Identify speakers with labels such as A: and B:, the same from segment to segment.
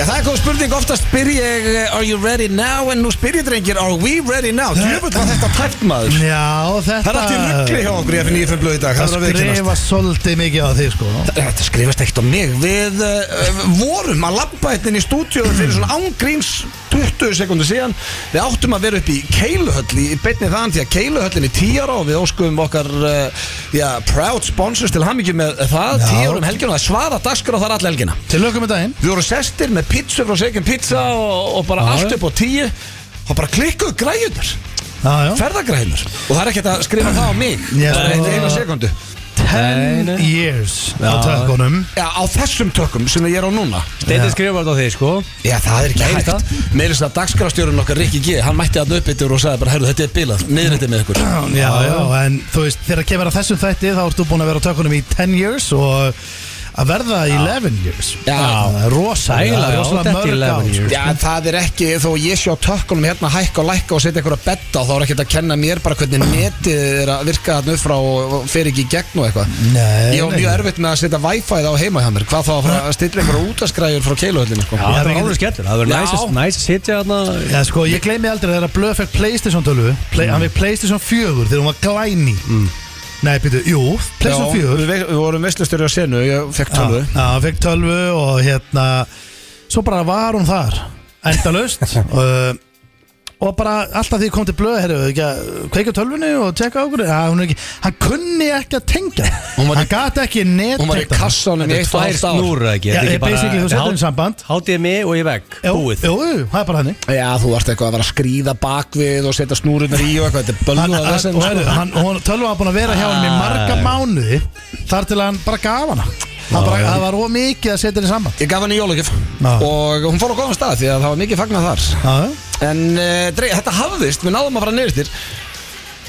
A: Já, það er góð spurning, oftast spyr ég eh, Are you ready now? En nú spyr ég drengir Are we ready now? Djöfull var þetta tætt maður
B: Já, þetta
A: Það er allt í ruggli hjá okkur í F95 blöð í dag
B: Það
A: Það er að viðkennast
B: skrifa svolítið mikið á þig sko
A: Þetta skrifast ekkert á mig Við uh, vorum að labba hérna inn í stúdíóðu fyrir svona ángríns 20 sekundu síðan Við áttum að vera upp í Keiluhöll í beinni þaðan því að Keiluhöllin er 10 ára og við óskuðum okkar uh, já, proud sponsors til hammingju með það 10 ára um helgina og það er svara dagskrá þar all helgina
B: Til lökum með daginn
A: Við vorum sestir með pizza frá Second Pizza og, og bara
B: Mm. Já,
A: allt
B: já.
A: upp á 10 og bara klikkuðu græjunar
B: Já, já
A: ferðagræjunar og það er ekkert að skrifa það á mig
B: Já.
A: bara eitt eina sekundu
B: 10 years á
C: Já.
B: tökunum
A: Já, á þessum tökum sem ég er á núna
C: Steindi skrifar þetta á þig sko
A: Já, það er ekki
C: Nei,
A: hægt Meirins að dagskrafstjórun okkar Rikki G Hann mætti að upp yttur og sagði bara Herru, þetta er bilað, miðrætti með ykkur
B: Já, já, en þú veist, þegar kemur að þessum þætti þá ertu búin að vera á tökunum í 10 years og að verða 11 years
A: Já.
B: Það er rosalega,
C: Ægilega, já,
B: rosalega
C: þetta er
B: mörg
C: 11
B: ár
C: years.
B: sko.
A: Já, en það er ekki, þó ég sé á tökkunum hérna hækka og lækka og setja ykkur að betta þá er ekkert að kenna mér bara hvernig netið er að virka þarna upp frá og og fer ekki í gegn og eitthvað
B: Nei,
A: Ég á mjög
B: nei.
A: erfitt með að setja Wi-Fi-ð á heima hjá mér Hvað þá að fara að stilla ykkur útaskræjur frá keiluhöllinu sko.
C: Já,
B: það
C: það
B: getur-
C: er alveg skellur Það verður
A: Já.
C: næs að- næs að sitja þarna
B: Já, sko, ég gleymi aldrei þegar að Blöð fekk Playstation 12 play, Hann fekk Playstation 4 þegar hún var glæni Nei, býtu, jú, Playstation 4
A: við, ve- við vorum veislustur á senu, ég fekk tölvu
B: Já, já, hann fekk 12 og hérna Svo bara var hún þar Endalaust uh, Og bara alltaf því ég kom til blöð herru, ekki að kveika á tölvunni og tjekka á okkur ja, hún er ekki, Hann kunni ekki að tengja
A: Hún var í-
B: Hann gati ekki
A: Hún var í
B: nettengta
A: kassanum í eitt og
C: eh, Tvær
A: hálft ár
C: snúr eða ekki
B: Já,
C: Þetta er ekki bara-
B: basically, þú setur
C: Há-
B: inn samband.
C: HDMI og í vegg
B: Jú,
C: Búið
B: jú, jú, það er bara hannig
A: Já, þú varst eitthvað að vera að skríða bakvið og setja snúrunar í og eitthvað, þetta er
B: hann,
A: bölvað
B: hann, og heyrðu, hann, hún tölva var búin að vera hjá hann í marga
C: Ah.
B: mánuði þar til að hann bara gaf hana það, bara, það var of mikið að setja henni saman
A: Ég gaf henni jólugjöf
B: Já.
A: og hún fór á góðan stað því að það var mikið fagnað þar En uh, dreig, þetta hafðist, við náðum að fara neyristir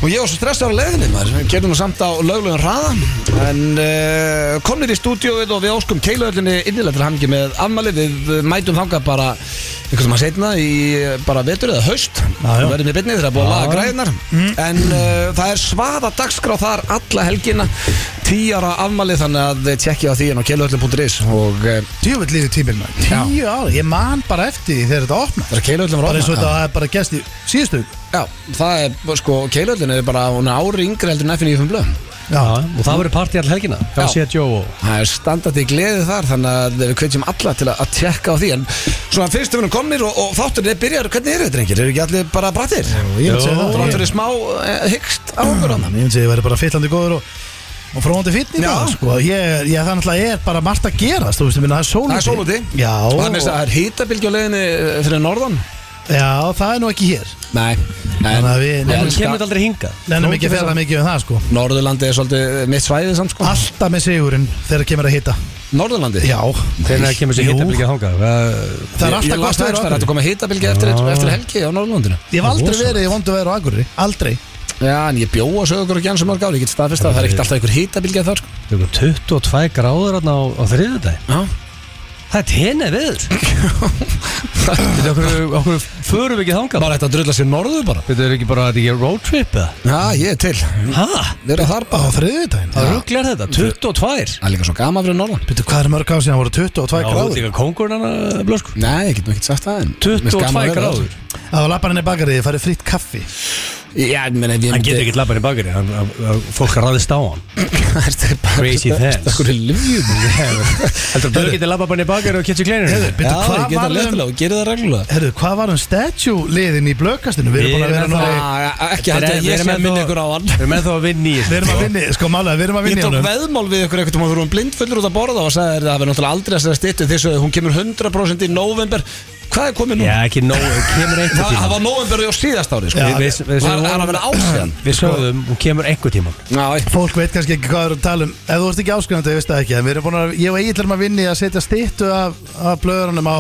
A: Og ég var svo stressað á leiðinni maður Við gerðum nú samt á löglegum hraða En uh, komnir í stúdíóið og við óskum keiluöllinni innilega til hamngi með afmæli Við eh, mætum þangað bara einhvern sem að setna í eh, bara vetur eða haust
B: Já, já. Mm.
A: Við verðum í byrni þegar að búa að laga græðinar En uh, það er svaða dagskrá þar alla helgina 10 ára afmæli þannig að tjekkja á því en á keiluöllin.is Og uh,
B: djúvill lífið tíminn maður. tíu ára, ég man bara eftir því þegar þetta opnar
A: það er keiluöllin
B: bara eins og þetta er bara gæst í síðustu viku.
A: Já, það er, sko, keilöldin er bara hún er ári yngri heldur en F95 blöð
B: já,
C: Já, og það verður partí all helgina
A: Já.
C: Það sé að Jó og
A: Það er standandi gleði þar, þannig að við kveitjum alla til að, að tjekka á því En svona fyrst við erum komnir og, og þátturinn er byrjar, hvernig er þetta, drengir? Eru ekki allir bara brattir?
B: ég myndi segja
A: Það
B: það
A: var
B: ég
A: fyrir smá eh, hyggst á okkur á það
B: ég myndi segja ég væri bara fyllandi góður og og fróðandi fýtni í
A: Já.
B: dag sko. ég, ég, það náttúrulega er bara margt að gerast þú veist, ég minna, það er sól
A: Það er sól úti.
B: já,
A: Og það er mest að það er hýtabilgja á leiðinni eh, fyrir norðan
B: já, það er nú ekki hér
A: Nei, en
B: Þannig að við-
A: ég
B: Nei,
C: Hún
A: elska-
C: kemur þetta aldrei hinga
B: nefnum ekki að ferða mikið um það sko.
A: Norðurlandi er svolítið mitt svæðið samt sko
B: alltaf með sigurinn þegar kemur að hitta
A: Norðurlandi?
B: Já
C: Hvernig kemur þessi
B: Jú.
C: hittabilgja þangað Það-
B: Það
A: Ég,
B: er
A: ég
B: alltaf
A: las
B: gott
A: það að þetta
B: að vera á Akureyri
A: komið hýtabilgja eftir, eftir helgi á Norðurlandinu
B: Ég hef aldrei
C: Rosa.
B: verið í vondu veru á Akureyri Aldrei
A: Já, en ég bjó að sögur okkur ekki hans um mörg ári, ég get staðfest að það er ekkert alltaf einhver hýtabilgja þar sko.
C: Það er ykkur 22 gráður þarna á, á þriðjudaginn
A: Já,
C: Það er tennið viður Þetta okkur, okkur förum við ekki þangað
A: bara þetta að drulla sér norðu bara
C: Þetta er ekki bara þetta er ekki road trip eða
A: Já, ég er til,
C: Hæ?
A: vera þar
B: Á
A: bara
B: þriðudaginn
C: Það rugglar þetta, 22
A: Það er líka svo gaman fyrir norðan
B: Býttu hvað er mörg ár síðan voru 22
C: Já, þú ert
B: gráður
C: líka kongurinn hann blösku
A: Nei, ég get nú ekkert sagt það en
C: 22 gráður
B: Það var lapparinn í bakari Það farið fritt kaffi
A: Já, ég meina, ég
C: Hann getur ekkert lappan í bakari hann- hann- hann- Fólk ræðist á hann Crazy
A: Það er
C: things
A: okkur ljúð
C: Heldur þú getur lappan í bakari og kett sér kleinir
B: Býttu
A: Já,
B: hvað
A: ég geta
B: var um
A: leðilega og gerir það reglulega
B: Herru, hvað var um statue liðin í blökastinu? Við erum búin að
C: Við
B: vera
C: erum
B: núna í-
A: Já, Ekki held að ég sé að minna ykkur á hann
C: Við erum ennþá að vinna í
B: Við
C: þessu
B: erum að vinni Sko málega, við erum að
A: Ég
B: vinni
A: tók veðmál við ykkur eitthvað og við vorum blindfullur út að borða og sagði það verður náttúrulega aldrei að segja stittu því að hún kemur 100% í november Hvað er komið nú?
C: Já, ekki nóg, kemur einhver
A: Það, það
C: tíma
A: var november á síðast ári sko.
B: Já,
A: Við-
C: við- við-
A: Það er- það er að vera ásíðan
C: Við sögðum, hún kemur einhver tíma
A: Já,
B: Fólk veit kannski ekki hvað við erum að tala um Ef þú ert ekki áskrifandi, ég veist það ekki En við erum búin að Ég og Egil erum að vinni að setja stýttu af, af blöðurunum á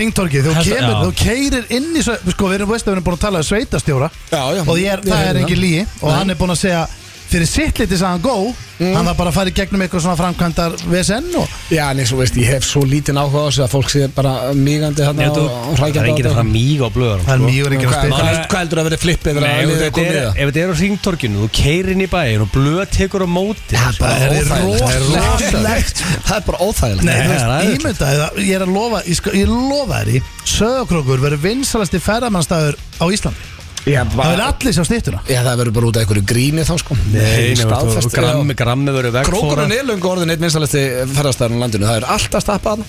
B: Ringtorki Þú
C: Þetta-
B: kemur,
C: já.
B: þú keirir inn í sve- Sko, við erum, veist, að við erum búin að tala um sveitastjóra
A: já, já
B: og ég er, það er engin líi og hann er búinn að segja fyrir sitt litið sagði hann go
A: Mm.
B: hann var bara að fara í gegnum eitthvað svona framkvæmdar VSN og
A: Já, en eins og veist, ég hef svo lítinn áhuga á þessu að fólk sé bara mígandi þarna
C: Ég veit þú-
A: og
C: Það er
A: hrækjandi
C: enginn að fara mýga á blöðurum
B: það er
C: sko.
B: mjög
A: Hvað
B: ríkjum að
A: hvað
B: spila
C: Maður-
A: held- hvað heldur að vera flippið þegar
C: Nei,
A: að
C: ef
A: liðið
C: þetta
A: komið
C: er-
A: það?
C: ef þetta er á ringtorkinu Þú keirir inn í bæin og blöð tekur á móti
A: Það er bara
B: Það er
A: óþægilegt
B: rosalegt.
A: Það er bara óþægilegt
B: Nei,
C: Nei,
B: þú
C: það er
B: veist,
C: æðislegt.
B: ímyndaði það, ég er að lofa, ég, sko, ég lofa þér í Söðakrókur verður vinsalasti ferðamannstæður á Íslandi
A: Já,
B: Það
A: bara-
B: verður allir sem stýttuna
A: Já, það verður bara út af einhverju gríni þá sko
C: Nei, nei,
A: staðfest
C: veist þú, grammi, grammi verður vegfóra
A: Krókurinn er löngu orðin eitt vinsalegsti ferðarstæðan á landinu Það er alltaf stappað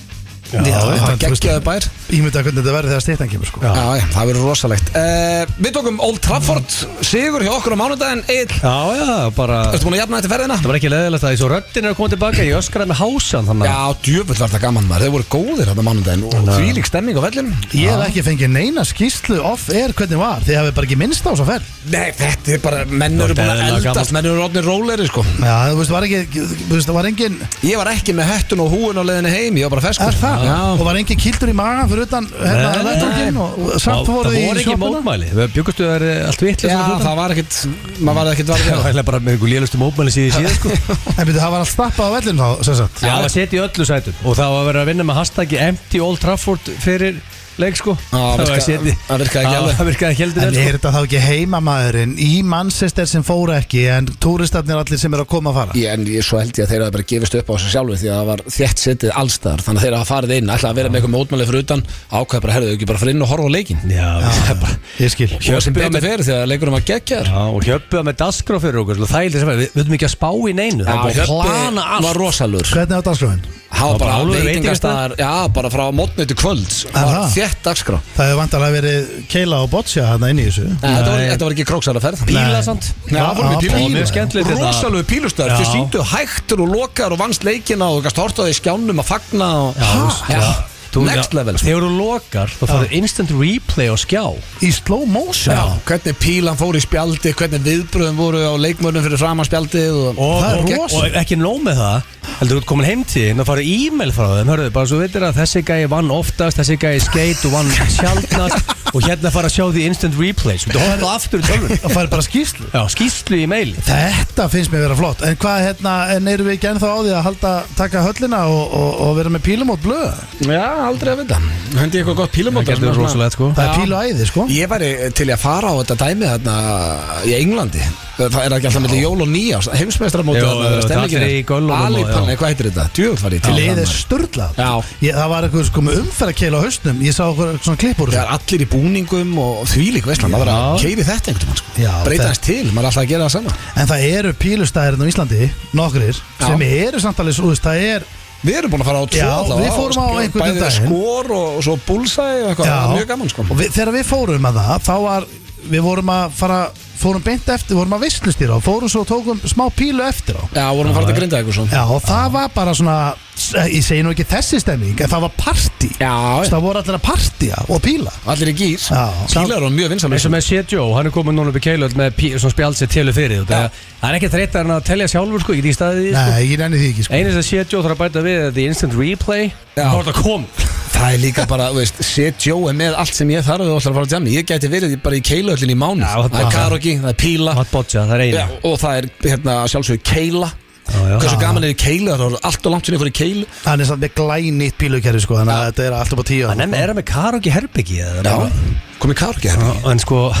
A: Já, þetta
B: þú veist,
A: geggjaðu bær
B: Ímyndaði hvernig þetta verður þegar stýttan kemur sko.
C: Já.
A: Já, já, það verður rosalegt uh, Við tókum Old Trafford, sigur hjá okkur á mánudaginn Egil,
C: Já, já, bara
A: ertu búin að jafna þetta ferðina?
C: Það var ekki leðilegt að því svo röddin er að koma tilbaka Ég öskraði með hásan þannig
A: Já, djöfull var þetta gaman maður, þeir voru góðir þetta mánudaginn og því lík stemming á vellinum
B: Ég hef ekki fengið neina skýslu off-air hvernig var Þið hafið bara ekki minnst á þess að ferð
A: Nei, þetta er bara, menn eru
C: Þetta
A: búin
C: er
A: að
C: eðlilega
A: eldast, menn eru orðin róleri sko
B: Já, þú veist, var ekki, þú veist, það var engin
A: Ég var ekki með hettun og húun á leiðinni heim, ég var bara feskur
B: Er það? Og
A: Já,
B: var engin kildur í magan fyrir utan hérna,
C: Nei,
B: vettvanginn og, og
C: Það
B: samt voruð
C: það
B: þið
C: voru
B: í
C: ekki
B: sjoppuna?
C: mótmæli Við bjögumstu að það er allt vitlega
A: já það var ekkit, maður var ekkit varðið
C: Það var eiginlega bara með einhver lélustu mótmæli síðan síðan sko
B: En byrju, það var allt stappað á vellinu þá, sem sagt
C: Já, það var setið í öllu sætum Og það var verið að vinna með hashtaggi Empty Old Trafford fyrir leik sko
A: það
C: var
A: virkaði-
C: setið-
A: það virkaði ekki
C: Já,
A: alveg.
C: Það virkaði ekki heldur
B: En
C: vel, sko.
B: er þetta þá ekki heimamaðurinn í Manchester sem fór ekki en túristarnir allir sem eru að koma að fara?
A: Já, en ég, svo held ég að þeir hafa bara gefist upp á þessu sjálfu því að það var þétt setið allstaðar þannig að þeir hafa farið inn, ætlaði að vera með eitthvað mótmæli fyrir utan ákveða bara, herðu ekki bara fyrir inn og horfa á leikin
C: Já, það er bara
B: Ég skil
A: og sem
C: Hjöppi á
A: betur
C: með-
A: fyrir því að leikurum að gegja þér
C: Já, og hjöppuða með dasgrá fyrir okkur Það er eitthvað, við veitum ekki að spá í neinu Það er bara að plana allt
A: var rosalur
B: Hvernig á dagskrafin?
A: Það var
C: bara
A: bara
C: alveg
A: veitingastaðar, já, bara frá mótni til kvölds Það var
B: það?
A: þétt dagskrá
B: Það hefur vantarlega verið keila og boccia hérna inn í þessu
A: Nei, Þetta var, þetta var ekki króksaraferð
C: Píla
B: Nei.
C: samt
A: Já, það voru
B: Já,
A: með pílu
C: og mjög skemmtilegt þetta.
A: Rosalegu pílustöðar,
C: Já.
A: þið síndu hægtur og lokar og vannst leikina og gast hortaði skjánum að fagna og Ha?
C: Já.
A: Já, next level sko.
C: Þegar þú lokar, þá færðu instant replay á skjá
B: Í slow motion
A: Já, hvernig pílan fór í spjaldi, hvernig viðbröðum voru á leikmörnum fyrir framan spjaldið og,
C: og,
B: Það er
C: og,
B: rosa.
C: og ekki nóg með það heldur þú ert komin heim til þín og farið e-mail frá þeim hörðu, bara svo veitir að þessi gæi vann oftast þessi gæi skeit og vann sjaldnast og hérna fara að sjá því instant replays þú hóðum það aftur í tölvun
B: Og fær bara skýrslu
C: Já, skýslu í mail
B: Þetta finnst mér vera flott En hvað hérna, en eru við ekki ennþá á því að halda, taka höllina og, og, og vera með pílum og blöð?
A: Já, aldrei að vita Hendi eitthvað gott
C: það
A: pílamóta
C: getur verið rosalegt sko
A: Já.
B: Það er pílu æði, sko
A: Ég væri til í að fara á þetta dæmi þarna í Englandi Það er ekki alltaf mellir jól og nýjás Heimsmeistramóti
C: Jú, jú, það er í göllunum og-
A: Alipanni,
C: já.
A: hvað heitir þetta? Djöfull var ég til í
B: Leið
A: það,
B: er
A: maður.
B: störla
A: Já.
B: ég, Það var eitthvað sko með umferðakeila á hausnum Ég sá okkur svona klippur
A: Það er allir í búningum og þvílík veistlan Það er að
C: Já.
A: keiri þetta einhvern veginn
B: Já,
A: sko. Breyta
B: það-
A: hans til, maður er alltaf að gera það sama
B: En það eru pílustæðirinn á Íslandi Nokkrir Sem eru samtalið, svo þú veist, það er
A: Við erum búin að fara á tvo
B: Já,
A: allavega,
B: við fórum á
A: og
B: einhvern um
A: Bæði
B: daginn.
A: skor og, og svo búlsæði og eitthvað, það er mjög gaman sko
B: Og við, þegar við fórum að það, þá var Við vorum að fara, fórum beint eftir Við vorum að veistlustýra og fórum svo og tókum smá pílu eftir á
A: Já, vorum að fara til grinda eitthvað
B: Já, og það var bara svona Ég segi nú ekki þessi stemming En það var partí
A: Já, já.
B: Það voru allir að partíja og píla
A: Allir í gýr
B: Já.
A: Kílar og mjög sko. vinsamlega
C: eins og með Sjetjó, hann er komin núna upp í keilöld með pí- svona spjald sér telur fyrir þetta það er ekki þreytt að hann að telja sjálfur sko, ég get í staðið í því, sko.
B: Nei, ég nenni því ekki sko
C: einu sem Sjetjó þarf að bæta við þetta er instant replay
A: Já.
C: þá er það kom
A: Það er líka bara, þú veist, set Joe er með allt sem ég þarf og ætlar að fara að jammi Ég gæti verið í- bara í keilaöllin í mánu
C: Já, það-
A: Það er karaoke, það er píla
C: Hot Bodja, það er einu
A: já, og það er hérna, sjálfsögur keila
C: Já, já.
A: Hversu gaman er í keila, það er allt og langt sinni fyrir keilu
B: Hann er samt með glænýtt pílukerfi sko Þannig að þetta er allt upp á tíu
C: Hann er með, Ah, er hann með karaoke herbyggi eða?
A: komið karaoke hérna.
C: En sko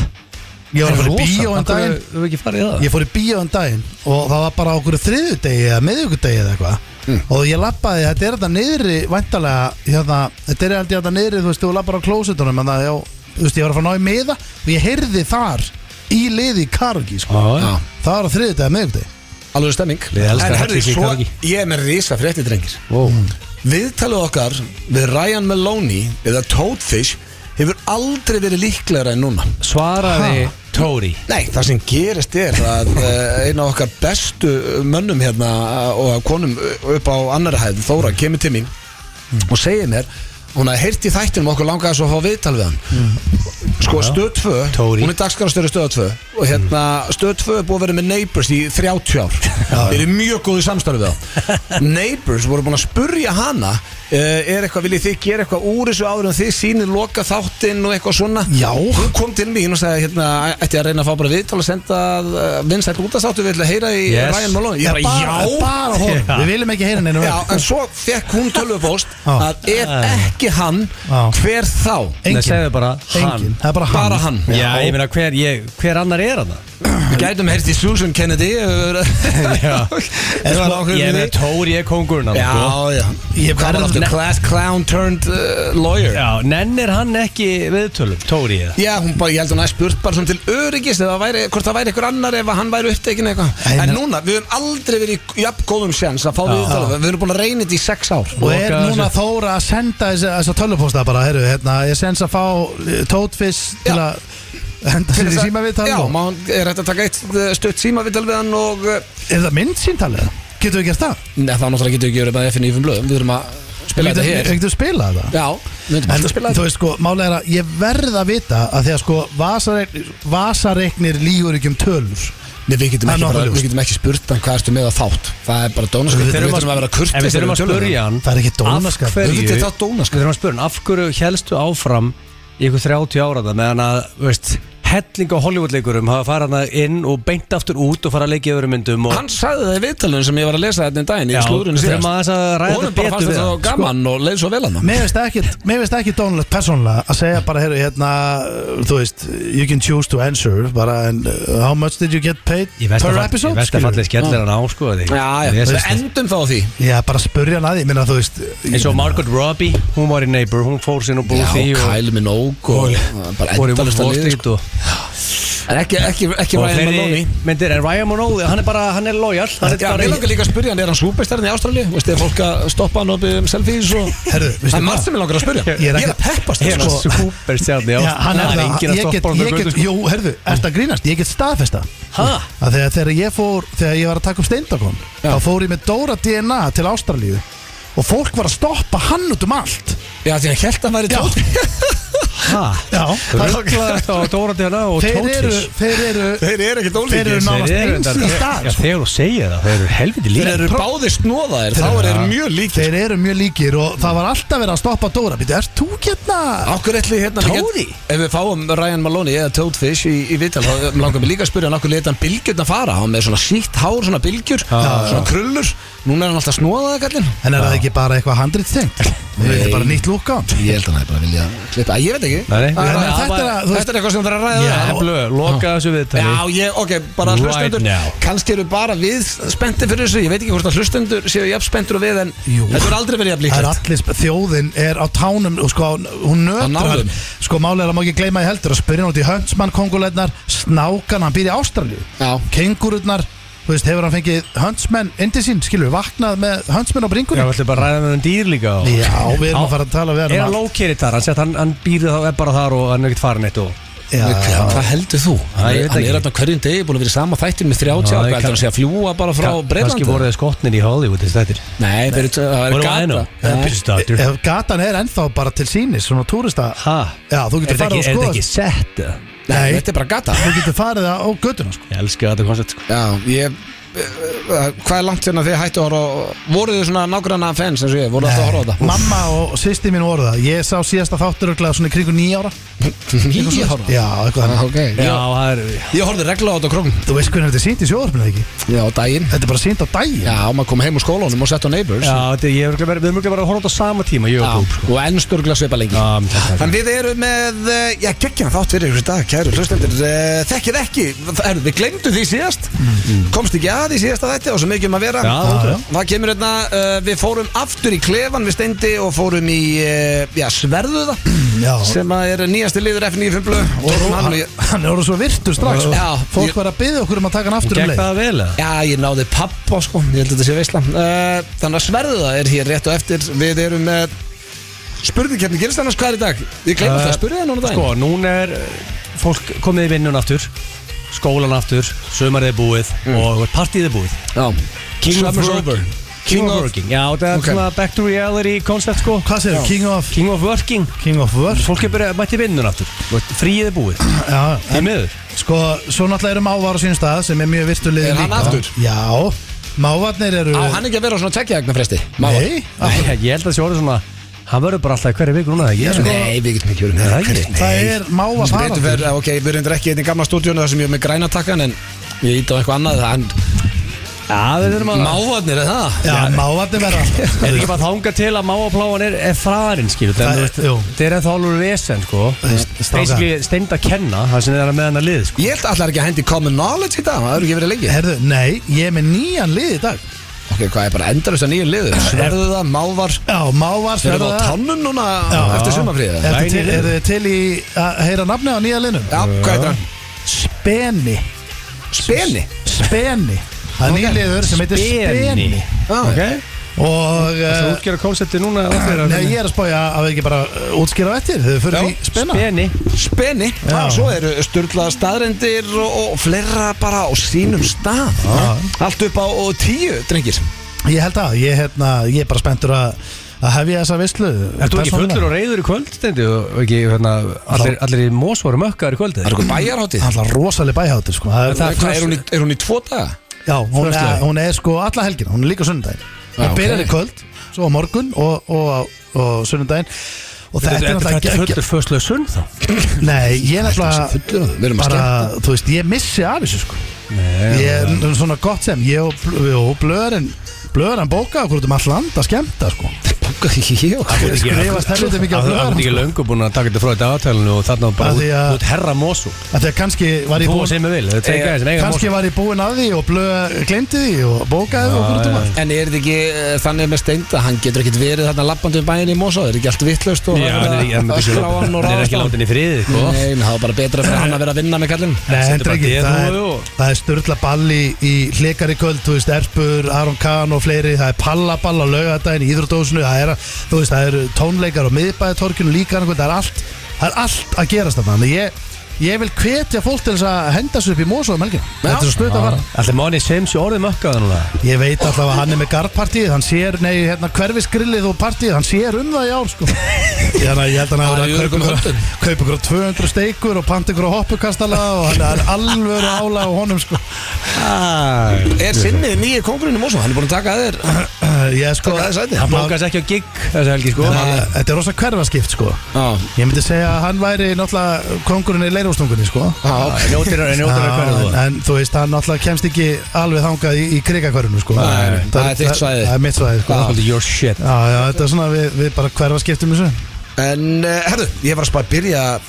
B: Ég var að fara í bíó en
C: Akkur
B: daginn
C: hefur ekki farið í það
B: Ég fór í bíó en daginn og það var bara okkur þriðjudegi eða miðvikudegi eða eitthvað
C: Hmm.
B: og ég lappaði, þetta er þetta niðri væntalega, hérna, þetta er held ég þetta niðri þú veist, þú lappar á klósitunum en það, já, þú veist, ég var að fara að ná í miða og ég heyrði þar í liði í karugi, sko
C: Já,
A: Já.
B: það var á þriðjudegi eða miðvikudegi
A: Alveg stemming
C: Við elskum
A: En
C: að
A: herri,
C: hella í
A: svo,
C: karaoke.
A: ég er með risa frétti drengir
C: wow.
A: Viðtalið okkar við Ryan Maloney eða Toadfish hefur aldrei verið líklegra en núna
C: Svaraði Tóri
A: Nei, það sem gerist er að eh, eina af okkar bestu mönnum hérna og konum upp á annara hæð, Þóra, kemur til mín og segir mér hún hafði heyrt í þættinum og okkur langaði svo að fá viðtal við hann sko stöð 2,
C: Tóri.
A: hún er dagskarastöru stöð 2 og hérna, Stöð 2 er búið að vera með Neighbours í 30 ár Við erum mjög góðu samstarfið á Neighbours voru búin að spurja hana eh, Er eitthvað, viljið þið gera eitthvað úr þessu áður en þið sýnir loka þáttinn og eitthvað svona
B: Já.
A: Hún kom til mín og sagði, hérna, ætti að reyna að fá bara viðtal og senda vinsætt út að sáttu Við ætlum að heyra í
C: Yes.
A: Ryan Malone Ég bara, já
B: bara hún,
C: Já.
B: við viljum ekki heyra neina um
A: Já, en svo fekk hún tölvupóst
B: Já.
A: að ef ekki hann,
B: Já.
A: hver þá?
C: Nei, segðu bara
B: engin, það er bara hann,
A: Bara hann.
C: Já, ég meina hver, ég, hver annar er hann
A: Við gætum heyrst í Susan Kennedy ef við-
C: Já.
A: Ef það er ákveðin
C: Ég
A: við
C: meina
A: því.
C: Tóri er kongurinn hann
A: Já, já
B: Ég hef
A: Hvað er
B: gaman
A: aftur?
B: aftur
A: Class clown turned uh, lawyer já.
C: Já, nennir hann ekki viðtölum, Tóri eða?
A: hún bara, ég held hún að spurt bara svona til öryggis eða væri, hvort það væri einhver annar ef að hann væri upptekinn eitthvað
B: Nei,
A: En
B: nei.
A: núna, við höfum aldrei verið í jafn góðum sjans að fá við þetta Við höfum búin að reyna þetta í sex ár
B: Og er
C: Lokaðu
B: núna
C: þessu.
B: Þóra að senda þessi- þessa tölvupósta bara, herru, hérna, ég sens að fá eh, Toadfish til
A: Já.
B: að henda sér í símaviðtal
A: Já,
B: og-
A: má, er hægt að taka eitt uh, stutt símavital við hann og uh,
B: Er það mynd síntalið? Getur við gert það?
A: Nei, þá náttúrulega getum við ekki verið bara FN í fimm blöðum Við höfum að spila þetta hér
B: Getur við spila þetta?
A: Já, við höfum
B: En
A: að spila
B: þú veist sko, málega er að ég verð að vita að því að sko vasareiknir, vasareiknir lígur ekki um tölur
A: Nei, við getum, ekki
B: Það er
A: bara,
B: nokkuð
A: við
B: ljóst.
A: getum ekki spurt hann hvað ertu með að þátt Það er bara dónaskap
B: Við
A: Við þurfum að vera kurteis
C: En við þurfum að
A: þegar við tölum um við
C: spurja hann
B: Það er ekki dónaskap.
C: Af hverju
A: Auðvitað er það
C: Við
A: dónaskap.
C: þurfum að spurja hann Af hverju helstu áfram í ykkur 30 ára það meðan að, þú veist helling á Hollywoodleikurum hafa farað hann inn og beint aftur út og fara að leikja í öðrum myndum og
A: Hann sagði það í viðtalunum sem ég var að lesa þetta en daginn í
C: Já,
A: slúðurinn
C: við
A: síðast
C: þurfum aðeins að ræða
A: Og honum
C: þetta
A: bara fannst þetta
C: betur við
A: svo
C: hann, sko.
A: gaman og leið svo vel hann
B: Mér veist ekki, mér veist ekki dónalegt persónulega að segja bara, heyrðu, hérna, uh, þú veist, you can choose to answer, bara, and uh, how much did you get paid
C: Í versta
B: per
C: fall-
B: episode?
C: Í versta
B: skilur
C: fallið
B: við?
C: skellir hann á sko því.
A: Já, já,
C: Ég
A: við
C: sést það.
A: endum þá á því
B: Já, bara spurja hann að því, minna, þú veist.
C: eins og Margot Robbie, hún var í Neighbor hún fór sín og búið
A: Já,
C: því og
A: Kyle Minogue og bara
C: fór í Wolf
A: endalist að
C: Wall
A: liði
C: Street
A: sko.
C: og
A: En ekki, ekki, ekki
C: og
A: Ryan
C: fleiri
A: Maloney
C: myndir, en Ryan Maloney, hann er bara, hann er lojal hann er
A: Já,
C: bara
A: mér
C: í-
A: langar líka að spyrja hann, er hann súbestarinn í Ástralíu? Veist þið, fólk að stoppa hann og byggja um selfies og
B: Herðu, veistu
A: Það er
B: hvað?
A: margt sem ég langar að spyrja
B: Ég
A: Ég
B: er
A: er
B: ekki-
A: að peppast
C: Ég er
A: sko.
C: sko, superstjarni
B: Já, hann er
C: Það er
B: það,
C: engin að
B: ég get,
C: stoppa sko.
B: ég get, jú, herðu, ert að grínast, ég get staðfesta
C: Ha?
B: að þegar, þegar ég fór, þegar ég var að taka upp steindakon
A: Já.
B: þá fór ég með Dóra DNA til Ástralíu og fólk var að stoppa hann út um allt
A: Já, því að held að hann væri
B: Já.
A: tótt
C: Ha?
B: Já, það,
C: Rugglaðast á Dóra Dela og
B: þeir eru,
C: Tótis
B: þeir eru
A: Þeir eru ekkert
B: Þeir eru nánast eins í dag
C: Já,
B: sko.
C: þeir eru að segja það, þeir eru helviti
A: Þeir
C: líka
A: eru báðir snóðaðir, þá eru þeir mjög líkir
B: Þeir eru mjög líkir og það var alltaf verið að stoppa Dóra Býtu, ert þú getna?
A: Akkur ætli hérna við
B: Tóði?
A: getum- Ef við fáum Ryan Maloney eða Toad Fish í, í vital þá langar við líka að spyrja hann okkur leta hann bylgjurna fara hann með svona sítt hár, svona bylgjur svona krullur, núna er hann alltaf snóðaði kallinn
B: En er það ekki bara eitthvað handrit tengt? Við veitum bara nýtt lúka
A: Ég held að hann er bara að vilja klippa, Æ, ég veit ekki
C: Nei,
A: Það er-
C: nei.
B: Þetta er
A: þetta
B: að-
A: er-
B: þú veist-
A: Þetta er eitthvað sem það er að ræða
B: Já.
A: við hann.
C: Blöð, loka þessu viðtali
A: Já, ég, ok, bara
C: Right
A: hlustendur
C: now.
A: Kannski eru bara við spenntir fyrir þessu Ég veit ekki hvort að hlustendur séu jafn spenntur og við En
B: Jú.
A: þetta er aldrei verið jafn
B: Það er
A: líklegt
B: allir, sp- þjóðin er á tánum og sko, hún
A: Á
B: nötrar
A: nálum.
B: sko málið er að má ekki gleyma í heldur að spyrja hann út í höndsmann kongulegnar snákan, hann býr í Ástralju
A: Já.
B: kengururnar, þú veist, hefur hann fengið höndsmenn indi sín, skilur, vaknað með höndsmenn á
C: Já,
B: bringunni
C: við ætlum bara að ræða með um dýr líka og-
B: Já, við erum að fara að tala við hann
C: Er
B: um
C: hann
B: allt.
C: lókerið þar, hann sett hann, hann býrði þá er bara þar og hann er ekkert farin eitt og
A: Já,
B: Já,
A: Hvað heldur þú?
C: Æ, ég veit
A: hann
C: ekki.
A: er alltaf hverjum degi búin að vera í sama þættin með 30 ára,
C: Já, ég
A: heldur hann
C: kann-
A: sé að fljúa bara frá
C: Ka-
A: Breitlandi?
C: Kannski voru þeir skotnir í Hollywood þessi þættir
A: Nei, fyrir, það er
C: Voru á
A: gata
C: aðeinu? Pissustatur
B: ef gatan er ennþá bara til sínis, svona túrista
C: Ha?
B: Já, þú
C: Er
B: getur
C: það
B: farið
C: ekki,
B: og
C: er það
B: skoðast
C: ekki sett? eða?
A: Nei,
B: Nei.
A: þetta er bara gata
B: Þú getur farið á göttuna, sko
C: Ég elska þetta koncept sko
A: Já, ég eh, eh, Hvað er langt hérna þið hættu að horfa á- Voru þið svona nágranna fans eins og ég, voru alltaf að horfa á þetta?
B: Mamma og sýsti mín voru það Ég sá síðasta þáttur örglega svona í kringu nýja ára
A: Nýja Ah, horfa
B: Já, eitthvað þannig
C: Já,
A: okay.
C: það er
A: Ég horfði regla á þetta á krókn
B: Þú veist hvernig þetta er sínt í sjóðarpinu ekki?
A: Já, á daginn
B: Þetta er bara sínt á daginn
A: Já, maður kom heim úr skólanum og sett á Neighbours
C: Já, þetta er- ég er örugglega verið- við erum ekki bara að horfa út á sama tíma
A: Já,
C: Ég og Búb sko
A: og ennstörgla svipa lengi
C: Já, um, mér finnst það
A: Þannig við erum með, eh, já geggjum þátt fyrir ykkur í dag, kæru hlustendur Eh, Þekkið ekki, er, við glemdu því síðast Komst ekki að því síðasta þetta og svo mikið um að vera
C: Mm-hmm. Já, ótrúlega.
A: Það kemur hérna, uh, við fórum aftur í klefan við steindi og fórum í, uh, já sverðuða
B: Já.
A: Sem að er nýjasti liður F95 blöð Og
B: Hann,
A: hann,
B: hann, hann er orðið svo virtur strax sko.
A: Já,
B: Fólk
A: ég-
B: var að byggja okkur um að taka hann aftur um
C: Gekk
B: leið
C: það vel eða?
A: Já, ég náði pappa sko, ég held að þetta sé veisla uh, Þannig að sverða er hér rétt og eftir Við erum með Spurði hvernig gerist annars hvað er í dag? Ég gleyma
C: Eh,
A: alltaf að spurði það núna um daginn
C: Sko, núna er eh, fólk komið í vinnun aftur Skólan aftur, sömarið er búið Og partíð er búið
A: Já,
C: King of
A: Summer's
C: Rock
A: over.
C: King of Working Já, þetta er
A: Ok.
C: svona back to reality concept sko
B: Hvað segir King of
C: King of Working
B: King of Work
C: Fólk er bara mætti vinnun aftur Fríið er búið
B: Já,
C: Í miður
B: Sko, svo náttúrulega eru mávar á sínum stað sem er mjög virtulegið
A: Er hann aftur?
B: Já, mávarnir eru
A: Á hann ekki að vera á svona tveggja vegna fresti?
B: Nei, Ah,
C: Nei, Ég held að það sé orðið svona Hann verður bara alltaf í hverju viku núna ekki?
A: Sko- Nei, við getum ekki verið með
C: Nei, það er ekki.
B: það er mávar
A: Sem betur
B: faraldur
A: fer, ok, við erum ekki einnig gamla stúdíónu þar sem ég er með græna takkan en ég ít á eitthvað annað en
C: Já, við þurfum að
A: mávarnir er það?
B: Já, mávarnir verða alltaf
C: Er ekki bara þanga til að máapláan er, er farinn skilur
B: Það
C: Það
B: er-
C: er,
B: jú.
C: það er ennþá alveg vesen sko
B: strákar.
C: Basically steind að kenna það sem er með hann að lið sko
A: Ég held að allar ekki að hendi common knowledge í dag, það eru ekki verið lengi
B: Herðu, nei, ég er með nýjan lið í dag
A: Ok, hvað er bara endalust að nýja liðu? Sverðu það, mávar,
B: Já, mávar
A: þeir eru á
B: sverða
A: tannum núna
B: Já.
A: eftir sumafríða?
B: Er
C: Væni liður.
B: þið til í að heyra nafni á nýja liðnum?
A: Já, hvað heitir hann?
B: Speni
A: Speni?
B: Speni Það er
A: Ok.
B: nýja liður sem heitir Speni
A: Já,
C: Ok
B: Og
C: Það
B: eh,
C: er útgjöra konsepti núna á þeirra-
B: Nei, ég er að spája að við ekki bara eh, útskýra á eftir Þau
A: Já.
B: fyrir í spena
C: Speni
A: Speni,
B: Já.
A: og svo eru sturglaða staðrendir og, og fleira bara á sínum stað Allt upp á og tíu, drengir
B: Ég held að, ég, hérna, ég er bara spenntur að, að hefja þessa visslu
C: Er þú ekki fullur og reyður í kvöld, stendi, og ekki, hérna, allir, allir í mós voru mökkaðar í kvöld,
A: Það er
B: sko,
C: eða?
A: eitthvað bæjarháttið
B: Það er alltaf rosaleg bæháttur sko. það er,
C: Mm. Það-
A: Hvað, er, hún í- er hún í tvo daga?
B: Já, hún er,
C: Föstudag.
B: hún er sko alla helgina, hún er líka sunnudaginn
A: Já,
B: Hún byrjar
A: ok.
B: í kvöld, svo á morgun og, og, og, og sunnudaginn Og þetta er
C: Þetta
B: náttúrulega
C: er
B: ekki
C: fullur fösluð sunn þá?
B: Nei, ég er
A: fullur
B: náttúrulega
A: að- við erum að
B: bara, þú veist, ég missi af þessu sko Ég er n- svona gott sem, ég og, Bl- og blöðurinn Blöðurinn bókaði okkur út um all land að skemmta sko
A: Bokka, ég og
B: Ég skrifast helviti mikið á
C: Það er
B: blöðurinn
C: ekki
B: sko.
C: löngu búin að taka þetta frá þetta aðtælinu og þarna var bara
B: Af
C: út,
B: því að-
C: út herra mósu.
B: Af Því að kannski var ég
C: Þú
B: búin
C: sem við vil, það er
A: Eh,
C: tveika sem eiga mósu.
B: Kanski var ég búinn að því og blöð glemdi því og bókaði og okkur út um allt
A: En er þetta ekki eh, þannig með steinda Hann getur ekkit verið þarna lappandi um bæin í Mosó Er ekki allt vittlaust og
C: Já, hann er ekki- hann er ekki-
A: öskra á hann og
C: hann er
A: ráðast á
C: ekki
A: hann?
C: látin í friði, sko.
A: Nei, en það var bara betra fyrir hann að vera að vinna með kallinn
B: Nei,
C: Setur
B: hendur
C: bara
B: ekki,
C: D
B: það
C: þúfu
B: er,
C: og-
B: það er sturla balli í hlikari kvöld, þú veist, Erpur, Aron Kahn og fleiri, það er pallaball á laugadaginn í Íðrudósinu, það er, að- þú veist, það eru tónleikar á miðbæðatorkinu líka, annað kvöld, það er allt, það er allt að gerast þarna, þannig ég, ég vil hvetja fólk til þess að henda sér upp í mósa um helgina, þetta er svo stöðt að fara.
C: Allir manni sem sé orðið mökkaðar núna.
B: Ég veit alltaf að hann er með garðpartíð, hann sér, nei, hérna, hverfisgrillið og partíð, hann sér um það í ár, sko. Þannig að ég held að hann
A: Það
B: hafi
A: er í
B: verið að
A: öruggum
B: kaupa ykkur-
A: höndum.
B: kaupa ykkur á 200 steikur og panta ykkur á hoppukastala og hann er alvöru álag á honum, sko.
A: Er sinnið nýju kongurinn í Mosó? Hann er búin að taka að þér
B: Ég sko,
A: Taka þess sæti.
C: Hann
B: maður-
C: bókast ekki á gig þessu helgi, sko.
B: Nei, þetta er rosa hverfaskipt, sko.
A: Já,
B: Ég myndi segja að hann væri náttúrulega kongurinn í leirústungunni, sko.
C: Njótir að njótir að hverju
B: Já,
C: þú.
B: en, en þú veist, hann náttúrulega kemst ekki alveg þangað í, í krikakörunum, sko.
A: Nei,
B: Það-
A: það er þitt svæði.
B: Það er mitt svæði, sko.
C: Svolítið your shit.
B: Já, já, þetta er svona við, við bara hverfaskiptum þessu.
A: En uh, herðu, ég var að spara að byrja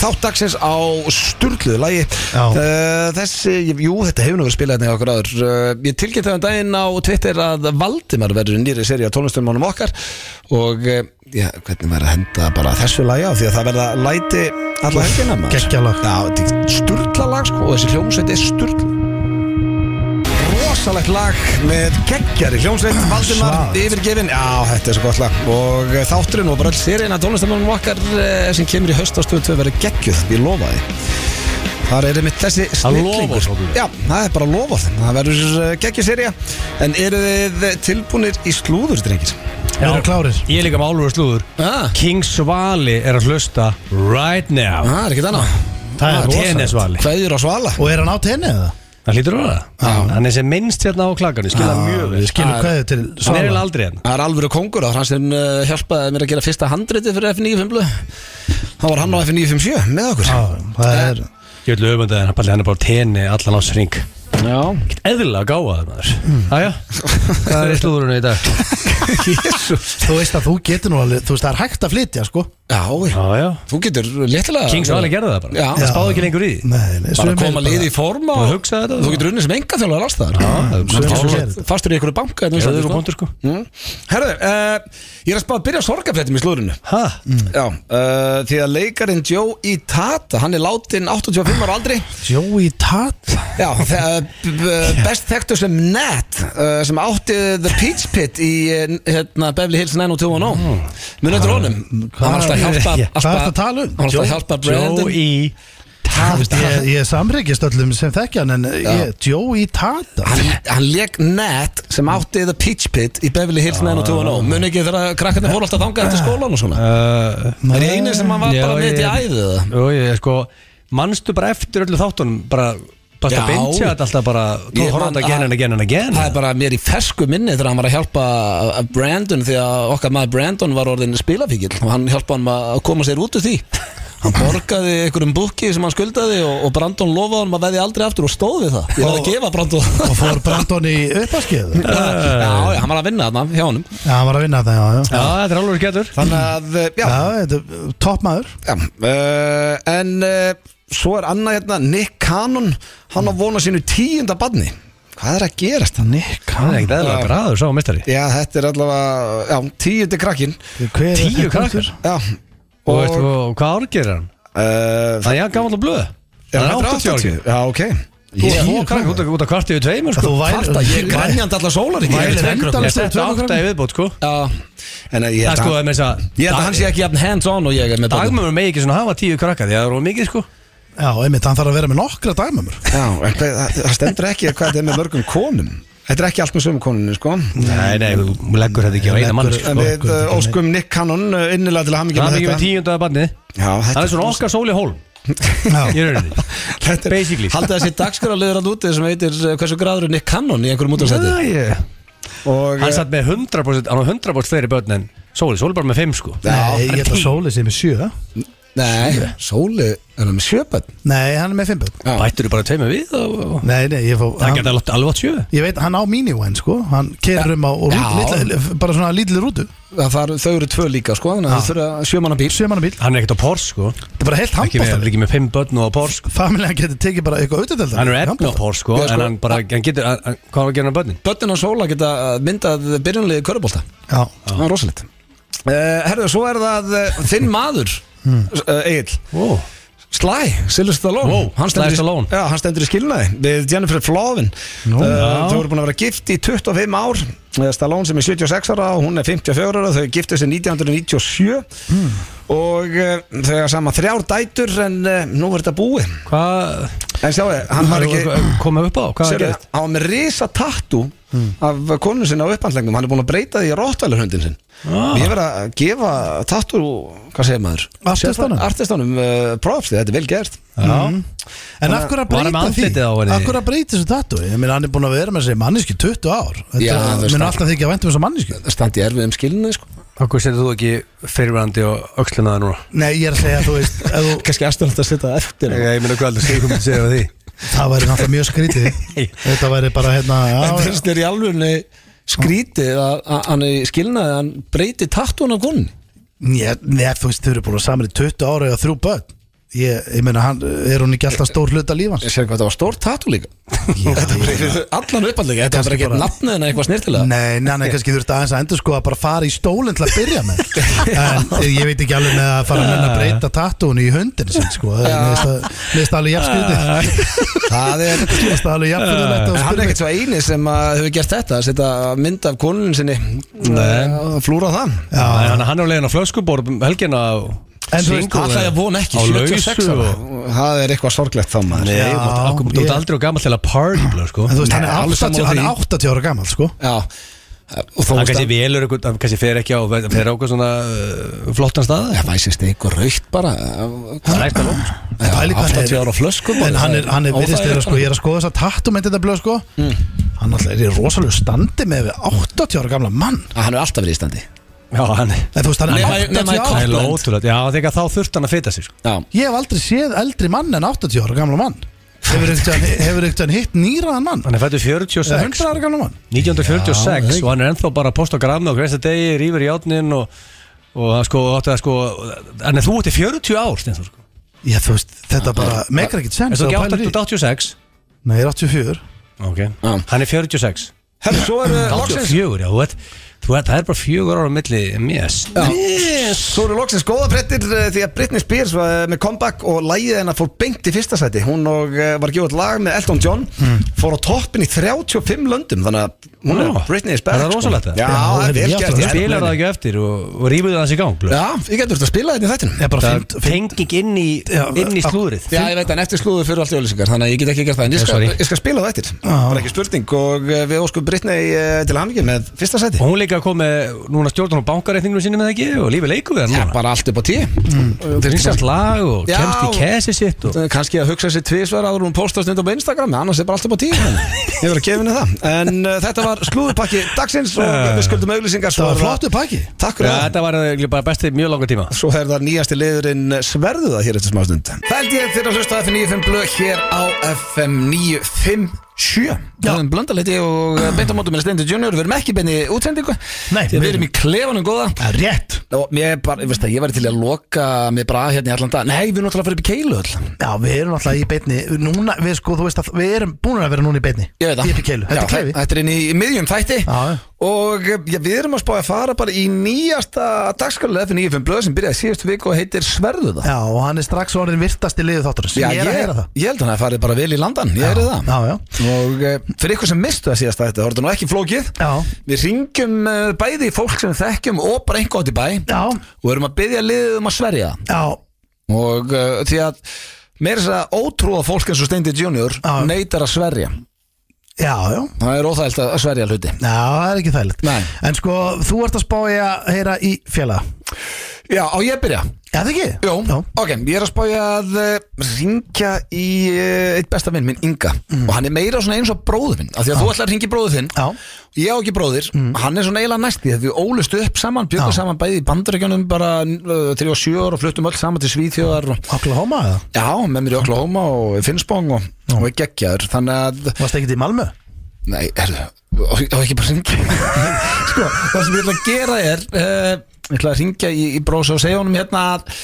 A: þátt dagsins á sturgluðu lagi
B: Já.
A: uh, Þessi, jú, þetta hefur nú verið spilað hérna í okkur áður uh, Ég tilkynnti þann daginn á Twitter að Valdimar verður í nýri seri á tónlistumónum okkar Og, uh, já, hvernig var að henda bara þessu lagi á Því að það verða læti alla helgina maður.
B: geggjað lag.
A: Já, þetta er sturgla lag sko og þessi hljómsveit er sturgla rosalegt lag með geggjari hljómsveit Valdimar
B: Svalt.
A: yfirgefin Já, þetta er svo gott lag og eh, þátturinn og bara alls þeirinn að tónlistamannum okkar eh, sem kemur í haust á stöðu 2 verður geggjuð, ég lofa því Það er einmitt þessi
C: Það loforð,
A: snillingur
C: svo þú.
A: Já, það er bara lofað Það verður geggjur serja En eru þið tilbúnir í slúður, drengir?
B: Við erum klárir.
C: Ég er líka með álur og slúður.
A: Já,
C: King Svali er að hlusta right now.
A: það ah, er ekkert annað
B: Það
C: Ah,
B: er rosa.
C: Tennis Svali.
A: Kveður á svala
B: Og er hann á tenni eða?
C: Það hlýtur að vera það Hann er sem minnst hérna á klakanu, skilja mjög vel
B: Við skilum
A: Það er-
B: kveðið til
C: Hann er
B: Svala.
C: eiginlega aldrei hérna
A: Það er alvöru kongur og hann sem eh, hjálpaði mér að gera fyrsta handriti fyrir F9 Þá var hann á F957 með okkur
B: Já, Það er
C: Ég vil öfunda þennan, bara hann er bara á tenni allan ásring
A: Já,
C: Eðlilega gáða það maður Æja, Hmm. hvað er í slúðurinu í dag?
A: Jésús
B: Þú veist að þú getur nú alveg Þú veist það er hægt að flytja sko
A: Já,
C: Æja
A: þú getur léttilega
C: King Svali gerði það bara
A: Já.
C: Það spáði ekki lengur í því
B: Nei, nei,
A: Bara
B: sumir
A: koma liði í form og
C: Þú hugsaði þetta?
A: Þú getur unnið sem enga þjóðlega allstaðar
B: sumir
A: Þú
B: sem
A: getur
B: sér þetta.
A: Fastur í einhverju banka hérna á Íslandi,
C: Gerðu þér
A: sko.
C: og kontur sko
A: Mm. Herðu, uh, ég er að spá að byrja sorgafréttum í slúrinu
C: Hæ?
A: Já, uh, því að leikarin Joe Itata Hann er látin 85 ára aldri
B: Joey Tat
A: Já, þe- b- b- best þekktur sem Nat uh, sem átti The Peach Pit í eh, hérna, Beverly Hills 90210 mm. Munið þetta honum Hann var alltaf að hjálpa
B: Hvað er þetta að tala um?
A: Hann var alltaf að hjálpa Brandon
C: Joe E
B: Tata Ég, ég samreikist öllum sem þekkja hann en ég, Joey Tata
A: Hann, hann leik net sem átti The Peach Pit í Beverly Hills 90210 Muni oh. ekki þegar krakkarnir fór alltaf þangað eftir skólan og
B: Ah.
A: svona
C: Það
A: Er ég einu sem hann var bara mitt í æðið eða?
C: Jú, ég sko Manstu bara eftir öllu þáttunum Bara Bara
A: Já.
C: að bingja þetta alltaf bara Þú
A: Ég
C: horfði
A: man-
C: þetta again and again and again
A: Það er bara mér í fersku minni þegar hann var að hjálpa uh, Brandon því að okkar maður Brandon var orðin spilafíkil og hann hjálpa hann að koma sér út úr því Hann borgaði einhverjum búki sem hann skuldaði og, og Brandon lofaði hann að veði aldrei aftur og stóð við það Ég verði að gefa Brandon
B: og fór Brandon í uppaskið
A: Já, já, hann var að vinna þarna hjá honum
B: Já, hann var að vinna það, já, já
C: Já, þetta er alveg getur
A: Þannig að, uh, já,
B: Já, þetta er topp maður
A: Já, uh, en uh, svo er annað hérna Nick Cannon, hann á vona sínu tíunda badni Hvað er að gerast það?
B: Nick
C: Það er
B: Cannon
C: ekkert eðla græður sá mestari
A: Já, þetta er allavega, já, tíundi krakkin
B: Hver er
C: Tíu
B: þetta
C: krakkar
B: punktur?
A: Já,
C: Og veist, og hvað ár gerir hann?
A: uh,
C: Það er hann gammal og blöð
A: Já,
C: Hann
A: þetta er 80
C: ára
A: Já, ok
C: Þú
A: Ég-
C: er
B: Tíu
C: tvo krakk út að- út að kvarti við tveimur
B: Þú
C: sko
B: væri
A: Kvarta, ég er grænjandi allar sólar ekki
B: Vælir endan-
C: Ég sett
B: tveimur
C: átta
B: krökkum.
C: í viðbót sko
A: Já, en eh, ég held
C: Það er sko
A: að
C: að með þess að
A: Ég held að hann sé ekki jafn hands on og ég er með badni
C: Dagmömmur megi ekki svona hafa tíu krakka því að það er of mikið sko
B: Já, einmitt, hann þarf að vera með nokkra um dæmumur
A: Já, en hvað- það það stendur ekki hvað þetta er með mörgum konum Þetta er ekki allt með sömu konunni, sko
C: Nei, nei, þú leggur þetta ekki á eina
B: Leggur-
C: mann
A: En
C: sko
A: við uh, óskum Nick Cannon uh, innilega til að hafa mikið
C: Það er ekki
A: með
C: með
A: þetta
C: tíundaða barnið
A: Já,
C: Það
A: þetta
C: er svona okkar sóli hólm
B: Já,
C: Í rauninni
A: Þetta er-
C: Basically.
A: Haldið þessi dagskrarleður hann úti sem heitir uh, hversu graður er Nick Cannon í einhverjum útastætti
C: Það er
A: og
C: Hann
A: eh,
C: satt með 100% Hann var 100% fleiri börn en Sóli, Sóli bara með 5 sko
A: Já,
B: nei, ég
C: hann er
B: held að
C: tíu.
B: Sóli sem er sjö
A: Nei, Sóli er hann með sjöböld
B: Nei, hann er með fimm börn
A: Já.
C: Bættur þú bara tveimur við og- og-
B: Nei, nei, ég fó
C: Það
B: hann-
C: getur alveg alveg að sjö
B: Ég veit, hann á minivan, sko Hann kerir um á og rút,
A: Já.
B: litla, bara svona lítið rútu
A: Þau eru tvö líka sko þannig að þau þurfa sjömanna bíl
B: Sjömanna bíl,
C: Hann er ekkert á Pors sko
B: þetta er bara heilt
C: Ekki með,
B: handbóttan
C: ekki með 5 börn og á Pors
B: Familjan getur tekið bara eitthvað auðvitað
C: Hann er efn á Pors sko
A: Já, sko.
C: En hann bara, hann getur hann- hann- Hvað var að gera hann börnin?
A: Böttin og Sóla geta uh, myndað byrjunlið körubólta
B: Já,
A: Það er rosalegt uh, Herðu, svo er það uh, þinn maður uh, Egil
C: Ó,
A: Sly, Silvestar Stallone
C: Wow,
A: Hann stendur
C: Sly
A: í-
C: Stallone.
A: Já, hann stendur í skilnaði við Jennifer Flavin
B: Nú,
A: uh,
C: já.
A: Þau voru búin að vera gift í 25 ár Eh, Stallone sem er 76 ára og hún er 54 ára Þau giftu sig 1997
C: Hmm.
A: og uh, þau hafa sama þrjár dætur en uh, nú er þetta búið
C: hvað
A: En sjáu, hann var ekki
C: Komum upp á, hvað
A: Sérðu,
C: gerðist?
A: hann var með risa tattu
C: Hmm.
A: af konu sinna á upphandlegnum hann er búin að breyta því að rottvælarhundin sinn
C: Ah.
A: og ég verð að gefa tattu hvað segir maður?
B: Artistanum?
A: Sérfræ- artistanum uh, props því þetta er vel gert
B: Mm. En af hverju að
C: Var hann
B: breyta
C: með
B: því?
C: andlitið á henni?
B: Af hverju að breyta þessu tattu? Ég meina, hann er búin að vera með þessi manniski 20 ár Þetta
A: Já, það er
B: mun
A: starf.
B: alltaf þykja um að væntum þessu manniski
A: það standi erfið um skilinu sko.
C: Akkur setur þú ekki fyrirvændi og öxlunaði núna?
B: Nei, ég er að segja, þú veist, ef þú,
A: kannski erstun að setja það eftir
C: Ég, ég meina hvað aldrei segja um að segja á því
B: það væri náttúrulega mjög skrítið Þetta væri bara, hérna,
A: en
B: já,
A: þess er í alvegni skrítið að að hann er skilnaði hann breyti tattun af konu
B: Né, nei, þú veist, þau eru búin að saman í 20 ára eða þrjú börn Ég, ég meina, hann, er hún ekki alltaf stór hluta lífans?
A: ég sér hvað þetta var stór tattu líka Þetta breytir allan upphandlegin þetta var
B: Kannski
A: ekki
B: bara-
A: nafnið en eitthvað snirtilega
B: Nei, nei, nei, kannski þurfti aðeins að endur sko að bara fara í stólinn til að byrja með En ég veit ekki alveg með að fara með að breyta tattúinu í hundin sinn sko Leðist alveg jafnskriti
A: það er
B: Leðist alveg jafnfyrðulegt
A: En hann er ekkert svo eini sem að hefur gert þetta að setja mynd af konunin sinni og flúra það
C: Þannig að hann er á leiðin á flöskubor helgina
B: En þú veist,
A: Það er von ekki,
C: Á
A: 76
C: lausu
A: ára
C: og-
A: Það er eitthvað sorglegt þá maður
C: Nei,
B: Já,
C: þú mátt- okkur- þú
B: ég-
C: ert aldrei og gammal til að party blöð, sko
B: En þú veist, hann
A: Nei, alveg
B: er
A: sammála
B: 80, hann
A: því.
B: er 80 ára gammal sko
A: Já Og þó
C: Hann
A: veist
C: kannski
A: að
C: velur eitthvað, hann kannski fer ekki á fer á eitthvað svona uh, flottan stað
A: Það væsist eitthvað raukt bara
C: Það er eitthvað lótt
A: Já,
B: pæli hvað það
A: 80
B: er.
A: ára á flöskum
B: En hann er, hann er
A: Og
B: virðist
A: það
B: þeirra sko, ég er að skoða þess að tattúmynd þetta blöð sko Hann alltaf er í rosalegu standi með við 80 ára gamla mann
A: Hann er alltaf verið í standi
C: Já, hann er
B: En þú veist, hann
A: Nema-
B: er
A: nema í
B: 80
C: Það er
B: ára
A: Auckland.
C: ótrúlega, já þegar þá þurft hann að fita sig sko.
A: Já
B: Ég hef aldrei séð eldri mann en 80 ára gamla mann Hefur einhvern hefur einhvern hitt nýraðan mann?
C: Hann er fættur
B: Eða
C: 46
B: 100 ára gamla mann?
C: 1946
A: Já,
C: og hann er ennþá bara að posta á grammi og greista degi, rýfur í átnin og, og hann sko, átti að sko en þú ert í 40 ár Steinþór, sko.
B: Já, þú veist, þetta bara meikar ekkert sens
C: er þú
B: þegar
C: ekki
B: þú pælir í-
C: 886
B: Nei, ég er 84
C: ok, hann er 46
A: Herru, svo er uh,
C: 84, já, þú ert Þú veit, það er bara fjögur ára milli Yes
A: Yes. Svo eru loksins góða frettir því að Britney Spears var eh, með comeback og lægið hennar fór beint í fyrsta sæti hún og eh, var gefið lag með Elton John
B: Hmm.
A: fór á toppin í 35 löndum þannig að hún er
C: Já.
A: Britney Spears
C: Er það rosalegt,
A: sko.
C: það?
A: Já,
B: Já,
A: það er
B: heyrðu,
A: vel
B: ég
A: gert
B: átti að
A: ég-
C: Spilar það ekki eftir og, og rýmur það hans í gang blöð.
A: Já, ég getur þetta að spila þetta í þættinum
B: Ég er bara
C: Það
B: fínt-
C: er tenging inn í,
B: Já,
C: inn í
B: á-
C: slúðrið
A: Já, ég veit að eftir slúðu fyrir allt jólýsingar Þannig að ég get ekki gert það En ég
C: Já,
A: skal,
C: sorry.
A: ég skal spila það eftir
B: Já.
A: Það er ekki spurning Og eh, við óskum Britney eh, til hamingju með fyrsta sæti
C: Og hún líka kom með núna stjórnum á bankareikningnum sinni með það ekki og lífið leikur við hann
A: Já,
C: núna
A: bara allt upp á tíu
C: Vinsast lag og
A: Já.
C: kemst í kæsi sitt og
A: Kanski að hugsa sér tvísvar áður en hún postast undan á Instagram en annars er bara allt upp á tíu Ég verður að gefa henni það En uh, þetta var slúðupakki dagsins og við skuldum auglýsingar
B: Það
A: svo
B: var
A: er
B: flottu pakki
A: Takk
C: Já,
A: fyrir það
C: þetta var eiginlega bara bestið mjög langa tíma
A: Svo er það nýjasti liðurinn Sverðu það hér eftir smá stund Það held ég fyrir að hlusta á FM 95 blöð hér á FM 957 Það er blöndaleiti og eh, beint á mótum með Steindi Junior Við erum ekki beinni útsendingu Því
B: Nei,
A: að
B: við-
A: Við erum í klefanum góða
B: Það er rétt
A: Og mér er bara, ég veist það, ég væri til í að loka mér bara hérna í allan dag Nei, við erum náttúrulega að fara upp í keilu öll
B: Já, við erum alltaf í beitni Núna, við sko, þú veist að Við erum búin að vera núna í beitni
A: Ég veit það
B: Í upp í keilu
A: Já,
B: Þetta er klefi
A: Þetta er inn í miðjum þætti
B: Já, já.
A: Og eh, já, við erum að spája að fara bara í nýjasta dagskalið FN 95 blöð sem byrjaði síðustu viku og heitir Sverðu það
B: Já, og hann er strax orðin virtast í liðu þátturins Ég er að heyra það
A: ég held hann að það farið bara vel í landan, ég heyri það
B: Já, já
A: Og eh, fyrir ykkur sem mistu það síðasta þetta, þá er þetta nú ekki flókið
B: Já,
A: Við ringjum eh, bæði í fólk sem við þekkjum og bara einhvern átt í bæ
B: já,
A: Og erum að byggja liðið um að sverja það.
B: já
A: Og uh, því að meira þess að ótrúða fólk eins og Steindi Junior
B: Já.
A: neytar að sverja
B: Já, já
A: Það er óþægilt að að sverja hluti
B: Já, það er ekki þægilegt
A: Nei.
B: En sko, þú ert að spá ég að heyra í félaga
A: Já, á ég að byrja
B: Já, það ekki?
A: Jó,
B: Já,
A: ok, ég er að spája að uh, ringja í uh, eitt besta vinn minn, Inga Og hann er meira svona eins og bróður minn Af því að þú ætlar að ringja í bróður þinn
B: Mm. já,
A: Ég á ekki bróðir, hann er svona eiginlega næsti Þegar við ólust upp saman, bjökum
B: Mm. Já.
A: saman bæði í bandaríkjunum bara uh, 37 ára og fluttum öll saman til Svíþjóðar og,
B: Oklahoma eða?
A: Já, með mér í Oklahoma og Finnsbong og, og er geggjaður Þannig að,
B: Varst ekkert í Malmö?
A: nei, herðu og og ekki bara ringi Sko, það sem ég ætla að gera er uh, Ég ætla að ringja í, í bróðs og segja honum hérna að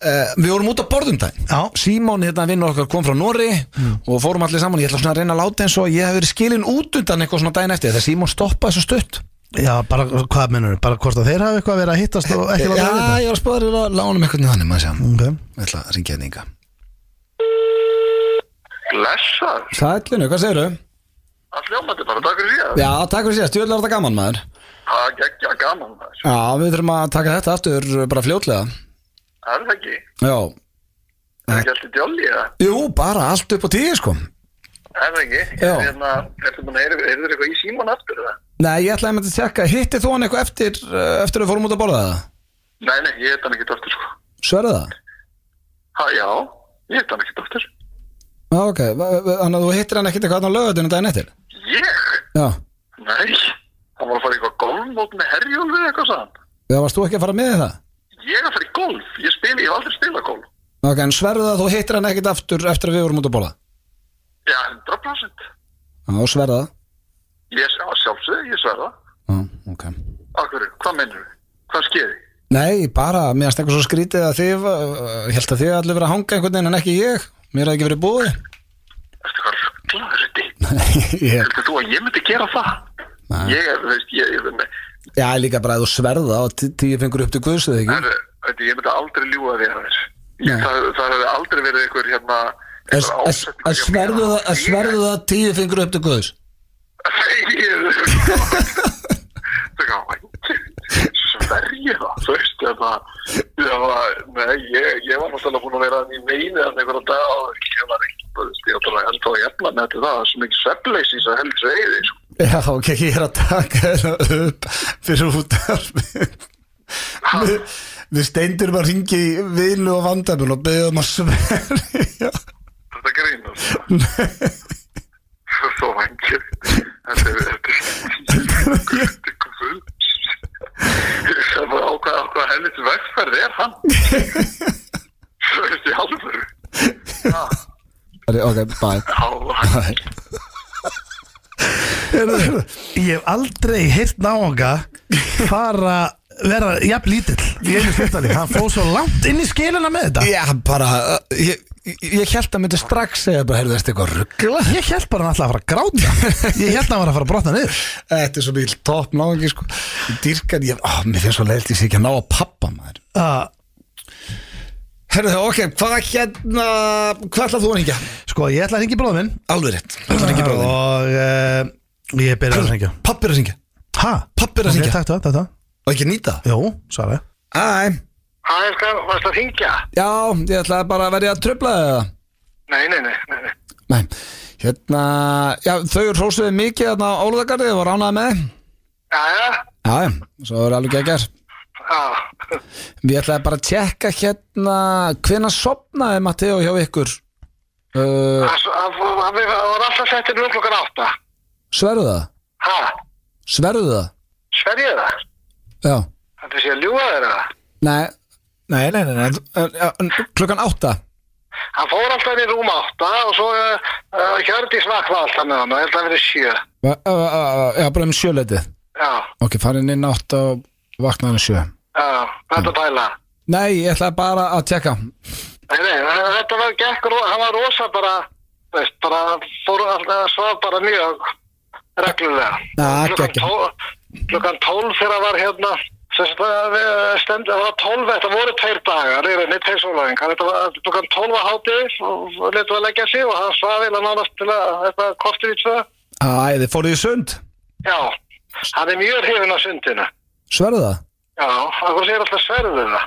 A: Uh, við vorum út á borðum daginn
B: Já. Mm.
A: Símón hérna vinn okkar kom frá Norri og fórum allir saman, ég ætla svona að reyna að láta eins og ég hef verið skilin út undan eitthvað svona daginn eftir þegar Símón stoppaði svo stutt
B: Já, bara, hvað mennur Bara hvort að þeir hafi eitthvað að vera að hittast og ekki láta
A: Já, ég var að spáða þér að lána um eitthvað þannig maður sem
B: vita Ok
A: Ég ætla að ringja þetta ynga
D: Blessar,
A: Sælinu, hvað segirðu?
D: það hljómaði bara, takk fyrir því
A: Já, takk fyrir síðast, djúðlega var þetta gaman maður
D: Það er geggja gaman maður,
A: Já, við þurfum að taka þetta aftur bara fljótlega
D: er það ekki?
A: Já
D: Það er ekki allt í djóli eða?
A: Jú, bara allt upp á tíu sko
D: Er það ekki?
A: Já.
D: Hérna, ertu búin að heyra, heyrðu þér eitthvað í síman aftur eða?
A: Nei, ég ætlaði með þetta að tjekka, hittir þú hann eitthvað eftir eh, eftir við fórum út að borða það?
D: Nei, nei, ég heit hann ekkert aftur sko.
A: Sverða það?
D: Ha, já, ég heit hann ekkert aftur.
A: Já, ok, va- va- þannig að þú hittir hann ekkert eitthvað á lögadunum daginn eftir?
D: Ég?
A: Já,
D: Nei, hann var að fara í eitthvað golfmót með herjólfið eitthvað sann.
A: já, varst þú ekki að fara með í það?
D: Ég er að fara í golf, ég spila, ég hef aldrei spilað golf.
A: Ok, en sverða að þú hittir hann ekkert aftur eftir að við vorum út að borða?
D: Já, 100%.
A: Já, sverða það?
D: Ég, á, sjálfsög, ég sverða.
A: Já, ok.
D: Akkur, hvað mennur við? Hvað skeiði?
A: Nei, bara, mér finnst eitthvað svo skrítið að þið, uh, ég held að þið allir verið að hanga einhvern veginn en ekki ég, mér hafði ekki verið búið
D: Ertu hvað rugglaður þetta?
A: ég,
D: Heldur þú að ég myndi gera það?
A: Nei.
D: Ég er, þú veist, ég, ég, nei,
A: Já, líka bara að þú sverða og tí- tíu fengur upp til guðsuð, ekki?
D: herru, veit, ég myndi aldrei ljúga þér að þér. Ég-
A: Nei.
D: Það, það hefði aldrei verið einhver hérna,
A: Að- að- Að sverðu það, að sverðu það tíu fengur upp til guðs
D: Sverja það, þú veist, hérna, ég var, nei, ég, ég var náttúrulega búin að vera í meini þannig einhverja dag og ég var ekki, þú veist, ég var alltaf að jæfna með þetta það, það er svo mikið svefnleysi í þess að helst veiði, sko.
A: Já, ok, ég er að taka þetta upp fyrir út af Við, við steindurum að ringi í vilu og vandamil og beðum að sverja
D: Þetta grínast. Svo vangir. Þetta er, þetta er, þetta er guð. Það var á hvað, á hvað helviti vegferð er hann? Svo veist ég alveg. Já,
A: Ok, bye
D: já.
B: Ég hef aldrei heyrt náanga fara vera jafn lítill í einu skiptali, hann fóð svo langt inn í skilina með þetta
A: Já, bara, uh, ég, ég held að myndi strax segja bara, heyrðu, þetta er eitthvað ruggla
B: Ég held bara hann alltaf að fara að gráta Ég held að hann var að fara að brotna niður
A: Þetta er svo mjög topp náðingi, sko Ég dýrka, ég, ó, mér finnst svo leilt, ég sé ekki að ná að pappa maður
B: uh,
A: Heyrðu, ok, hvað hérna, hvað ætlað þú að hengja?
B: Sko, ég ætla að hringi bróða minn
A: Alveg rétt, það er ekki bróðin
B: Og uh, ég byrja að hringja
A: Pappi er að hengja,
B: Hæ?
A: pappi er að
B: Ok,
A: hengja
B: takk það, takk það
A: Og ekki nýta
B: Jú, svara ég.
A: Æ,
D: Hæ, skal, varst að hringja?
A: já, ég ætlaði bara að verja að tröfla það
D: Nei, nei, nei, nei, nei.
A: Nei, hérna, já, þau hrósuðu mikið þarna á Ólaðagarði, þau var ránaði með þeim.
D: Jæja,
A: Já, já, svo er alveg geggar
D: já,
A: Við ætlaði bara að tjekka hérna hvenær sopnaði Matteo hjá ykkur uh,
D: það það- það var alltaf settir um klokkan átta.
A: Sverðu það?
D: Hæ,
A: Sverðu það?
D: sver ég það?
A: Já
D: Þetta sé að ljúga þér að það?
A: Nei, nei, nei, nei, nei. en- já, en Klukkan átta
D: Hann fór alltaf inn í rúm átta og svo uh, uh, Hjördís vaknaði alltaf með hann og ég held að það verið sjö.
A: Va- ö, ö, ö, Já, bara um sjöleitið
D: Já,
A: Ok, farin inn átta og vaknaði hann sjö
D: já, þetta pæla.
A: Nei, ég ætlaði bara að tjekka
D: Nei, nei, þetta var gekk, ro- hann var rosa bara, veist, bara fór alltaf að svaf bara mjög reglulega.
A: Na,
D: Klukkan
A: geggjað.
D: tól- Klukkan tólf þegar var hérna, þess að eh, stendur, það var tólf, þetta voru tveir dagar, er einnig tveir sólæðingar, þetta var klukkan tólf að hátið og og letum að leggja sig og hann svaf eða nánast til að, þetta kortir í tvö.
A: Æ, þið fóruðu í sund
D: Já, hann er mjög hrifin af sundinu.
A: Sverðu það?
D: Já, hann kom sér alltaf sverðið það.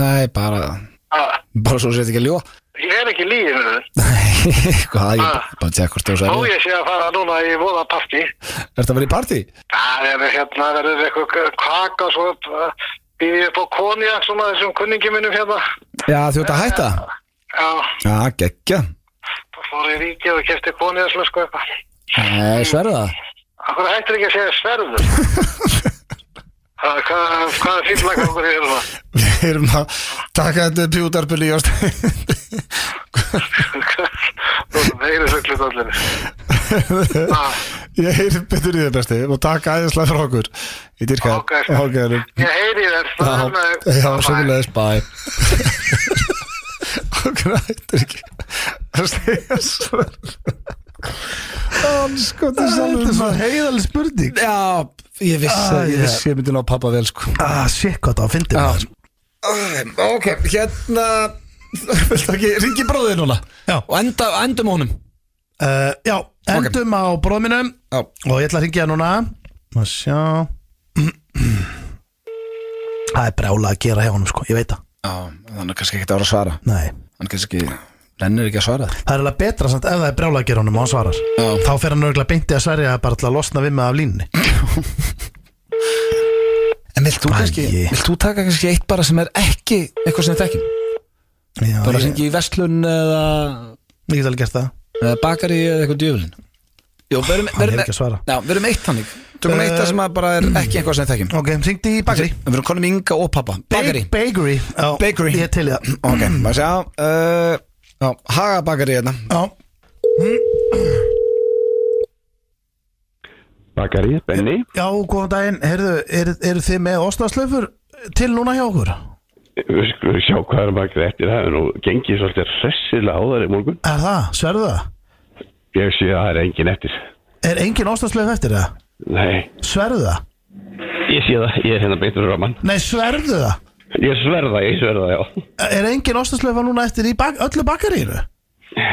A: Nei, bara,
D: Ah,
A: bara svo sér þetta ekki að ljúa
D: Ég er ekki lífinu þau.
A: Nei, hvað, ég
D: Ah.
A: bara tjekka hvort þú
D: Þó
A: sverðu
D: ég sé að fara núna í voðapartí.
A: Er þetta að vera í partí?
D: Það er hérna, verður eitthvað kaka og svo býði upp á konjak svona þessum kunningi minnum hérna.
A: Já, þú ert að hætta
D: Já,
A: Já, geggja
D: þá fór ég í ríkið og kefti konjak slösku sko, eitthvað.
A: Nei, Eh, sverðu það?
D: Akkur hættir ekki að segja sverður. Það, hvað, hvað er fýrlag okkur í hérna?
A: Við erum að taka þetta pjútarpili í ást
D: Þú veirir svo klitt allir.
A: Ég heyri betur í þér besti og taka aðeinslega frá okkur Ég dyrka
D: Ok,
A: þér. Ok, erum.
D: Ég heyri þér.
A: Já, já sömulegis, bæ Okkur hættir ekki að segja sverðu Anskotu
B: Þetta er svo heiðaleg spurning
A: Já, ég vissi,
B: Ah,
A: ég
B: já.
A: vissi, ég myndi ná pappa vel sko
B: Ah, shit, hvað það fyndi maður
A: Ok, hérna Viltu ekki, ringi bróðið núna
B: Já.
A: Og enda, endum á honum
B: uh, Já, endum á bróða mínum
A: Já.
B: Og ég ætla að ringja núna Má sjá Það er brjála að gera hjá honum sko, ég veit það
A: Já, þannig kannski ekki að vera að svara
B: Nei,
A: Hann kannski, lennir ekki að svara
B: það er alveg betra samt ef það er brjála að gera honum og hann svarar
A: Já.
B: Þá fer hann örgulega beinti að sverja bara til að losna við með af línni
A: En vilt þú kannski,
B: Æi.
A: vilt þú taka kannski eitt bara sem er ekki Eitthvað sem er þekkin
B: Já,
A: Bara
B: ég, ég
A: hringi í verslun eða,
B: get alveg gert það
A: eða bakari eða eitthvað djöfulin Jó, verum,
B: Hann er ekki að svara
A: Já, verum eitt þannig Tökum
B: Eh,
A: eitt það sem að bara er ekki eitthvað sem er þekkin
B: Ok, hringdi í bakari
A: Við verum konum Inga og pappa Bakari
B: Bakery Já,
A: Bakery.
B: Ég til í það
A: Ok, maður sjá uh, Já, haga bakari hérna
B: Já,
E: Bakari, Benni,
B: já góðan daginn Herðu, eru er þið með ostaslöfur til núna hjá okkur?
E: við skulum sjá hvað er bakið eftir það en nú gengið svolítið hressilega á þar í morgun.
B: Er það? Sverðu það?
E: Ég sé að það er engin eftir.
B: Er engin ostaslöf eftir það?
E: Nei,
B: Sverðu það?
E: ég sé það, ég er hérna beintur ráman.
B: Nei, sverðu það?
E: Ég sverða, ég sverða, já.
B: Er engin ostaslöfa núna eftir í bak öllu bakarínu?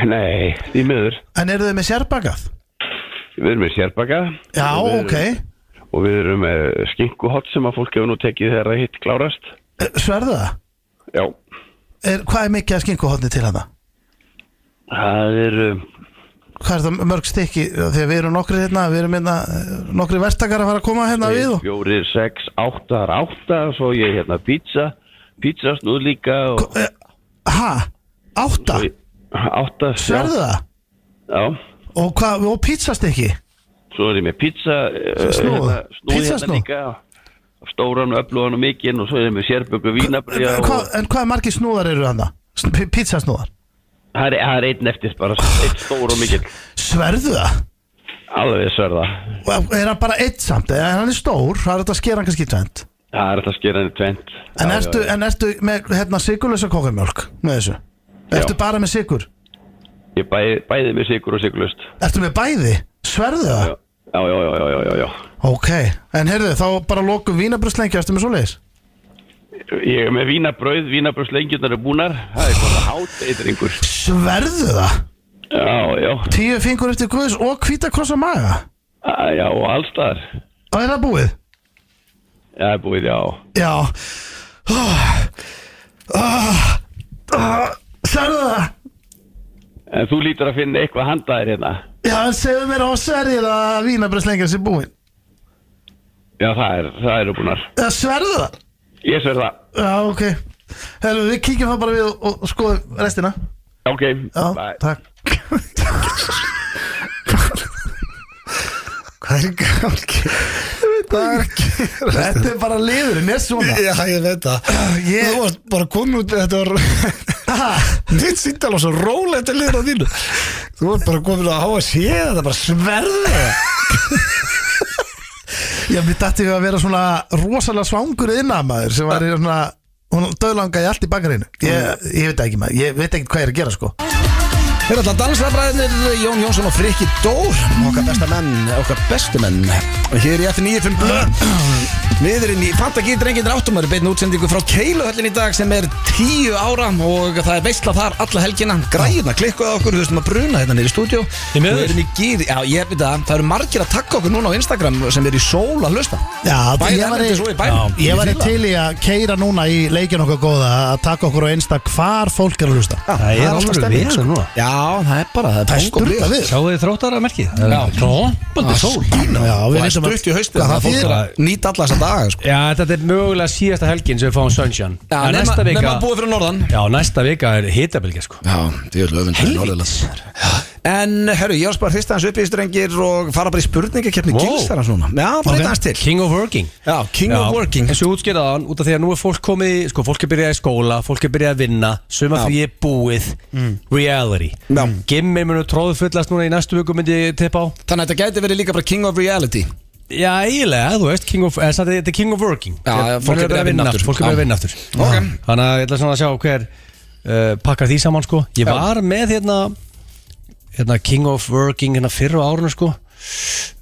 E: Nei, því miður,
B: En eru þið með sérbakað?
E: við erum með sérbaka
B: Já, ok
E: og við erum með skinkuhott sem að fólk hefur nú tekið þegar það hitt klárast.
B: Eh, Sverðu það?
E: Já,
B: Er, hvað er mikið að skinkuhotni til hérna? hana?
E: það er, um,
B: Hvað er það mörg stykki? Þegar við erum nokkri hérna, við erum hérna, eh, nokkri verktakar að fara að koma hérna við og
E: fjórir, sex, áttar, áttar, svo ég er hérna pizza, pizza snúð líka og...
B: Eh, Ha? Átta?
E: Áttar,
B: Sverðu það?
E: Já,
B: Og, hvað, og pizzastykki?
E: Svo er ég með pizza eh,
B: Snúð.
E: hérna, Snúð hérna
B: Pizzasnúð.
E: líka Stóran og öflugan og mikinn Og svo er ég með sérböku vínabrið
B: En
E: og...
B: hvað, en hvað margir snúðar eru hann? Pizzasnúðar?
E: það, er- það er einn eftir bara Einn stór og mikill
B: Sverðu það?
E: Alveg sverða
B: Og Er hann bara eitt samt? En hann er stór, það er þetta að skera hann kannski tvent
E: Það er alltaf að skera henni tvent
B: En,
E: Já,
B: ertu,
E: já, já.
B: en ertu með hérna sigurlösa kókumjólk með þessu? Ertu bara með sigur?
E: Ég bæði, bæði með sigur og sigurlust
B: Ertu með bæði? Sverðu það?
E: Já, já, já, já, já, já, já
B: Ok, en heyrðu, þá bara lokum vínabröðslengja, ertu með svoleiðis?
E: Ég er með vínabrauð, vínabrauðslengjurnar er búnar Það er bara háteitingur
B: Sverðu það?
E: Já, já,
B: Tíu fingur eftir guðs og hvítakrossa maga?
E: Á, já, og alls þar
B: Og er það búið?
E: Já, er búið, já
B: Já oh. Oh. Oh. Sverðu það?
E: En þú lítur að finna eitthvað handaðir hérna
B: Já, en segðu mér á sverðið að vínabröðslengja sé búin
E: Já, það er, það eru búnar
B: Eða sverðu það?
E: Ég sver það
B: Já, ok Herru, við kíkjum það bara við og, og skoðum restina
E: Ok,
B: Já,
E: bye.
B: takk
A: Hvað er í gangi? Hvað er að gera?
B: Þetta er bara liðurinn, er svona
A: Já, ég veit það
B: Ég-
A: Þú varst bara komin út Þetta var Þitt sýndal var svo rólega Þetta liður á þínu Þú varst bara komin að háa séð Þetta er bara sverði
B: Já, mér dætti við að vera svona rosalega svangur innamaður sem var í svona hún döðlangaði allt í bakarinu ég, ég veit ekki maður, ég veit ekki hvað ég er að gera sko
A: Þeir alltaf dansrafræðinir Jón Jónsson og Frikki Dór Okkar besta menn Okkar bestu menn Og hér í F95 blöð Við erum í Fantagíð drengir áttum Það er beinu útsendingu frá Keiluhöllin í dag sem er tíu ára og það er veistla þar alla helgina Græðuna klikkuð á okkur, þú veistum að bruna hérna nýri stúdíu
C: Því miður.
A: Við erum í gýr, já ég veit að það eru margir að takka okkur núna á Instagram sem er í sól að hlusta
B: Já,
A: Bæði
B: ég var í-
A: erlendis og í bænum.
B: Ég var í
A: Ég fíla.
B: til í að keira núna í leikin okkar góða að taka okkur á einsta hvar fólk er að hlusta
A: Já,
C: Það er
A: alltaf
C: alveg
A: stemning,
C: veður
A: sko.
C: núna.
A: Já, það er bara, það
B: Það
A: er
B: er
A: tónk og
B: styrla
A: blíða
B: við
C: Sjáu þið þróttara merkið? Það
A: Já.
C: er Trómbandi sól
B: Já,
A: Og það
B: við
A: er
B: reyndum að-
A: stutt í haustið
B: Hvað
A: þannig
B: það
A: að fólk er
B: þýðir?
A: að Nýta alla þessa daga sko.
C: Já, þetta er mögulega síðasta helgin sem við fáum sunshine
A: Já,
C: En
A: nema,
C: næsta vika
A: nema að búa fyrir norðan
C: Já, næsta vika er hitabilgja sko
A: Já, því er
C: Helvítis.
A: En, herru, ég var bara hrista hans upp í strengir og fara bara í spurningakeppni
C: Wow.
A: wow. gilsarans núna Já, bara okay. hans til
C: King of Working
A: Já, King
C: Já,
A: of Working
C: eins og ég útskýrði aðan út af því að nú er fólk komið í, sko, fólk er byrjað í skóla, fólk er byrjað að vinna suma
A: Já.
C: því er búið reality,
A: Já.
C: gimmir munu tróðu fullast núna í næstu viku myndi ég tippa á
A: Þannig að þetta gæti verið líka bara King of Reality
C: já, eiginlega, þú veist, king of, eh, samt að þetta er king of working
A: Já,
C: Ég-
A: fólk er byrjað að vinna aftur.
C: fólk er byrjað að vinna aftur
A: Ok.
C: Já. þannig að ég ætla svona að sjá hver uh, pakkar því saman, sko
A: Já.
C: ég var með hérna hérna king of working hérna fyrr á árunum, sko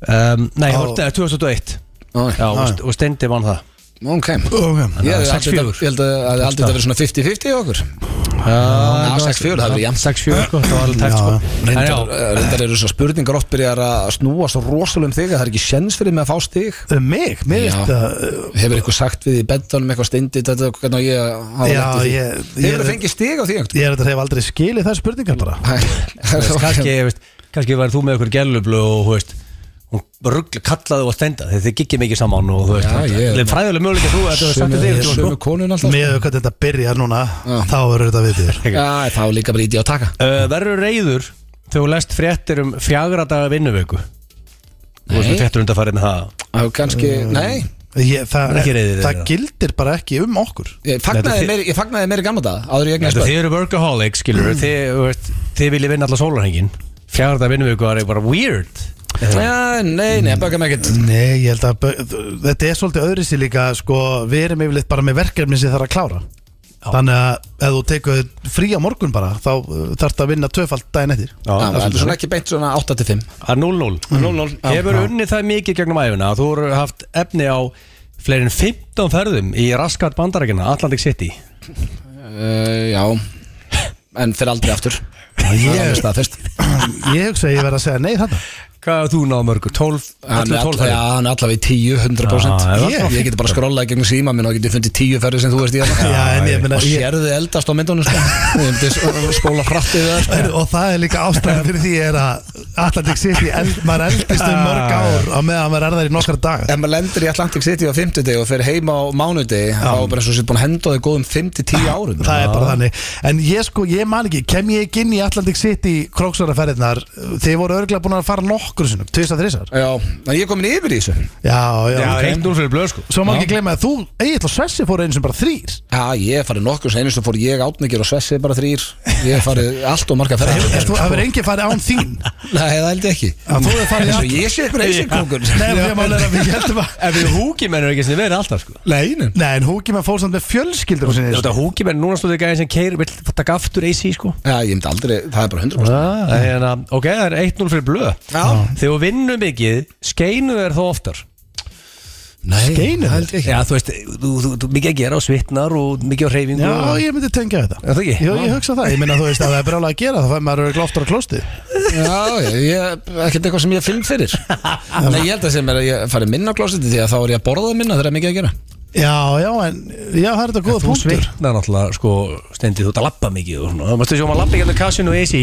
C: um, nei,
B: Já.
C: oh. 2001 já, og, st- og Stendi vann það
A: Ok
B: Ok.
A: Ég held að
C: Sex,
A: þetta-
C: fjögur.
A: ég held að það hefði aldrei verið svona 50-50 í okkur
C: Já,
A: Já, 6-4, það verið jafnt.
C: 6-4, sko, það var alveg tækt,
B: Já,
C: sko En
A: Reyndar, eh,
C: já,
A: reyndar eru þessar spurningar oft byrjar að snúa svo rosalega um þig að það er ekki sjens fyrir mig að fá stig
B: Um mig, uh, mér
A: Já.
B: veist að
A: Hefur eitthvað sagt við í bentanum eitthvað steindi þetta hvernig á ég að hafa
B: Já,
A: lent í því?
B: ég- ég-
A: Hefur það fengið stig á því einhvern
B: ég er þetta hef aldrei skilið þær spurningar bara
C: þú veist,
A: Hæ,
C: kannski, veist, kannski var þú með okkur gælublu og, þú veist hún ruggla, kallaði og stenda þegar þið gikkið mikið saman og þú veist
A: Já, ég-
C: það er fræðilega möguleika þú að þú hefur sagt sko.
A: Sömu,
C: þetta
A: ég
C: yfir
A: er
C: tímann,
A: sömu konun alltaf
B: Með hvað þetta byrjar núna
A: Já.
B: þá verður þetta viðbjör
A: Já, þá er líka bara íti á taka
C: sko. Uh, Verður reyður þegar þú lest fréttir um fjagra daga vinnuvöku Þú veist,
A: Nei.
C: þú fréttur undarfærið með það
A: Þá kannski,
C: Mm.
A: nei
B: Ég, það,
C: Það er ekki reyðir
B: það
C: þeirra.
B: gildir bara ekki um okkur
A: Ég
C: Þetta
A: fagnaði
C: þið-
A: meiri- ég fagnaði meiri gamla dag áður en ég
C: Þetta,
A: eignast
C: Þið eru workaholic, skilur mm. þið, þú veist, þið viljið vinna alla sólarhengin Fjagra daga vinnuvöku er bara weird
A: börn Já, nei, nei, baka mig ekkert
B: Nei, ég held að bö- þetta er svolítið öðri sér líka sko, við erum yfirleitt bara með verkefni sem þarf að klára Þannig að ef þú tekur frí á morgun bara þá þarf það að vinna tvöfald daginn eftir
A: Já,
C: Já, það er
A: Þetta er svona ekki beint svona 8-5
C: að 0-0 0-0 Hefur unnið það mikið gegnum æfuna að þú eru haft efni á fleirin 15 ferðum í raskat bandarækina Atlantic City
A: Uh, Já En fyrir aldrei aftur Það er
B: Ég,
A: staðfest.
B: ég hugsa að ég verð að segja nei þetta
C: Hvað hefur þú náðu mörgur? 12?
A: Hann er
C: 11, 12
A: alla- já,
C: ferðum?
A: hann er allavega í 10, 100%
C: Já,
A: ég,
B: Ah, já.
A: ég geti bara skrollaði gegn síma minn og geti fundið 10 ferði sem þú veist í
B: Já,
A: þarna
B: en ég meina,
A: og
B: ég-
A: sérðu eldast á myndunum sko. Ég myndi s- spóla hratt yfir það sko.
B: Heyrðu, Og það er líka ástæðan fyrir því er að Atlantic City, eld, maður eldist um mörg ár á meðan maður er þar í nokkar dag
A: Ef maður lendur í Atlantic City á 50 deg og fer heima á mánudegi þá er bara eins og sér búin að henda á þig góðum 5-10 árum
B: Það er bara þannig En ég sko, ég man ekki, kem ég ekki inn í Atlantic City króksvaraferðinar Þið voru örglega búin að fara nokkur sinnum, tvisar, þrisar
A: Já, en ég er komin yfir í þessu
B: Já, já,
C: Já,
B: ok.
C: 1-0 fyrir blöð sko
B: Svo má ekki glemma að þú, Egil og Svessi fóru einu sem bara þrýr
A: Já, ég er farið nokkur sem einu sem fór ég átningir og svessi bara þrýr Ég er farið allt og marga ferðar
B: Það verður engin farið án þín
A: Nei, Nei, það held ég ekki
B: Já, þú hefur farið í
A: Eins og
B: alla.
A: ég sé eitthvað eisinkongur
B: Nei, því að málega við heldum að
C: En við húkimenn eru ekki sem við erum alltaf sko
A: Nei, nei
B: Nei, en húkimenn fór samt með fjölskyldur á sinni
C: Þetta húkimenn núna stóðu gæðin sem keir Vill fatta gaftur AC sko
A: Já, ég myndi aldrei, það er bara 100%
C: ah,
B: eh.
C: hérna, Ok, það er 1-0 fyrir blöð
A: Já.
C: Þegar við vinnum mikið, skeinu er þó oftar
A: Nei,
B: Skeinur.
A: það held ég ekki
C: Já, þú veist, þú, þú, þú, mikið að gera og svitnar og mikið á reyfingu
B: Já,
C: og...
B: ég myndi tengja þetta
C: Er það ekki?
B: Jó, ég hugsa það Ég minna þú veist að það er brjálega að gera Það fær maður örugglega oftar á klósti
A: Já, ég, ég, ekkert eitthvað sem ég finn fyrir Nei, ég held að sem er að ég fari minna á klósiti því að þá er ég að borða minna þegar það er mikið að gera
B: Já, já, en Já, það er þetta góða
C: Þú
B: punktur
C: svitnar náttúrulega, sko, stendið þú ert að lappa mikið og svona Það mástu sjá maður lappa ekki hann kassinu og AC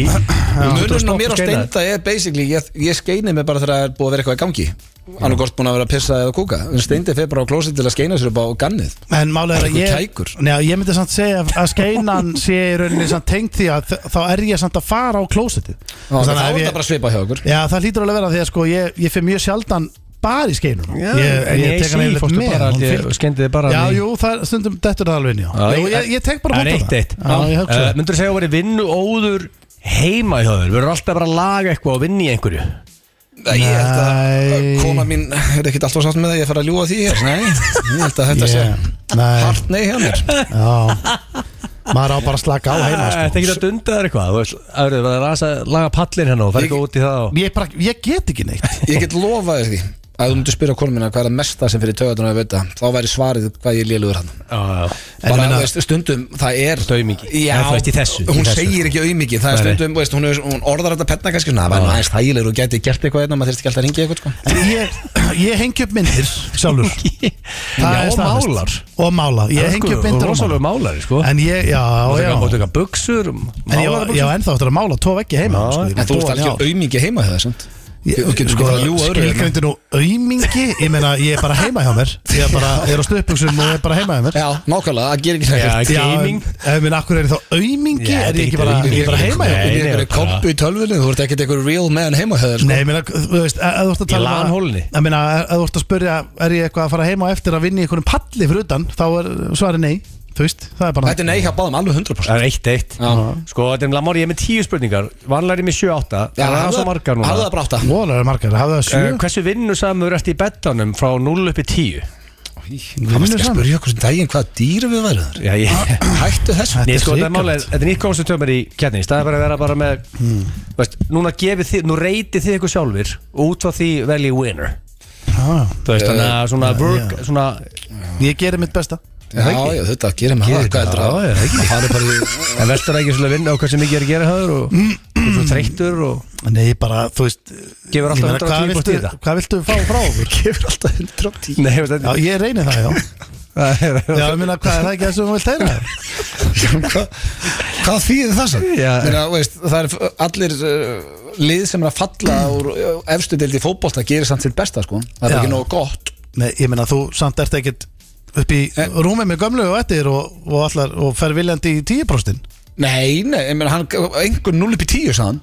A: Munurinn á mér á steinda er basically ég, ég skeini mig bara þegar það er búið að vera eitthvað í gangi annarkort búin að vera að pissa eða kúka en steindi fer bara á klósið til að skeina sér upp á gannið
B: En málega er að
A: Einhver
B: ég
A: kækur.
B: Njá, ég myndi samt segja að skeinan sé í rauninni samt tengt því að þ- þá er ég samt að fara á klósitið
A: og þá er
B: Þannig að ef
A: það
B: ég-
A: bara að svipa hjá okkur
B: Já, það hlýtur alveg að vera því að sko ég, ég fyrir mjög sjaldan bara í skeinum
C: Já,
B: ég,
C: en í
B: ég
C: AC
B: tek hann yfirleitt
C: fórstu
B: með,
C: bara
B: hún
C: held ég,
B: fylgir.
C: skeindi þig bara
B: Já,
C: í-
B: jú, það er stundum dettur það alveg inn, já
C: Já,
B: Jú, ég, ég tek bara
C: Það er
B: hótt á
C: eitt eitt Eh,
B: Já, ég hugsa það
C: Myndur þú segja að verið vinnu óður heima hjá þér? Verður alltaf bara að laga eitthvað og vinna í einhverju?
A: Nei, ég held að
B: Nei.
A: kona mín er ekkit alltaf sátt með það ég fer að ljúa því hér Nei, ég held að þetta
B: Yeah.
A: sé
B: Nei.
A: hart nei hjá mér
B: Já Maður á bara að slaka á heima
C: Það er
B: sko.
C: Ah, ekki að dunda þér eitthvað Þú veist, það verður bara að rasa, laga pallin hérna og fara
A: Ég-
C: ekki út í það og...
B: ég, bara, ég get ekki neitt
A: Ég get lofað þér því að þú myndir spyrja kona mín hvað er að mesta sem fyrir töðunar að veita þá væri svarið hvað ég lélugur hann
C: Já, já.
B: En
A: bara
B: meina-
A: þú veist, stundum það er
C: Þetta aumingi.
A: já,
C: Eða þú veist, í þessu, í
A: hún
C: þessu.
A: segir ekki aumingi það er
C: Nei, nei.
A: stundum, þú veist, hún, er, hún orðar þetta penna kannski svona, það var nú aðeins þægilegur og geti gert eitthvað einna, maður þurfti ekki alltaf að ringi eitthvað sko.
B: En Ég, ég hengi upp myndir sjálfur Það
C: Já,
B: er
C: og
B: staðfest.
C: málar.
B: Og málar, ég hengi upp myndir og
C: Rósalega
B: málar
C: málari, sko
B: En ég, já,
C: Og
B: já
C: taka- Og taka buksur
B: En ég var- ég var ennþá eftir að mála tvo veggi heima
C: Já,
B: sko, ég
A: en þú
B: búa
A: veist
B: hann í ár.
A: alveg aumingi heima þegar þessum þú getur
B: sko,
A: sko að ljúa öðru hérna.
B: skilgreindi nú aumingi ég meina ég er bara heima hjá mér ég er bara, ég er á stöpuksum og ég er bara heima hjá mér
A: já, nákvæmlega, það gerir ekki
C: Já,
A: nægt
C: ekki gaming.
B: ég meina akkur er ég þá aumingi
C: Já,
B: er ég
C: þetta er
B: ekki
C: ekki
B: bara,
C: aumingi.
B: ég er bara heima hjá
C: Nei,
A: Þú
B: mér
C: nei,
A: er einhverju
C: bara-
A: kompu í tölvunni, þú ert ekkert einhverju real man heima hefur sko.
B: Nei, ég meina, þú veist, að að þú ert að
C: Í
B: tala
C: lanhólunni.
B: Ég meina, að að þú ert að spyrja Er ég eitthvað að fara heima á eftir að vinna í einhverjum palli fyrir utan Þá er svarið nei, þú veist, það er bara
A: þetta er nei hjá báðum alveg 100%
C: Það er eitt eitt
A: Já.
C: Sko, þetta er Lamar, ég er með tíu spurningar Vanlega er ég með
A: Já,
C: 7-8 Það er
A: hafðu
C: svo margar núna
A: hafðu það bara átta
B: Mólar er margar, hafðu það
C: Eh,
B: sjö
C: Hversu vinnusamur ertu í bettanum frá 0 upp í 10?
A: það varst ekki að spyrja okkur sem daginn hvaða dýr við værum
C: Já, ég
A: þar hættu þessu
C: Nei,
B: Þetta er
C: sko, þetta er
B: hrikalegt.
C: málega, þetta er nýtt komstu tömur í kjarni í staðið fyrir að vera bara með
B: Hmm.
C: veist, núna gefið þið, nú reytið þið ykkur sjálfur og út frá því velji winner
B: Já,
C: þú veist, þannig að svona work
B: Eh, já.
C: svona,
B: Ég gerir mitt besta
A: já, já, þetta gerir mig það,
C: Gerir
A: hvað heldur
C: þetta, já, já,
A: það það farið bara í
C: en veldur ekki svona vinna og hversu mikið er að gera höfður og þú ert svo þreyttur og
B: Nei, ég bara, þú veist ég
C: gefur
B: meina,
C: alltaf
B: hvað
C: 110 búst
B: viltu-
C: í það
B: Hvað viltu fá frá okkur?
A: gefur alltaf 110
C: Nei, veist,
B: Já,
C: þetta
B: ég reyni það, já
C: það er-
B: Já, ég meina, hvað er það ekki það sem þú vilt heyra?
A: Hva, hvað þýðir það sann?
C: Já.
A: Meina, þú veist, það er f- allir uh, lið sem er að falla úr uh, efstu deild í fótbolta gerir samt sitt besta sko. það er
B: Já.
A: ekki nógu gott
B: Nei, ég meina, þú samt ert ekkit upp í
C: Eh.
B: rúmi með gömlu og ettir og, og, allar, og fer viljandi í tíuprostin
A: nei, nei, ég meina, hann, einhver 0 upp í 10 sann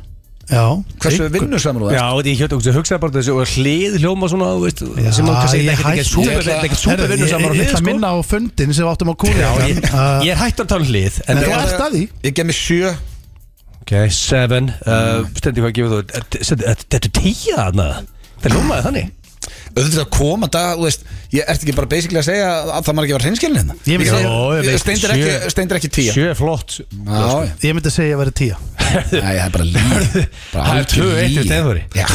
B: Já
A: hversu vinnusamur þú
C: Já,
A: er
C: og ég hjótt okkur, hugsaði bara þessu og hlið hljóma svona, þú veist, sem hann kannski
B: ég
C: ekki ekki
B: hætti-
C: super-
A: Ég ætla-
C: þetta er ekkert super vinnu saman á
B: Ég
C: hlið,
B: ætla að
C: sko
B: minna á fundin sem við áttum á kúri
C: Já, ég, ég er hættur að tala um hlið en
B: Nei,
C: þú
B: já. ert að því.
A: ég gef mér 7
C: Ok, 7 uh, Stendi hvað gefur þú Stendi, Þetta er 10 þarna Það lúmaði þannig
A: auðvitað að koma dag, þú veist ég ert ekki bara basically að segja að það maður ekki var hreinskilin hérna
B: Ég myndi segja-
C: Jó, ég veit,
A: steindir
C: sjö.
A: ekki, steindir ekki 10 já,
C: 7 er flott
A: já.
B: Ég myndi segja að ég væri tíja
A: Nei, það er bara líf
C: Það er 2-1 við Steinþóri.
A: Já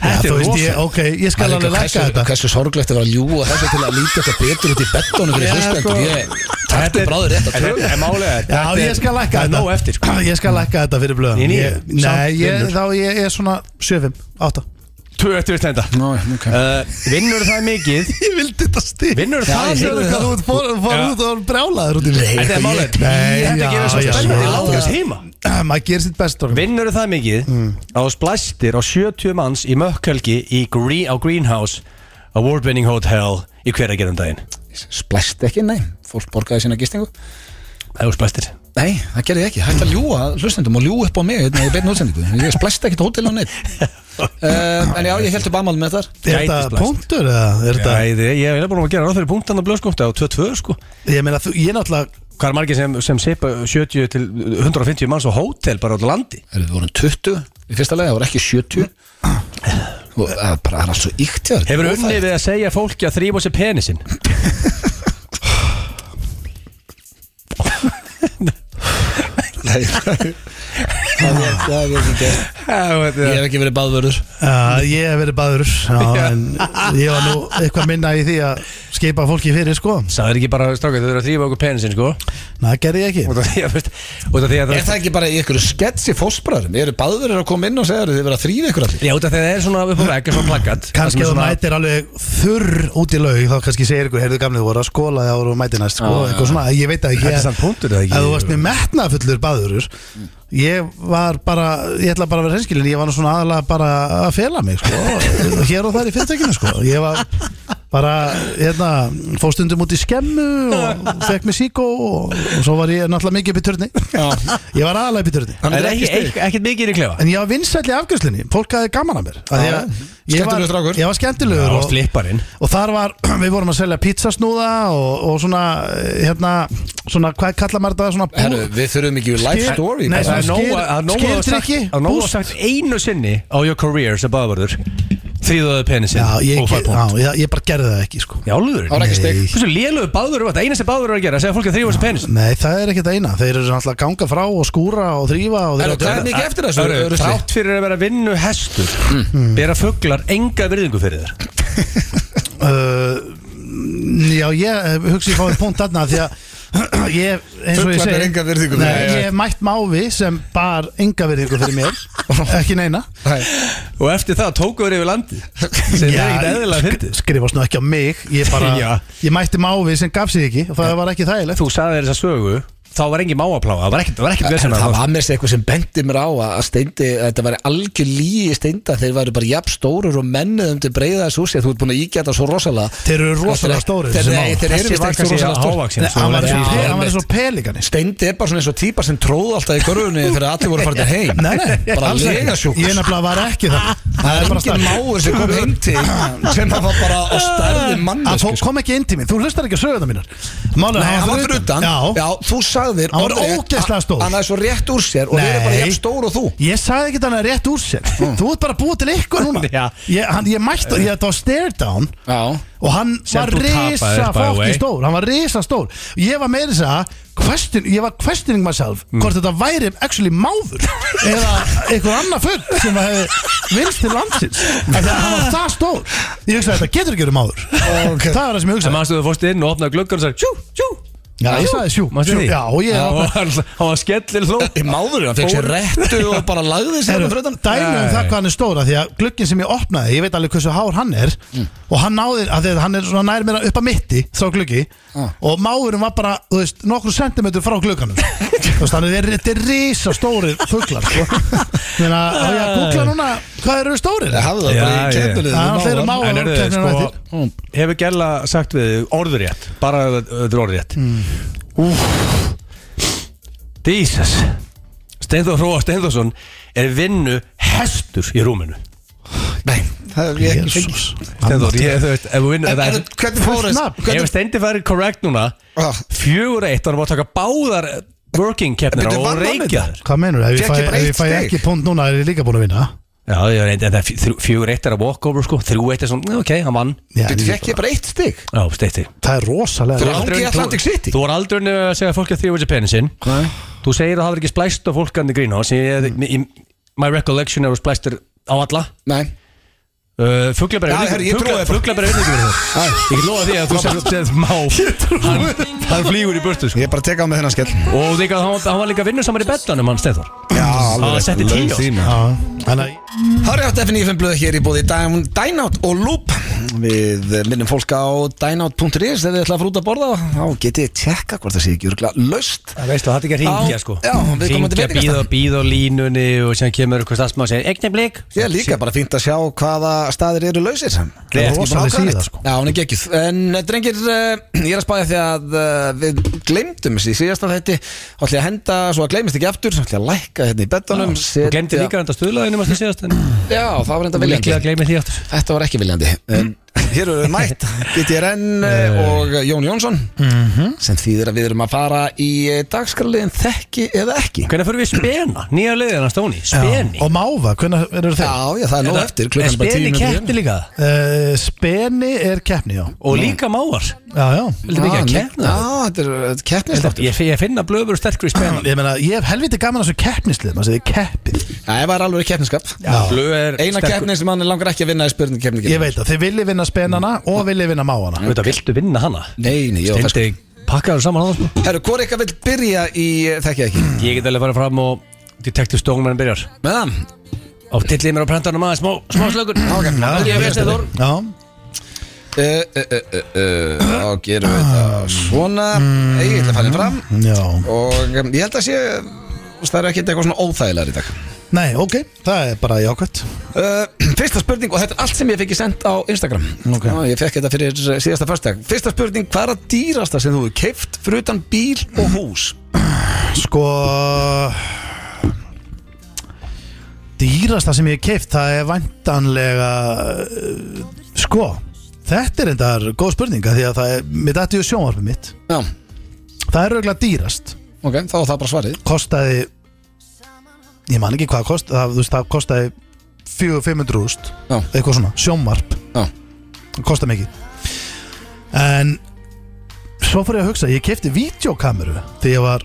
C: Þetta er
B: ég,
C: rosa
B: Ok, ég skal
A: Það er líka
B: alveg lækka
A: hversu,
B: þetta
A: hversu sorglegt að vera að ljúa þessu til að líti eitthvað betur út í bettónu fyrir
B: Já,
A: hlustendur
B: sko.
A: Ég takti bráður rétt að
C: Þetta
A: tröðu
C: er málega
B: Já, ég skal lækka
C: Það er
B: þetta
C: nóg eftir sko.
B: Ég skal lækka þetta fyrir blöðan
C: Í níu,
B: Ég- Nei,
C: samt
B: ég,
C: vinnur.
B: þá ég er svona 7-5, 8
C: 2 eftir við Stenda
A: Ná, ok
C: uh, Vinnur það mikið
B: Ég vildi þetta stíð
C: Vinnur
A: Já,
C: það
A: ég heyrði
C: mikið
A: það.
B: Þú fór fór
C: Já.
B: út og brjálaður út í mig
C: Þetta er málega
B: Nei,
C: Þetta
B: já,
C: gefur svo
B: já,
C: spennandi
B: já.
C: langast heima
B: Maður gerir sitt sko. best strókar.
C: Vinnur það mikið
B: Mm.
C: að þú splæstir á 70 manns í mökkölgi í Green, á Greenhouse Award winning hotel í hverja gerum daginn
A: Splæst ekki, nei Fólk borgaði sína gistingu
C: Það er splæstir
A: Nei, það gerði ég ekki Hætti að ljúa hlustendum og ljúa upp á mig Þegar ég beinu útsendingu Ég splæst ekki tótil á neitt uh, En já, ég held upp aðmál með þar
B: Er
C: Gæti
B: þetta
C: blæst.
B: punktur eða? Er þetta,
C: Nei, ég ég er búin að gera ráð fyrir punktan að blöð sko, þetta á 2-2 sko
B: ég meina, þú- ég náttúrulega
C: Hvað er margir sem, sem sipa 70 til 150 manns á hótel bara út á landi?
A: Erum við vorum 20 Í fyrsta lega, það var ekki 70 Og það er bara það er allt svo ykt hjá þér.
C: Hefur unni við að segja fólki að þrýfa sér penisinn
A: Nei, nei. Það er- það er ekki gert. Ég hef ekki verið baðvörður
B: Já, ég hef verið baður já, en ég var nú eitthvað minna í því að skipa fólki fyrir sko
C: Það er ekki bara strákað, þau eru að þrýfa okkur penisinn sko Út
B: Na, það gerði ég ekki
C: af því að, veist, út af því að
A: Er það ekki bara í ykkur sketsi fósbræðurum? Eru baðvörður að koma inn og segja þér að þið verið að þrýfa ykkur allir?
C: Já, út af því að það er svona upp á vegg, svona plaggat
B: Kanski þú mætir alveg þurr út í laug þá kannski segir ykkur, heyrðu gamli, þú voru að skóla þá voru mætir næst, sko, eitthvað svona, ég veit það ekki
C: Þetta er samt punktur, eða ekki?
B: Að þú varst með metnafullur baðurur Ég var bara, ég ætla bara að vera reynskilin ég var nú svona aðalega bara að fela mig sko, hér og þar í fyrirtækinu sko ég var bara, hérna fóstundum út í skemmu og fekk mig síkó og, og svo var ég náttúrulega mikið upp í turni ég var aðalega upp í turni
A: Þannig
C: Er
A: að
C: ekki,
A: ekki
C: ekki, ekkert mikið inn í klefa
B: En ég var vinsæll í afgjörslunni, fólk hafði gaman að mér að
A: Já,
B: að ég var,
A: skemmtilegur strákur.
B: Ég var skemmtilegur
C: Og flipparinn
B: og þar var, við vorum að selja pizzasnúða og, og svona, eh, hérna, svona, hvað kallar maður þetta, svona bú-
A: Herru, við þurfum ekki life
B: Skil-
A: story
B: Nei,
A: bara.
C: Það er nóg
B: Skyr-
C: að- það er nóg að sagt-
B: skyrdrykki,
C: það er nóg að
B: boost.
C: sagt einu sinni á your career sem baðvörður Þrýðaðu penisinn
B: Já, ég,
C: og fær
B: já,
C: punkt
B: ég, ég bara gerði það ekki, sko
C: Já,
A: Það
C: alveg
A: var ekki stygg.
C: Hversu lélugu baðvörður var þetta? Einasti baðvörður var að gera að segja fólki að þrýfa sér penisinn
B: Nei, það er ekki það eina, þeir eru alltaf að ganga frá og skúra og þrýfa og
A: Herru,
B: þeir
A: hvað er mikið eftir þessu?
C: Hörru,
A: rusli?
C: Þrátt fyrir að vera vinnu hestur
A: Mm.
B: Mm.
C: Bera fuglar enga virðingu fyrir þér
B: uh, Já, ég eh, hugsa ég fáið punkt þarna því að ég, eins og ég
A: Fuglarnir
B: segi
A: enga virðingu fyrir
B: Nei,
A: þér.
B: ég hef mætt mávi sem bar enga virðingu fyrir mér ekki neina
A: Nei.
C: Og eftir það tóku þér yfir landi Sem er ekkert eðlilega fyndið
B: skrifast nú ekki á mig ég,
C: Já.
B: bara, ég mætti mávi sem gaf sig ekki og það var ekki þægilegt
C: Þú sagði þér þessa sögu Þá var engin máapláa Það var ekkert, það var ekkert vesena
B: sko.
A: Það var mér sér eitthvað sem bendi mér á að að steindi, að þetta var algjör líi steinda þeir væru bara jafn stórir og mennið um til breiða þessu úr sér, þú ert búin að íkja þetta svo rosalega
B: Þeir eru rosalega stórir,
A: Þeir,
B: þessi
A: nei,
B: mál.
A: þeir eru
C: Þessi
A: vist
C: var
A: ekki svo
C: kannski
A: rosalega stór
C: hávaxin
B: Nei, hann var
A: Já,
B: eins og-
A: einmitt.
B: sko, hann var eins og pelikani
A: Steindi er bara svona eins og típa sem tróð alltaf í görfunni þegar allir voru farið heim
B: Nei, nei,
A: bara
B: alls ekki.
A: legasjúk
B: Ég nefnilega var ekki það
A: Það er
B: bara
A: engin
B: starf
A: máur sem kom heim til sem það var bara á stærði
B: Að
A: mannesku
B: fólk kom ekki inn til mín, þú hlustar ekki að söguna mínar Málega,
A: sko. Nei, hann var fyrir utan
B: Já,
A: þú sagðir
B: Hann var
A: orðrétt
B: ógeðslega
A: að-
B: stór.
A: Hann er svo rétt úr sér og við erum bara
B: Nei.
A: jafn stór og þú
B: Ég sagði ekki þannig rétt úr sér Þú ert bara búið til eitthvað núna
C: Já.
B: Ég, hann, ég mætti, ég þetta var stare down
A: Já
B: Og hann
C: Sem
B: var
C: þú tapaðir,
B: risa
C: by the way.
B: fokkin stór Hann var risa stór Ég var meira þess að question, Ég var questioning myself
C: Mm.
B: Hvort þetta væri actually máður Eða eitthvað annað fugg Sem að hefði vinst til landsins Þegar hann var það stór Ég hugsaði þetta getur ekki verið máður
A: Ok.
B: Það var það sem ég
C: En
B: hugsaði
C: mannstu þú fórst inn og opnaði gluggan og sagði Sjú, sjú
B: Já, ég sagði sjú,
C: Manstu
B: sjú
C: því?
B: Já, og ég
C: Já, og hann hann var skellir hló
A: Í máður, hann fekk sér réttu og bara lagði sér
B: Heru,
A: fyrir utan
B: dæmi um það hvað hann er stóra því að glugginn sem ég opnaði, ég veit alveg hversu hár hann er
A: Mm.
B: og hann náði, að því að hann er svona nær mér upp að mitti, þá gluggi
A: Ah.
B: og máðurinn var bara, þú veist, nokkru sentimentur frá glugganum þú veist, þannig er þetta er risa stórir fuglar sko. þannig að, á ég að googla núna hvað eru stórir?
A: Ég hafði það
C: Já,
A: bara í
C: já.
A: keppnilið
B: Það er fleiri mávar
C: En
B: og
C: er þið,
B: keppnir á
C: sko, hefur Gjalla sagt við þig orðurétt Bara ef þetta er orðurétt mm. Jesus Steinþór Hróa Steinþórsson er vinnu hestur í rúminu
A: Nei, það er ég ekki fengið
B: Jesus.
C: Steinþór, ég, þú veist, ef við vinnum
A: En- en Hvernig fór
B: fullt
A: þess
B: nafn.
A: hvernig-
C: Ef Steindi færi correct núna
A: Ah.
C: Fjögur eitt, hann var að taka báðar working keppnir
A: Bíddu,
C: og
A: vann hann
C: reykja
A: þetta?
C: þær
B: Hvað menur, ef ég
A: Fékk
B: fæ,
A: ég bara
B: ef ég
A: eitt
B: fæ
A: stig?
B: ekki punkt núna er ég líka búin að vinna
C: Já, ég reyndi, en það er þrjú- fjögur eitt er að walkover sko Þrjú eitt er svona, ok, hann vann
B: Já,
A: Þetta
B: ég-
A: fekk ég bara eitt stygg
C: Já, Steindi
B: það er rosalega
A: Þú- Langi Atlantic City.
C: Þú var aldrei unnið að segja fólki að þrjóða sér penisinn Þú segir að það hafi ekki splæst á fólkandi grín á sem ég, í- my recollection eru splæstir á alla
A: Nei
C: uh, Fuglabæri
A: Já, herri, ég trúi þér bara.
C: Fuglabæri verður ekki verið það Ég get lofa því að þú segir segir má hann, hann flýgur í burtu sko.
A: Ég bara teka á mig þennan skell
C: Og líka, hann, var- hann var líka vinnusamar í bedlanum hann Steinþór
A: Já,
C: Hann setti tíu á sig.
A: þína
B: Já, Þannig að
A: Hárjátt FN95 blöð hér í bóði Dynout og Loop Við minnum fólk á dynout.is Þegar þið ætla að fara út að borða Þá getið þið tjekka hvort það sé ekki örgla löst
C: Það veistu, það er ekki að
A: hringja,
C: ringja
A: sko.
C: sko
A: Hringja, bíða
C: býða, býða á línunni og sem kemur eitthvað stafsmá og segir Egni blik
A: Ég er líka bara fínt að sjá hvaða staðir eru lausir
B: er
A: Ekki
B: rosaleg
A: búin að ákveða
B: síða,
A: neitt.
B: sko.
A: Já, hún er gekkjuð En eh, drengir, eh, ég er að spája því að eh, við glemdum þessi síðasta þetta Þá ætla ég að henda, svo að gleymist ekki aftur Þá ætla ég að lækka hérna í betanum
C: Þú glemdi líka hann að stuðlaðinu mástu síðast en
A: Já, það var enda
C: Líklega Mm.
A: viljandi
C: gleymið því aftur
A: Þetta var ekki viljandi En Hér eru mætt
C: Eh.
A: GTRN eh, og Jón Jónsson
C: Mhm.
A: sem þýðir að við erum að fara í dagskarliðin þekki eða ekki
C: Hvernig fyrir við spena? Nýja leiðina Stóni, speni
B: Og máva, hvernig eru
A: Já,
B: þeir?
A: já, það er nóg
C: Er
A: eftir klukkan er bara
C: speni
A: 10
C: keppni líka
B: Uh, speni er keppni, já
C: Og líka mávar
B: Já, já
C: Vildi ekki að keppna
A: Já, þetta er þetta er keppnistáttur
C: Ég, ég finna blöður sterkur í spena
B: Ég meina, ég hef helviti gaman að þessu keppnislið maður segir keppið
A: Já, ef það er alveg keppniskap
B: Já,
C: Blöð er
A: Eina keppni sem hann langar ekki að vinna er spurningkeppningin
B: ég veit að þið viljið vinna spenana og viljið vinna máana
C: Þetta viltu vinna hana
A: Nei, nei, já, það sko
C: Steindi, pakkaðu saman hana sko.
A: Herru, hvor eitthvað vil byrja í eh, þekki eða ekki?
C: Ég get alveg að fara fram og Detective Stoneman byrjar
A: Með það?
C: Og tillið mér á prentanum aðeins smá, smá slökur
A: Ok.
C: Ég veist þið Þór
B: Já,
A: Uh, uh, uh, uh, uh, Þá gerum við þetta svona Ég ætla að fara fram
B: já
A: Og um, ég held að sé Það er ekkert eitthvað svona óþægilegar í dag
B: Nei, ok, það er bara jákvæmt
A: Uh, fyrsta spurning, og þetta er allt sem ég fekk í sendt á Instagram
B: Ok.
A: Já, Ég fekk þetta fyrir uh, síðasta förstak Fyrsta spurning, hvað er að dýrasta sem þú hefur keift fyrir utan bíl og hús?
B: Sko Dýrasta sem ég hef keift Það er vantanlega eh, Sko Þetta er endar góð spurninga Því að það er, mér dætti ju sjónvarpið mitt
A: Já,
B: Það er auðvitað dýrast
A: ok, þá er það bara svarið
B: Kostaði Ég man ekki hvað það kostaði það, þú veist, það kostaði 400-500 úst
A: Já.
B: Eitthvað svona, sjónvarp
A: Já.
B: Það kostaði mikið En Svo fór ég að hugsa, ég keipti vídeokameru Því ég var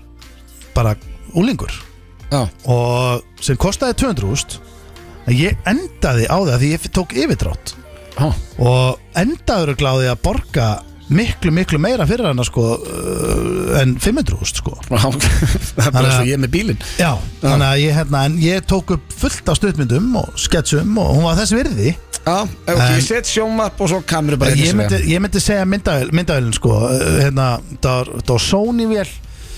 B: bara úlingur
A: Já,
B: og sem kostaði 200 úst en ég endaði á það því ég tók yfirdrátt
A: já,
B: og endaður gláði að borga miklu miklu meira fyrir hana sko uh, en 500 úst sko
A: já, ok Það er bara eins og ég með bílinn
B: já, þannig að ég hérna en ég tók upp fullt af stuttmyndum og sketsum og hún var þess virði
A: Já, ok,
B: En-
A: ég set sjómap og svo kameru bara hérna
B: ég
A: einu
B: myndi,
A: sinni
B: ég myndi segja myndavel, myndavælin sko uh, hérna, það var, það var Sony vel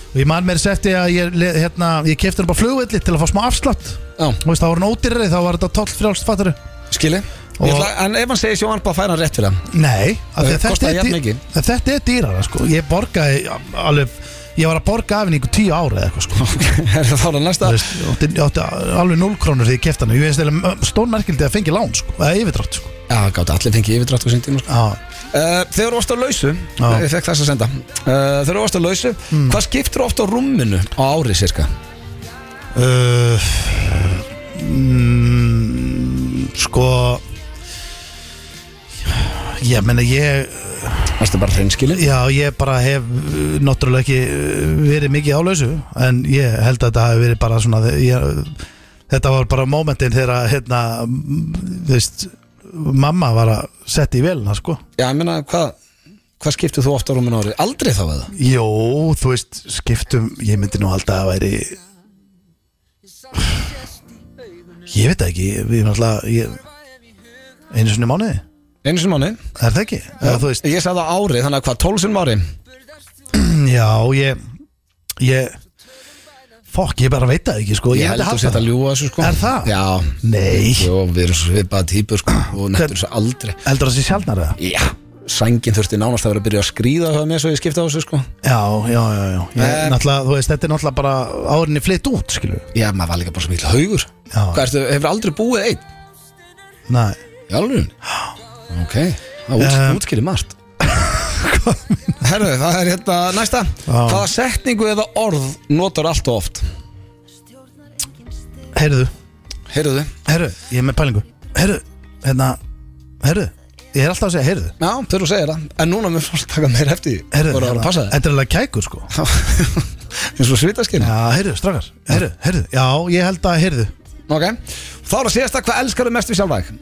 B: og ég man mér þess eftir að ég, le- hérna, ég kefti hann bara flugvelli til að fá smá afslátt
A: Já,
B: Þú veist, það voru nótirri, þá var þetta 12 frjálst fattari
A: skili
B: Og-
A: Ég ætla, En ef hann segir sjómap, fær hann rétt fyrir hann
B: Nei,
A: Það
B: af því að þetta
A: Eh, kostaði
B: er,
A: jafn
B: dý-
A: mikið.
B: að þetta er dýrara sko. Ég borgaði alveg Ég var að borga af henni ykkur tíu ára eða eitthvað sko
A: Er það þá er næsta
B: Þú veist, ég átti, ég átti alveg 0 krónur því ég kefti hana Ég veist eða stónmerkildi að fengi lán sko Eða yfirdrátt sko
A: Já, gátt, allir fengi yfirdrátt á sín tíma sko.
B: Já,
A: Uh, þegar þú varst á lausu
B: Já. Hmm.
A: Ég fekk þess að senda uh, Þegar þú varst á lausu Hvað skiptir ofta á rúminu á ári sirka?
B: uh, mm, Sko Ég meina ég
A: Varstu bara hreinskilin?
B: Já, ég bara hef uh, náttúrulega ekki uh, verið mikið álausu en ég held að þetta hafi verið bara svona þe- ég, þetta var bara momentin þegar að, hérna, mm, þú veist mamma var að setja í velina sko.
A: Já, ég meina, hvað hva skiptir þú ofta á rúminu á ári? Aldrei þá eða?
B: Jó, þú veist, skiptum ég myndi nú alltaf að væri ég veit það ekki við erum alltaf ég, einu sinni í mánuði,
A: Einu sinni mánu?
B: er það ekki? Eða, þú veist,
A: Ég sagði á ári, þannig að hvað, tólf sinni ári?
B: já, ég ég fokk, ég bara veit það ekki sko.
A: Ég held
B: myndi
A: að
B: hafa
A: þú setja
B: það.
A: að ljúa þessu sko
B: Er það? sko.
A: Já,
B: Nei,
A: Jó, við erum svipaða típur sko Og
B: Hvern-
A: nættur þessu aldrei
B: heldur það sé sjálfnar eða?
A: Já, sængin þurfti nánast að vera að byrja að skríða hjá mér svo ég skipta á þessu sko
B: Já, já, já, já. Eh. Ég,
A: En-
B: náttúrulega, þú veist, þetta er náttúrulega bara árinni flytt út, skilur við.
A: Já, maður var líka bara svo mikil haugur
B: Já.
A: Hvað ertu, hefur aldrei búið einn?
B: Nei,
A: Í alveg? Ok, það út,
B: Um,
A: útskýri margt Herru, það er hérna næsta Hvaða setningu eða orð notar allt og oft?
B: heyrðu,
A: Heyrðu
B: heyrðu, ég er með pælingu Heyrðu, hérna, heyrðu Ég er alltaf að segja heyrðu
A: Já, þurfa að segja það En núna mér fórst taka meir eftir því
B: Heyrðu,
A: Voru að vera að passa
B: þetta er alveg kækur, sko
A: þér Eins og svitaskinni
B: Já, heyrðu, strakar, heyrðu, heyrðu Já, ég held að heyrðu
A: Ok, þá er að síðasta hvað elskar mest við sjálfæk?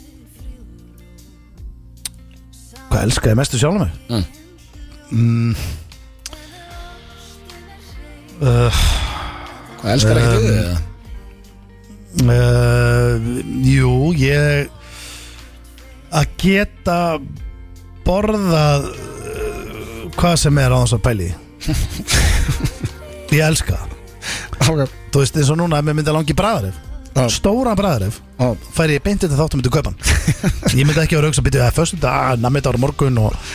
B: Hvað elska ég mestu sjálf mig? Mm.
A: Mm.
B: Uh,
A: Hvað elskar ekki við þig?
B: uh, Jú, ég Að geta Borðað uh, Hvað sem er á þess að pæli Ég elska það.
A: Ok,
B: Þú veist eins og núna að mér myndi að langi bræðarif
A: Já.
B: Stóra bræðarif
A: Já.
B: Færi ég beintið til þáttum myndi kaupan Ég myndi ekki að rauksa að byrja að föstu dag Namið ára morgun og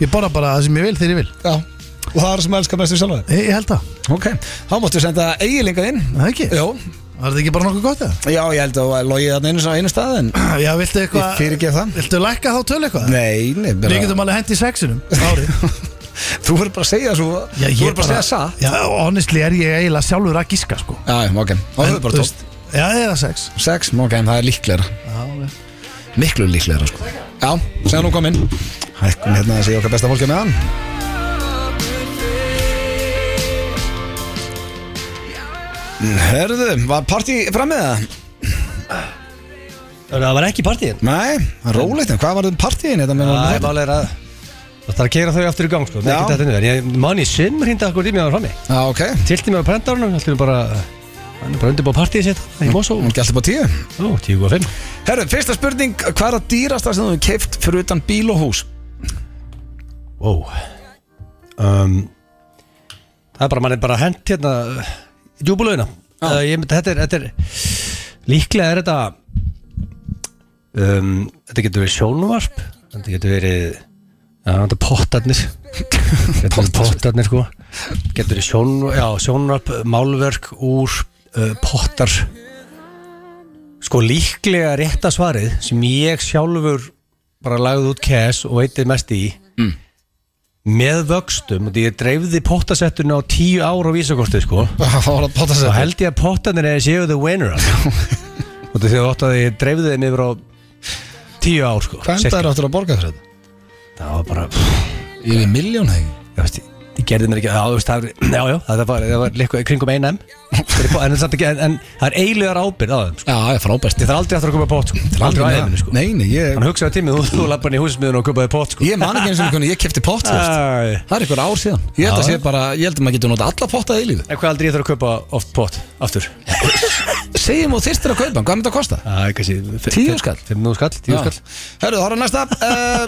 B: Ég borða bara það sem ég vil þegar ég vil
A: já Og það er sem elskar mest við sjálfæk
B: Ég, ég held það
A: Ok, þá máttu senda eigilinga inn
B: Það ekki?
A: Jó,
B: Var þetta ekki bara nokkuð gott það?
A: Já, ég held að það var logið þarna einu, einu stað en
B: Já, viltu eitthvað
A: Ég fyrirgef það.
B: Viltu lækka þá töl eitthvað?
A: Nei, nei
B: Við getum alveg hendi í sexinum Ári
A: Þú verður bara að segja svo Þú
B: Já, ég
A: verður bara að segja satt
B: Já, honestly er ég eiginlega sjálfur að gíska sko
A: Já, ok Og
B: En,
A: það er
B: þú
A: bara tótt
B: veist, Já, eða sex
A: Sex, ok, en það er líklegra
B: Já, ok
A: Miklu líklegra, sko Já, segja nú kom inn Hækkum hérna að segja okkar besta fólki með hann Hörðu, var partí fram með það?
C: Það var ekki partíin
A: Nei, rólegt, en hvað var þetta partíin? Þetta með
C: Það
A: honum
C: er
A: þarna?
C: málega að Það þarf að keira þau aftur í gang sko Það er
A: Já.
C: ekki þetta niður Ég man í sinn hrýnda akkur tími að það var frammi
A: Já, ok
C: Tilti mig á prentarunum Þannig bara Hann er bara undirbúið partíið sitt í Mosó
A: Hún gælt upp á tíu
C: Ó, 10.5
A: Herru, fyrsta spurning Hvað er að dýrasta sem þú hefur keift fyrir utan bíl og hús?
C: Wow um, Það er bara, mann er bara hent hérna Djúbulögina uh, ég myndi, þetta, er, þetta er Líklega er þetta um, Þetta getur verið sjónvarp Þetta getur verið Já, þetta er pottarnir Þetta er pottarnir sko Getur verið sjón, já, sjónvarp Málverk úr uh, pottar Sko líklega rétta svarið sem ég sjálfur bara lagði út cash og veitir mest í með vöxtum og því ég dreifði pottasetturinn á tíu ára á vísakortið sko
A: Það var að potta
C: og held ég að pottanir er séu the winner og því þú ótt að ég dreifði þeim yfir á tíu ár sko
A: Hvað
C: Cirka.
A: endaður áttur að borga fyrir þetta?
C: það var bara pff,
A: Yfir miljón, hegi
C: ég, veist, ég, ég gerði mér ekki já, þú veist, það, var- já, já, það var, það var líka í kringum 1M Fyrir po- en, samt ekki- en, en það er eiginlegar ábyrð á þeim sko.
A: Já, það er frábært
C: ég þarf aldrei aftur að köpa pott sko. aldrei á æðinu sko.
A: Nei, nei, ég,
C: hann hugsaði tímið þú, þú lappar inn í húsmiðun og köpaði pott sko.
A: ég man ekki eins og hvernig ég kefti pott fyrst
C: Æ.
A: Það er ykkur ár síðan Ég held að
C: Já.
A: sé bara, ég held að maður getur nota alla potta í lífið
C: en hvað aldrei ég þarf að köpa oft pott aftur
A: Segjum og þyrstir að kaupa, hann, hvað myndi það að kosta?
C: Æ, kannski, f-
A: Tíu
C: f-
A: skall.
C: Fimm nú skall, tíu skall
A: Herru, það er næsta uh,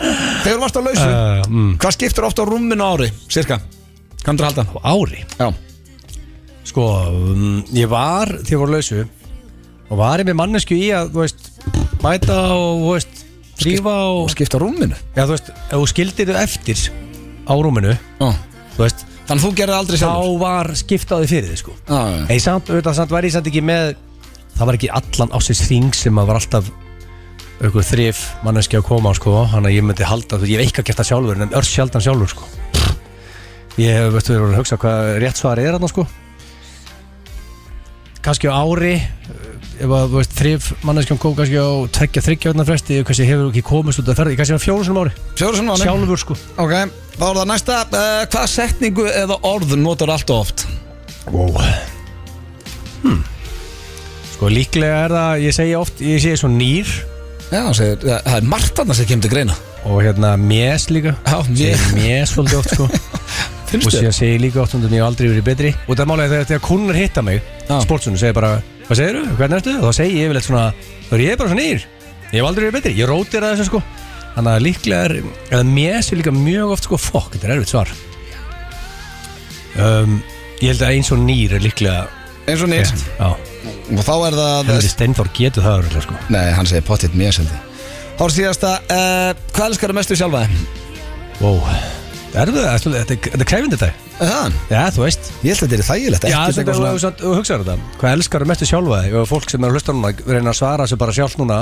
A: Þegar þú varst á lausu
C: Uh, mm.
A: Hvað skiptir ofta á rúminu á ári, cirka? Hvað myndir að halda?
C: Á ári
A: Já,
C: Sko, um, ég var, þegar ég var á lausu Og var ég með mannesku í að, þú veist Mæta og, þú veist Rífa
A: og
C: og
A: skipta á rúminu
C: Já, þú veist, ef þú skildir þau eftir Á rúminu,
A: Já.
C: þú veist
A: Þannig þú gerir það aldrei
C: Þá
A: sjálfur
C: var skiptaði fyrir þið, sko
A: Já, já, já.
C: Nei, samt, auðvitað, samt var ég samt ekki með Það var ekki allan ásins þing sem að var alltaf Aukur þrif manneski að koma, sko Þannig að ég myndi halda, þú veist, ég hef ekki að gert það sjálfur En örs sjaldan sjálfur, sko Ég hef, veistu, verið að hugsa hvað rétt svar er þarna, sko Kannski á ári eh, Ef að, þú veist, þrif manneskjum kom kannski á Tveggja, þryggja öðna fresti Ég kannski hefur ekki komist út að ferði Ég kannski var fjóru sinum ári,
A: Fjóru svona vanni
C: sjálfur, sko
A: Ok, þá er það næsta uh, Hvaða setningu eða orð notar allt og oft?
C: Wow Hmm. Sko líklega er það, ég segi oft, ég segi svo nýr
A: Já, segir, það Eh, það er margt annars sem kemur til greina
C: og hérna mjess líka
A: Já,
C: Ég
A: ég
C: segi mjess svolítið oft sko og
A: finnst
C: síðan
A: þér
C: segi ég líka oft um þetta ég hef aldrei verið betri og það er málega þegar, þegar kunnar hitta mig
A: Já.
C: sportsunum segir bara, hvað segirðu, hvernig ertu og þá segi ég yfirleitt svona, þá er ég bara svo nýr ég hef aldrei verið betri, ég rótir að þessu sko þannig að líklega er, eða mjess er líka mjög oft sko, fokk, þetta er erfitt svar um, ég held að eins og nýr er líklega
A: Eins og nýtt
C: já,
A: Og þá er það
C: Henry Steinford getur það örugglega, sko.
A: Nei, hann segir pottitt mér seldi Þá er síðasta uh, Hvað elskar þú mestu sjálfa þig?
C: Wow. Það er það, ætli- þetta er- þetta er krefindi þetta
A: Er Það,
C: Já, þú veist
A: ég held að þetta er þægilegt
C: Já,
A: ekkert
C: þetta
A: eitthvað
C: er
A: svona-
C: svona, þú hugsaður þetta Hvað elskar þú mestu sjálfa þig og fólk sem er að hlusta núna reyna að svara sér bara sjálf núna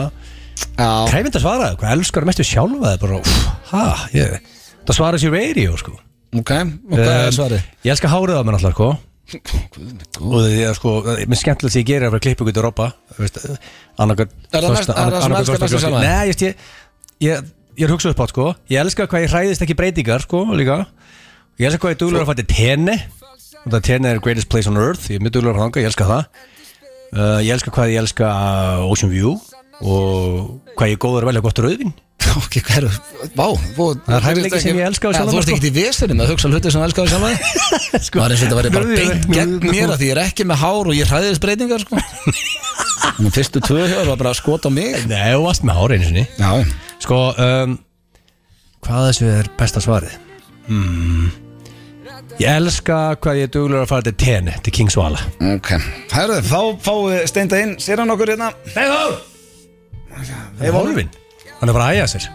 A: Já,
C: Krefindi að svara þig, hvað elskar þú mestu sjálfa þig bara, úff, ha, ég Það svara sér radio, sko
A: ok Og hvað
C: Um,
A: er svarið?
C: Ég elskar hárið á mér alltaf, sko Og því að sko, mér skemmtilegt því ég gerir að vera klippu gutur ropa Annarkar
A: Er það mest- er það sem elskar mestu sjálfan þig?
C: Nei, ég, ég, ég, ég er hugsað upp á, sko Ég elskar hvað ég hræðist ekki breytingar, sko, líka Ég elskar hvað ég duglur að fætti tenni Og það tenni er greatest place on earth Ég er mjög duglur að fara þangað, ég elskar það uh, Ég elskar hvað ég elska uh, Ocean View Og hvað ég er góður að velja gott rauðvin
A: Ok, hvað er Vá, þú
C: Það er hæfileiki sem ég elska við
A: Já,
C: sjálfan
A: Þú
C: mig,
A: ert
C: sko.
A: ekkert í vesinu með að hugsa hluti sem elskar þú sjálfa þig
C: Sko,
A: Það er eins og þetta væri bara
C: Nú, ég-
A: beint
C: nú-
A: gegn
C: nú-
A: mér að Því ég er ekki með hár og ég hræðist breytingar sko. Nú, Fyrstu tvö hjá var bara að skota á mig
C: Nei, þú varst með hárið einu sinni
A: Já,
C: Sko, um, hvað þessu er besta svarið? Hmm. Ég elska hvað ég er duglur að fara til tenni, til King Svala.
A: ok Herðu, þá fáum við steinda inn Sér hann okkur hérna
C: Heiðhór! Heiðhórfinn? Hann er bara að æja sér.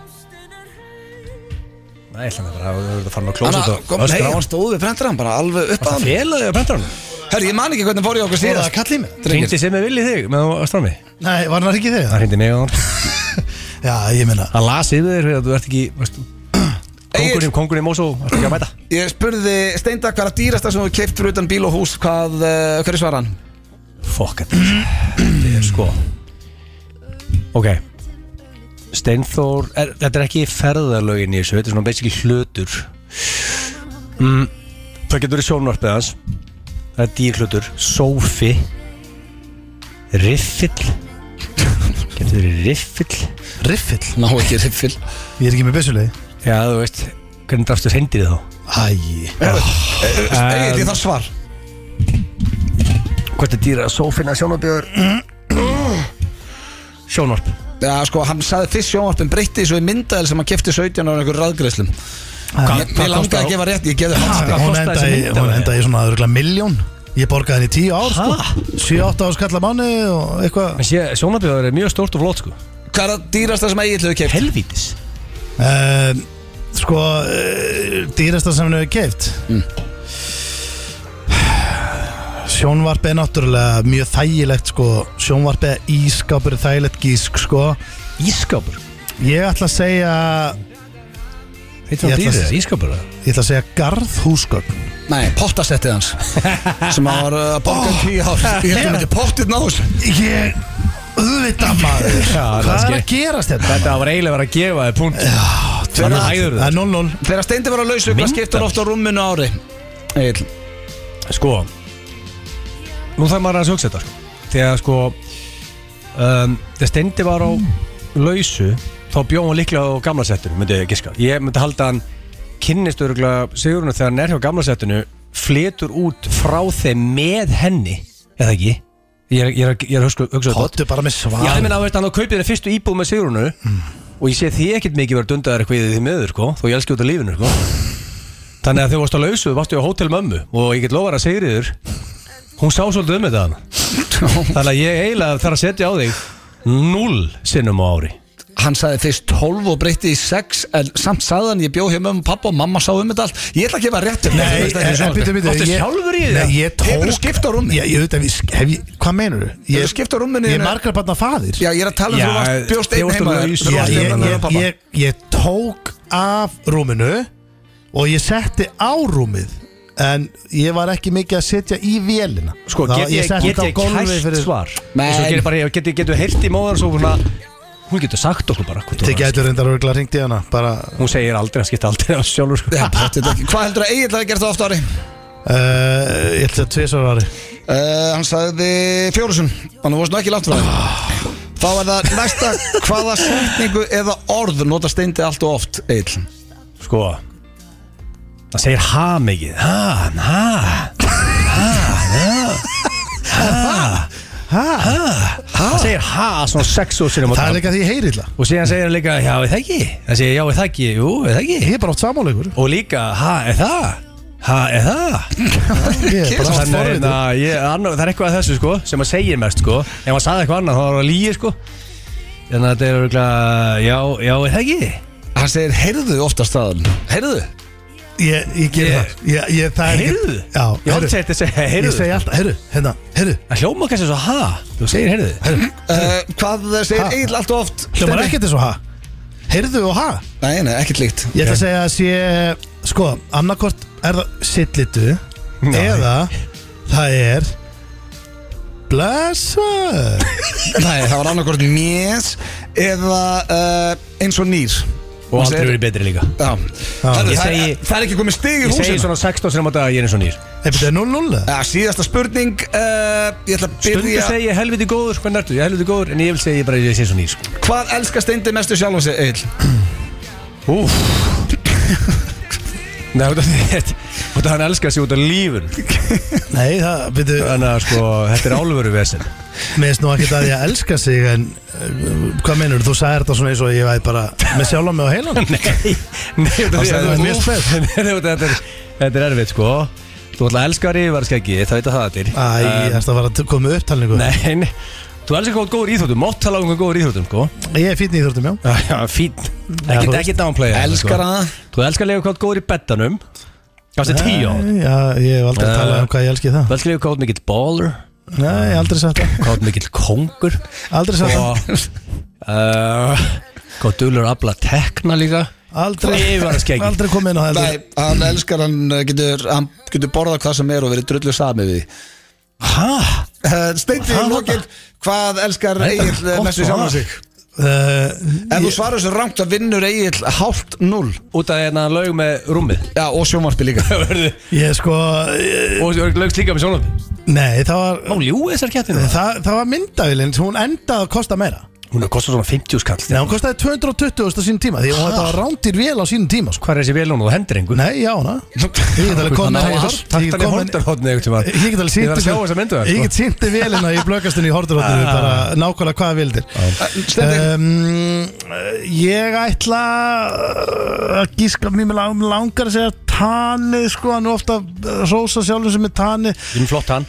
C: Nei, ég ætla hann er bara að verða að fara með klóset
A: Hanna,
C: og
A: kom, nei,
C: öskra á
A: hann
C: hans.
A: stóð við prentur hann bara alveg upp að
C: Það
A: hann
C: félaði að brenda hann.
A: Herri, ég man ekki hvernig fór ég okkur
B: Var það
A: síðast
B: kall í mig?
A: Drengir.
C: Hringdi sem er villið þig með á strámi
B: Nei, var hann ekki í þig?
C: Það hringdi mig á hann
B: Já, ég minna
C: Hann las yfir þér fyrir að þú ert ekki veist, Kongurinn,
A: Egill.
C: kongurinn Mosó Það ekki að mæta
A: Ég spurði Steindag hverja dýrasta sem þú keipt fyrir utan bíl og hús Hvað, uh, hverju svara hann?
C: Fuck it Þetta er sko Ok Steinþór er, Þetta er ekki ferðalögin í þessu Þetta er svona basically hlutur mm, Það getur verið sjónvarpið hans Það er dýrhlutur Sofi Riffill Getur verið riffill
B: Riffill,
A: Ná ekki riffil
B: ég er ekki með byssulegi
C: Já þú veist Hvernig drafstu hreindir þá
B: Æ,
A: Egil, ég þarf svar
C: Hvort er dýra Sofina sjónvarpið Sjónvarp
A: Já, sko, hann sagði fyrst sjónvarpin breytti þessu í myndaðil sem hann kefti 17 ára einhver raðgreislum Ég
B: hvað
A: mig langaði
B: kostar
A: að gefa rétt, ég geði hans
B: hún
C: kostaði
B: endaði
C: þessi mynd
B: hún
C: alveg?
B: endaði í svona öðruglega miljón Ég borgaði henni í tíu ár sko 7-8 ára skalla mánu og eitthvað
C: Sjónvarpið er mjög stórt og flott sko
A: Hvað er það dýrasta sem Egil hefur keipt?
C: Helvítis
B: uh, Sko, uh, dýrasta sem henni hefur keift Sjónvarpið er náttúrulega mjög þægilegt sko Sjónvarpið er ískápur er þægilegt gísk sko
C: Ískápur
B: Ég ætla að segja
C: Heitir
B: Ég
C: hann
B: ætla að-
C: dýrið? Ískápur eða?
B: Ég ætla að segja garðhúsgögn
A: Nei, pottasettið hans sem hann var uh, að borga oh, 10 ár Ég held að myndi pottið ná þessu
B: Ég, auðvitað maður
C: Já,
B: Hvað
C: það
B: er
C: ske-
B: að gerast þetta?
C: Þetta var eiginlega verið að gefa þið punkt Þannig að hæður
B: Það er 0-0
A: Þegar Steindi var að lausu, hvað
C: Myndavél?
A: skiptur ofta rúminu á ári? Egil,
C: það Sko Nú þarf maður að hugsa þetta sko Þegar sko um, Þegar Steindi var á lausu Þá bjóð hann líklega á gamla settinu Myndi ég giska Ég myndi halda að hann Kynnist öruglega Sigurinn Þegar hann er hjá gamla settinu Flytur út frá þeim með henni Eða ekki Ég er, ég er, ég er að hugsa, hugsa þetta
B: Kottu bara með svar
C: Já, ég meina, veist, hann á kaupið þér fyrstu íbúð með Sigrunu
B: Mm.
C: og ég sé því ekkert mikið verið dundaðar eitthvað í því miður, sko, þó ég elski út af lífinu, sko Þannig að þegar þú varst á lausu, þú varstu á hótel mömmu og ég get lofað að Sigriður hún sá svolítið um þetta hana Þannig að ég eiginlega þarf að setja á þig null sinnum á ári
A: hann sagði fyrst 12 og breytti í 6 en samt sagði hann, ég bjó hjá mömmu og pappa og mamma sá um þetta allt Ég ætla að gefa rétt um
B: Nei, eh,
A: þetta
B: en býttu, býttu
C: Varstu
B: ég-
C: sjálfur í því?
B: Nei, ég tók
A: Hefurðu skipt á rúmi?
B: Já, ég veit að við sk- hef ég Hvað meinur þú?
A: Hefurðu skipt á rúminu
B: eh, Ég
A: þínu?
B: er margar barna faðir
A: Já, ég er að tala um
C: Já,
A: þú varst bjóst
C: þið
A: einn heima
C: varstu laus.
A: Þú
C: Já,
A: varst
B: ég,
A: einn heima
B: ég,
A: með pappa
B: ég, ég tók af rúminu Og ég setti á rúmið En ég var ekki mikið að setja í vélina
C: Sko,
B: Þá-
C: get ég,
B: setti
C: get
B: þetta á
C: ég
B: gólfið
C: kæst
B: fyrir-
C: svar
A: Nei.
C: Svo getur bara, getur, getur heyrt í móðan svo svona hún getur sagt okkur bara hvað þú
B: Þið
C: varst.
B: gætu reyndar örgulega hringt í hana Bara
C: Hún segir aldrei, hann skipta aldrei á sjálfur, sko
A: Já, pottþétt ekki. Hvað heldur að Egil hafi gert það ofta ári?
B: uh, Ég ætla að tvisar ári
A: Uh, hann sagði Fjórusun Þannig þú varst nú ekki langt frá þér Þá er það næsta hvaða setningu eða orð nota steindi allt og oft Egil
C: sko það segir ha mikið ha, ha, ha, ha, ha, ha það segir ha svona sex og sinum
B: Það er líka því ég heyri illa
C: og síðan segir hann líka já, er það ekki það segir já, er það ekki, jú, er það
B: Ég
C: ekki
B: er bara oft samáleikur
C: og líka ha, er það ha, er það
B: Ég er bara oft
C: Þannig, að,
B: forvitur
C: na, ég, annar, það er eitthvað að þessu sko sem maður segir mest sko ef maður sagði eitthvað annað þá var það líi sko þannig að þetta er örgulega já, já, er það ekki
A: Hann segir heyrðu oftast staðan Heyrðu
B: Ég, ég ger
C: Ég-
B: það Ég, ég, það er ekki-
C: heyrðu,
B: Já,
C: ég hótti
B: heyrðu.
C: þetta að segja heyrðu
B: Ég segi alltaf, heyrðu, hérna, heyrðu
C: Það hljóma kannski svo, ha? Þú segir, heyrðu, heyrðu.
A: uh, Hvað
B: Ha?
A: segir Egil allt og oft
B: Hljómar
A: Steindi?
B: ekkert eins og ha Heyrðu og ha
A: Nei, nei, ekkert líkt
B: Ég ætla að segja að sé Sko, annarkort er það sitlitu Eða það er Blessa
A: Nei, það var annarkort mjens eða uh, eins og nýr Hann
C: Og aldrei
A: segir-
C: verið betri líka
A: Já, Herðu,
C: Ég
A: það,
C: segi-
A: er, það er ekki komið stig í
C: Ég segi
A: húsinu
C: svona 16 sinum á dag að ég er eins og nýr
B: Er þetta 0-0? eða?
A: Já, síðasta spurning uh, Ég ætla að
C: Stundu
A: byrja
C: segi ég helviti góður, hvernig ertu? Ég er helviti góður, en ég vil segja ég bara að ég sé eins og nýr sko.
A: Hvað elskar Steindi mestu sjálf á sig, Egil?
C: Úff Nei, út af því Út af hann elskar sig út af lífun
B: Nei, það, veitu,
C: Þannig að sko, þetta er álveru vesen
B: mér finnst nú ekkert að ég elska sig En uh, hvað meinur, þú sagði þetta svona eins og ég væði bara Með sjálf á mig á heilan
C: Nei, nei, út af
B: Hann
C: því
B: sagði það
C: að þú-
B: mjög sveið.
C: Nei, út af þetta er- Þetta er erfitt, sko Þú ætla að elska rífarskeggi, það veit að það er
B: Æ, ég ætla að fara að koma með upptalningu
C: Um. Nei, nei. þú elskar góð góður íþróttum Mátt tala um hvað góður íþróttum, sko
B: Ég er fínn í þjórtum, já
C: Já, já, fín
B: þú
C: Ekkert
B: veist.
C: ekki downplay sko.
A: Elskar hana
C: Þú elskar að lega hvað góður í bettanum
B: Eh.
C: Gafst þið tíu á það?
B: Já, ég hef aldrei
C: Eh.
B: talað um hvað ég elski það
C: Völdriðu gátt mikill baller
B: Nei, ég hef aldrei sagt það
C: Gátt mikill kongur
B: Aldrei sagt það
C: Og Gátt dullur að afla tekna líka
B: Aldrei,
C: Ég var að skeggi.
B: aldrei komið inn á það
A: Nei, hann elskar hann eh, getur, hann getur borðað hvað sem er og verið drullu samið við
C: Hæ?
A: uh, Steindi í
C: Hvað var
A: lokin Hvað elskar
C: Nei,
A: Egil
C: gott
B: sko.
A: mest við
C: svar.
A: sjálfan sig?
B: Nei
A: Ef þú svarar þessu rangt að vinnur Egil hálft null
C: Út af hérna laug með rúmið
A: Já, og sjónvarpi líka
C: Og
B: Ég sko eh,
C: laugst líka með sjónum
B: Nei, það var
C: Má ljú þessar kettinu
B: Það, það var myndavillin, hún endaði að kosta meira
C: Hún er kostar svona 50 skall
B: Nei, hún kostaði 220.000 á sínum tíma Því að þetta var rándir vel á sínum tíma sko.
C: Hvað er þessi vel hún og hendur engu?
B: Nei, já, hana Ég get alveg komið
C: Hann á hart Takk hann í hortarhóttni
B: Ég
C: Ég
B: get alveg
C: var að sjá þessa
B: sýnt
C: myndu sko.
B: Ég get sýnt þið velina í blökastunni í hortarhóttinu bara nákvæmlega hvað það vildir
A: Eh,
C: Eh.
A: Steindi,
B: um, Ég ætla uh, að gíska mér lang, langar að segja Tani sko, hann er ofta að rósa sjálfum sem er Tani
C: Ég er flott hann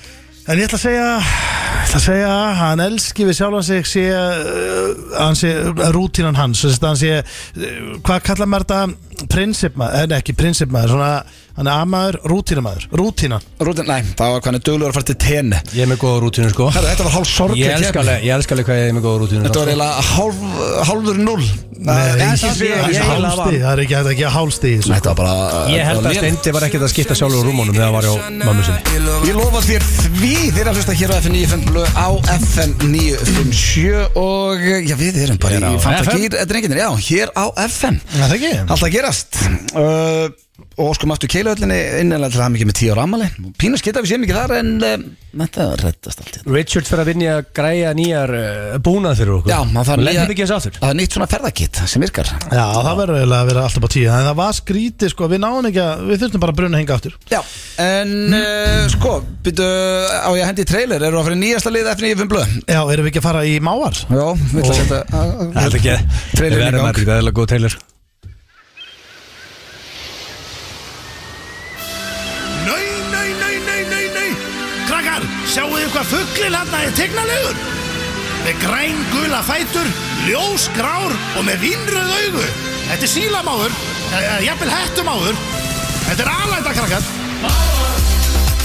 B: En ég ætla að segja ég ætla að segja að hann elski við sjálfan sig sé, uh, hann sé uh, rútínan hans, þess að hann sé uh, hvað kallar maður þetta prinsipmaður, en ekki prinsipmaður, svona hann er amaður, rútínamaður, rútínan
A: Rútin, nei, það var hvað hann er duglur að fara til tenni
C: Ég er með góða rútínu sko
A: Herra, þetta var hálf sorglega
C: Ég elska alveg ég elska alveg hvað ég er með góða rútínu
A: Þetta var
C: sko.
A: eiginlega hálf, hálfur Eh, null
B: Nei,
A: Nei,
B: ég-
A: það sé-
C: ég-
A: hálf-
C: eiginlega
B: hálsti, það er ekki hægt að gera hálsti í þessu. sko.
A: Þetta var bara
C: Ég held að Steindi var ekkert að skipta sjálfur úr rúmunum þegar hann var hjá mammu sinni
A: Ég lofa þér því þeir að hlusta hér á FM 95 blöð á FM 957 og já við erum bara
C: Hér á
A: í fanta
C: FM.
A: gýr drenginir, já, hér á FM
B: Er Það ekki?
A: Allt að gerast uh, og sko aftur keiluhöllinni innanlega til það mikið með 10 ára ammali Pínus geta við séum ekki þar en uh, þetta rettast allt hérna
C: Richard fyrir að vinja að græja nýjar uh, búnað fyrir okkur
A: Já, maður þarf
C: Lendir
A: nýja-
C: ekki þessu aftur
A: Það er nýtt svona ferðakitt sem virkar
B: Já, það verður eiginlega að vera alltaf bara tíu En það var skrítið, sko, við náðum ekki að Við þurftum bara að bruna henga aftur
A: Já, en uh, sko, byrju á ég að hendi í trailer, eru það fyrir nýjasta lið FM 95 blöð?
B: Já, erum við ekki að fara í máar?
A: Já, við ætlum að setja
C: Það er ekki
A: Trailerinn í
C: Við erum
A: gang.
C: að það er góð trailer
B: Nei, nei, nei, nei, nei, nei Krakkar, sjáu þið hvað fugglinn hann er tegnalegur Með græn gula fætur, ljós grár og með vinnröð augu Þetta er sílamáður, eða jafnvel hettumáður Þetta er alæta, krakkar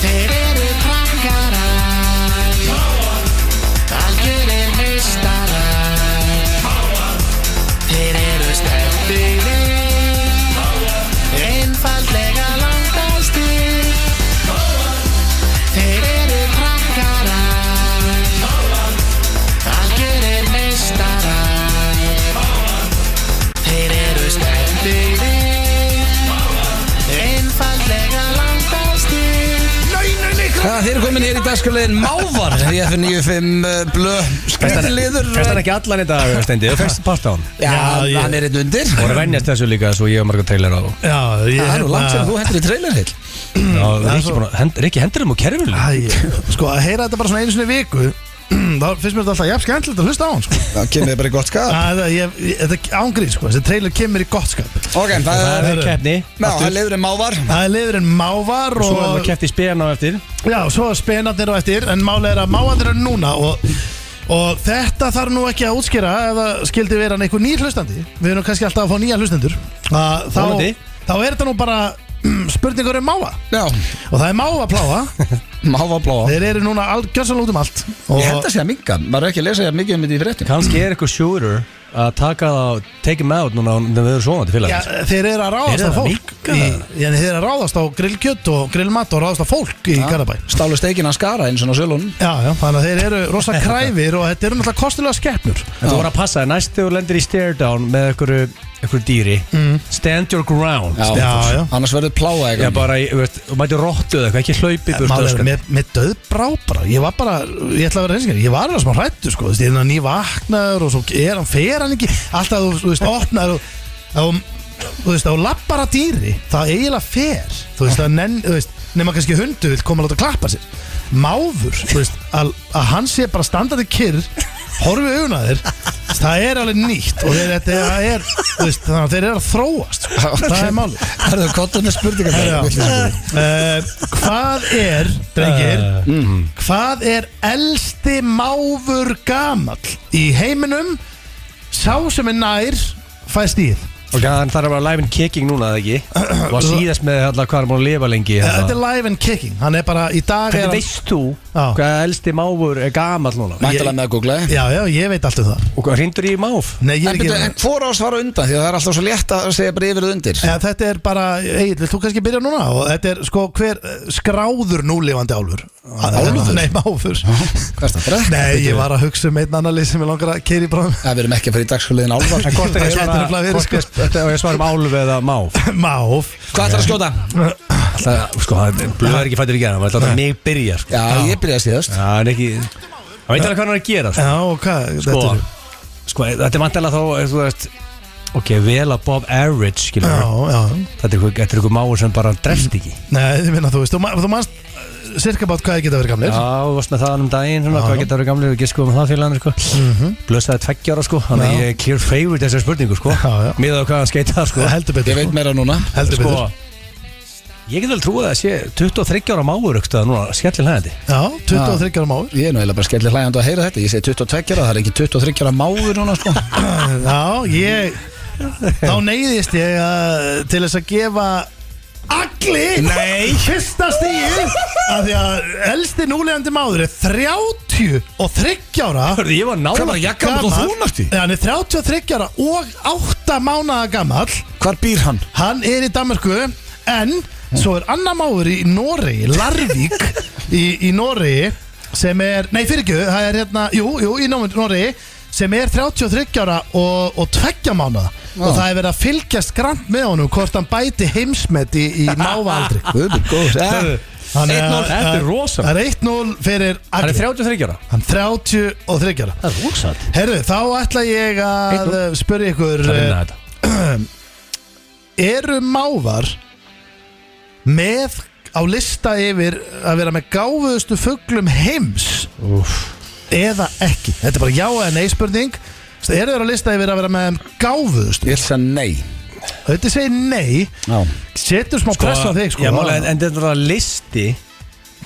F: Þeir eru krakkarar Algjörir meistarar Þeir eru stefnir Einfaldlega langastir Þeir eru krakkarar Algjörir meistarar Þeir eru stefnir Einfaldlega langastir
A: Það þeir eru komin hér í dagskalegin Mávar í FN 95 blö Skriðliður
C: Fest hann ekki allan í dag, Steindi Þú fest part á hann
A: Já,
B: Já,
A: hann er einn undir
C: Og að venjast þessu líka svo ég og marga trailer á
B: Já, ég hérna-
A: Það er nú langt sem þú hendur í trailer heil
C: Já, Rikki búinn að- hend- Rikki hendur um og kerfur líka
B: Æ, sko, að heyra þetta bara svona einu sinni í viku Þá finnst mér þetta alltaf jafn skemmtilegt að hlusta á hann sko.
A: Það kemur bara í gott skap
B: Það er- ég- ég- Þetta ángrið, sko, þessi trailer kemur í gott skap
A: Ok, það
C: Það
A: er
C: er keppni
A: Já, það er liðurinn Mávar
B: Það er liðurinn mávar
C: Svo erum við að
B: og,
C: keppti í spena á eftir
B: já, svo er spenarnir á eftir En málega er að mávarnir er núna og, og þetta þarf nú ekki að útskýra Ef það skildi vera einhver nýr hlustandi Við erum kannski alltaf að fá nýja hlustendur að, þá,
C: Vonandi.
B: þá er þetta nú bara mm, spurningur um máva
A: Já,
B: Og það er máva pláa
A: Mávar bláa
B: Þeir eru núna gjörsanlega út um allt og,
A: Ég held að sé að minga Maður er ekki að lesa hér mikið um þetta í fréttum
C: Kanski er eitthvað sjúrur að taka það og take him out núna þegar við erum svona til
B: Já,
C: félags
B: þeir eru að
C: Þeir
B: ráðast
C: eru
B: á
C: að
B: fólk í,
C: minnka það.
B: í, Þeir eru að ráðast á grillkjött og grillmat og ráðast á fólk í Garabæ
A: Stálu steikin að skara eins og á sölunum
B: Já, já, þannig að þeir eru rosa kræfir og þetta eru nættilega kostilega skeppnur
C: En þú voru að passa, næst þegar þú lendir í stare down með einhverju, einhverju dýri Stand your ground
A: Já,
B: Mm. Já, já.
A: Annars verður pláa
C: Já,
A: eitthvað
C: bara, í- þú veist, þú mætir róttu eða eitthvað, ekki hlaupi burt
B: Eh, Maður,
C: öskrandi.
B: með, með döðbrá bara Ég var bara, ég ætla að vera reynskar Ég var alveg smá hrættu sko, þú veist, ég er hann ný vaknaður og svo er hann, fer hann ekki Alltaf, þú- þú veist, opnaður og, og, Þú veist, þá lappar að dýri Það eiginlega fer Þú veist, það nenn, þú veist, nema kannski hundu vill koma að láta klappa sér Máfur, þú veist, að, að hann sé bara standandi kyrr Horfi augun að þér Það er alveg nýtt og þeir, þetta er, þú veist, þannig að þeir eru að þróast sko. Það er málið
A: Það eru kottum með
B: Já.
A: spurningar
B: Eh, Hvað er, drengir
C: Eh. Mhm.
B: Hvað er elsti máfur gamall í heiminum Sá sem er nær fæ stíð
C: Ok, þannig það er bara live and kicking núna, eða ekki? Og að síðast með alltaf hvað er múin að lifa lengi
B: Eh, Þetta
C: hérna.
B: er live and kicking Hann er bara í dag er
C: Hvernig
B: hann-
C: veist þú
B: Já.
C: hvað elsti máfur er gamall núna?
A: Mæntalega með að googla eh? þið.
B: Já, já, ég veit allt um það
C: Og hvað hrindur í máf?
B: Nei, ég
A: En,
B: er
A: byrju, en
B: ekki
A: hvor ás var á undan því að það er alltaf svo létt að segja bara yfir og undir
B: Já, þetta er bara, Egil, vilt þú kannski byrja núna? Og þetta er sko hver eh, skráður núlifandi álfur
C: Ah,
A: Álfur?
B: Nei, máfur
A: Hvað er það að drekka?
B: Nei, ég var að hugsa um einn annan lið sem ég langar að keiri bráðum
A: Það verðum ekki að fara í dagsfjöliðin álvar
C: En hvort er
B: Þetta
C: ég
B: er
C: svara,
B: nefnilega verið,
C: hvort
B: sko.
C: er, þetta er ég svara um álf eða máf?
B: Máf
A: Hvað ætlar að skjóta?
C: Alltaf, sko, það er- blöð er ekki fættur í gera, maður
B: Eh.
C: ætlar að mig byrja, sko.
A: Já, ég byrjaði síðast
C: Já, en ekki, það veit alveg hvað hann er að gera, sko.
B: Já, og hvað?
C: Sko,
B: þetta er-
C: sko, þetta er vantilega þá, ef þú veist, ok, vel að Bob Average, skilur
B: Já, já
C: Þetta er eitthvað- þetta er eitthvað máfur sem bara drefst ekki.
B: Nei, ég minna, þú veist, þú, ma- þú manst uh, cirka bát hvað ég geta verið gamlir
C: Já, þú varst með það um daginn
B: Já.
C: svona,
B: Mhm.
C: hvað geta verið gamlir og giskuðum það félagann sko. blöstaði tveggjára sko þannig að
B: Já.
C: ég er clear favorite þessar spurningu sko
B: Já, já.
C: miðað á hvað hann skeitaði sko
B: Heldur
A: Ég
B: betur
A: veit meira núna
B: Heldur
C: sko
B: betur
C: ég get vel trúið að það sé 23 ára máur aukstaða núna skellir hægandi
B: Já, 23 ára máur
A: Ég er nú eiginlega bara skellir hlægjandi að heyra þetta Ég segi 22 ára, það er ekki 23 ára máður núna sko
B: Já, ég Þá neyðist ég að, til þess að gefa Agli Nei Fyrsta stíð Af því að elsti núlegandi máður er 30 og 30 ára
C: Hörðu, ég var
A: Hvað var
C: nála
A: að jakka um þú nátti?
B: Já, hann er 33 ára og 8 mánaða gamall
A: Hvar býr hann?
B: Hann er í Danmarku En svo er annar máður í Noregi Larvík í, í Noregi Sem er, nei fyrir ekki Það er hérna, jú, jú, í Noregi Sem er 33 ára og, og 2 mánuða Og það er verið að fylgjast grant með honum Hvort hann bæti heimsmet í, í mávaaldri
A: Guður, góður ja.
B: Hann er-
C: 1-0, þetta er rosa.
B: Það er 1-0 fyrir
C: hann er
B: Agli
C: 33 ára
B: Hann er 33 ára
C: það er rosat
B: Herðu, þá ætla ég að
C: 1-0.
B: eh, spyrja ykkur
C: það er
B: eh,
C: vinna um þetta
B: eru mávar með á lista yfir að vera með gáfuðustu fugglum heims eða ekki þetta er bara já eða nei spurning Þú veist, eru þeir á lista yfir að vera með gáfuðustu
A: Ah, Ég ætla að nei
B: þetta segir nei
A: Já.
B: setur smá press á þig sko
C: já, málega, en, en þetta er það listi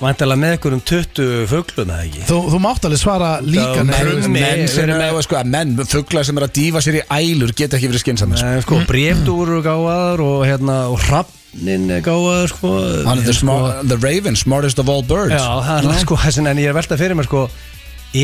C: vantilega með einhverjum 20 fuglum eða ekki
B: þú, þú mátt alveg svara líka
C: Já,
B: nei
C: menn-
B: veist.
C: Nei,
A: Menn
C: við
A: sem
C: erum
A: er,
C: með-
A: sko, að menn, fuglar sem er að dífa sér í ælur Geta ekki verið skinsamir
C: Eh, sko, brefdúr og gáðar og hérna og hrafnin er gáðar sko
A: Hann er the, smar- the raven, smartest of all birds
C: Já, það er sko, þessin, en ég er veltað fyrir mér sko,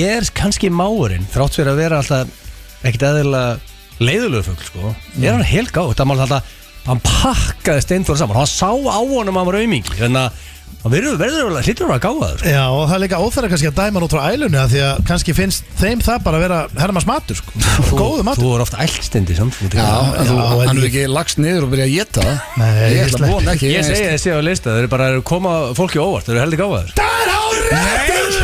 C: er kannski máurinn þrátt fyrir að vera alltaf ekkert eðlilega leiðulegu fugl sko, er hann helt gáð, það mál alltaf hann pakkaði steinfóra saman, hann sá á honum að hann var aumingi, þannig að hann verður verður vel að hlýtur að vera gáða sko.
B: Já, og það er líka óþæra kannski að dæma hann út frá ælunni af því að kannski finnst þeim það bara að vera hermas matur sko. góðu
C: Þú-
B: matur
C: Þú er ofta æltstendi samt þú-
A: Já,
B: Já,
A: en þú,
B: já, en
A: hann er
B: ég-
A: ekki lagst niður og byrja að geta það
B: Nei,
A: ég
B: ég
A: ætla
B: slepp-
A: að vona ekki
C: Ég segi þessi á lista, þau eru bara að koma fólki á óvart, þau eru heldur gáðaður
B: Það er árið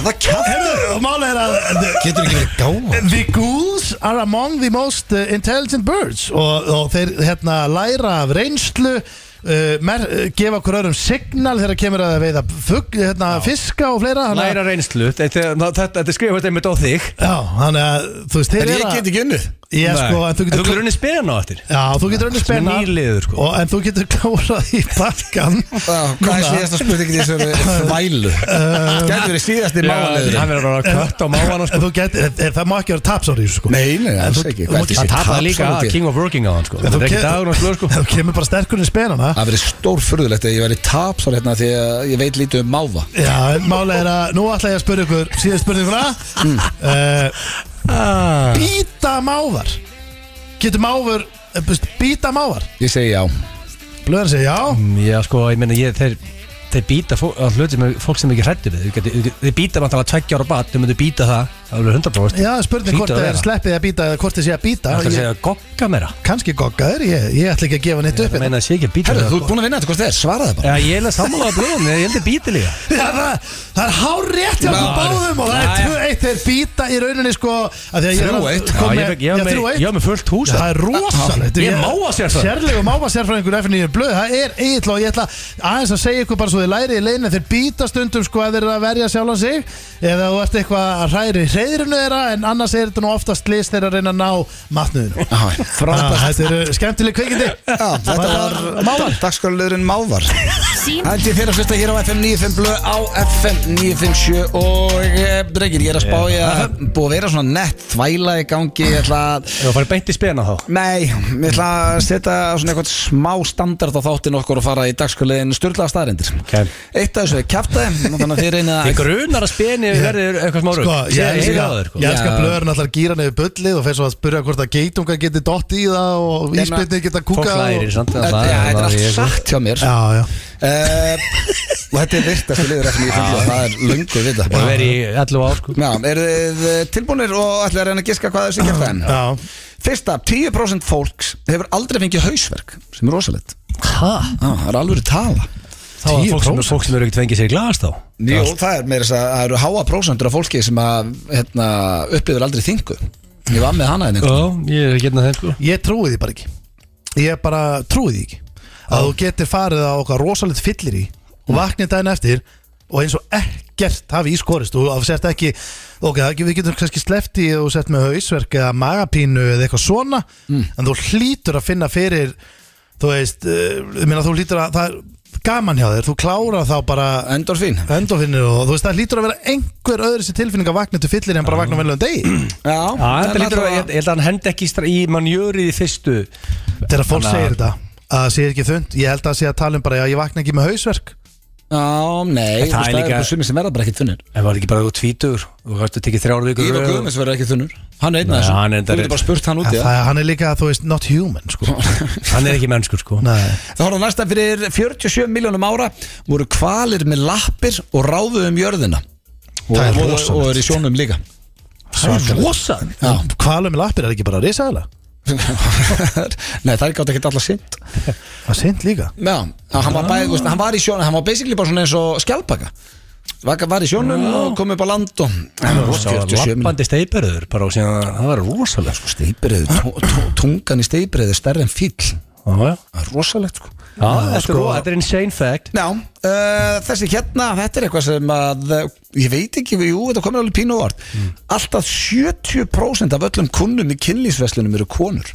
A: það kjátt
B: Herðu, og mála er að
A: Getur ekki verið gáð
B: The ghouls are among the most uh, intelligent birds og, og þeir hérna læra af reynslu uh, mer, uh, gefa okkur öðrum signal þegar kemur að veiða fugg, hérna, fiska og fleira þannig
C: Læra
B: að-
C: reynslu, þetta, þetta, þetta skrifast einmitt á þig
B: Já, þannig að þú veist, þeir
A: En
B: eru
A: ég
B: að-
A: get ekki unnið
B: Ég sko, en þú
C: Þú
B: getur
C: getur unni spena á eftir
B: Já, þú getur önnur
C: Sem er
B: spenna
C: nýr liður, sko.
B: og, En þú getur klárað í bakkan
A: Já, Hvað er
B: Núna.
A: síðasta spurningin í þessu vælu? Gæti verið síðasti mánuður
C: Hann verður að kött á sko. máana
B: En þú getur, en það má ekki vera tapsárið sko.
A: Nei, nei,
B: En
A: alls
B: þú-
A: ekki
B: þú
A: Hvað
B: mátt-
A: ætli sé
C: Það tapaði
A: tap
C: líka
A: saman til?
C: King of Working á hann sko
B: En
C: Þetta
B: þú
C: er ekki
B: ke-
C: dagur og slöð sko
B: Þú kemur bara sterkur en spenana
A: Það verið stór furðulegt að ég verið tap svo hérna því að ég veit lítið um máva
B: Já, en mála er að nú ætla ég að spyrja ykkur síðan spurninguna mm.
C: Ah.
B: Býta mávar Getur mávar eh, þú veist, Býta mávar
A: Ég segi já
B: Blöðan segir já
C: Mm, Já sko, ég meina ég þeir Þeir býta fó- á hluti sem fólk sem ekki hrættu við Þeir geti- þeir- Þeir býta vantar að tveggja ára bat Þau myndu býta það, það er 100%
B: Já, spurning
C: Hlýtur
B: hvort
C: að
B: það er
C: vera.
B: sleppið að býta eða hvort þið sé að býta
C: Það er að
B: Ég-
C: segja að gogga meira
B: Kannski goggaður, ég, ég ætla ekki að gefa neitt upp
C: Það
B: hérna.
C: meina að sé ekki að býta
A: Herru,
C: það
A: þú ert búin að vinna þetta hvort þið er, svaraði bara
C: Já, ég held að sammála að blóðum, ég held að býta líka
B: Já, það, það er hár rétt hjá okkur báðum og það er 2-1 þeir býta í rauninni sko að því að ég er að
A: 3-1.
B: kom
C: Já, ég
B: með-
C: fekk, ég var
B: Já,
C: með,
B: 3-1.
C: ég var með fullt hús
B: Það er rosalegt
C: Ég er máfasérfræðingur.
B: Sérlega máfasérfræðingur FNÍR blöð Það er eiginlega og ég ætla aðeins að segja ykkur bara svo þið lærið í leina Þeir býta stundum sko að þeir eru að verja sjálfan sig Eða þú ert eitthvað að hræri hreðrinu þeirra en annars er þetta nú oftast list þeirra að reyna að ná matnuðinu
A: Frábært.
B: Ah, Þetta eru skemmtileg kveikindi
A: Já, þetta var Mávar Dagsköluðurinn Mávar Ændi þeirra fyrsta hér á FM 95 blöð á FM 957 og e, drengir, ég er að spá ég að búið að vera svona nett þvæla í gangi ég ætla að
C: Ef það farið beint í spena þá
A: Nei, ég ætla að setja svona eitthvað smá standard á þáttinn okkur og fara í dagsköliðin styrlaða staðrindir
C: Ok.
A: Eitt af þessu er kjaftaði þannig að þið reynið
C: Ég
A: að
C: grunar að speni verður eitthvað smá rugg
B: Sko, ég
C: Ég
B: elska,
C: heyri á þér sko.
B: ég elska
A: Já.
B: blöður náttúrulega gýra nefnir bullið og fer svo að spyrja hvort að geitunga geti dott í það og
A: Ég meina,
B: íspilni geta
C: Fólk
B: kúka
C: lærir samt
A: Já,
C: að það-
A: þetta er
C: það-
A: allt
C: ég-
A: satt hjá mér
B: Já, já
A: Eh, Og þetta er virtast liður FM 957 það er löngu við
C: Búin að
A: þetta
C: vera í 11 ár sko
A: Já, eru þið eh, tilbúnir og ætlaðu að reyna að giska hvað þessi kjaftaðin?
B: Já,
A: Fyrsta, 10% fólks hefur aldrei fengið hausverk sem er rosalegt
C: Hæ?
A: ah, Það er alveg tala
C: Það var fólk sem,
B: 10%.
C: fólk sem eru ekkert fengið sér í glas þá
A: Jó, það er meira þess að það eru háa prósentur af fólki sem að hérna, upplifir aldrei þingu Ég var með hana einnig
C: Já, ég er ekki hérna þeim sko
B: ég trúi því bara ekki Ég bara trúi því ekki að þú getur farið á okkar rosalegt fyllir í og vaknið daginn eftir og eins og ekkert hafi ískorist og að sért ekki, ok, það ekki- við getum kannski sleppt í og sett með hausverk eða magapínu eða eitthvað svona en þú hlýtur að finna fyrir þú veist, uh, ég meina þú hlýtur að það er gaman hjá þér, þú klára þá bara
A: Endorfín
B: endofinnir og þú veist það hlýtur að vera einhver öðru sér tilfinning að vakna til fyllir en bara vakna velum degi
A: Já,
C: Já,
A: en
C: þetta lítur að,
A: allavega-
C: ég held að hann hendi ekki stra- í manjörið í fyrstu
B: þegar fólk
C: Þannig að-
B: segir þetta að það sé ekki þund, ég held að sé að tala um bara já ég vakna ekki með hausverk
A: Já, nei, þú
C: En það
A: veist,
C: er
A: það er
C: líka-
A: bara sumi sem verða bara ekkert þunnur
C: En var ekki bara þú tvítur og hættu tekið þrjár vikur
A: Ívar
C: röð og-
A: Guðmunds verður ekki þunnur Hann er einn
C: Nei,
A: af
C: hann
A: þessu
C: er
A: Þú getur bara spurt hann
B: En
A: út í það
B: það, hann er líka þú veist not human sko
C: Hann er ekki mennskur sko
B: Nei.
A: Það horfum næsta fyrir 47 miljónum ára voru kvalir með lappir og ráðu um jörðina og,
B: Það er
A: og, og,
B: rosalegt.
A: og er í sjónum líka
C: Rosa
A: Já.
B: kvalum með lappir er ekki bara risaðala
A: Nei, það er gátt ekkert allar sint
B: það er synd líka
A: Já, hann var, bæði, veist, hann var í sjónum Hann var basically bara svona eins og skjálpaka Vaka var í sjónum og kom upp á land og hann var
C: Rosa,
A: 47 miljónum
C: lappandi steipurður bara og síðan, það var rosalega sko
A: Steypireyður, tó- tó- tungan í steypireyður er stærri en fíll
C: Já, já
A: Það er rosalegt sko
C: Já, þetta, sko, er, þetta er insane fact
A: Já, uh, þessi hérna, þetta er eitthvað sem að eh, ég veit ekki, jú, þetta komið alveg pínu vart mm. Alltaf 70% af öllum kunnum í kynlýsveslunum eru konur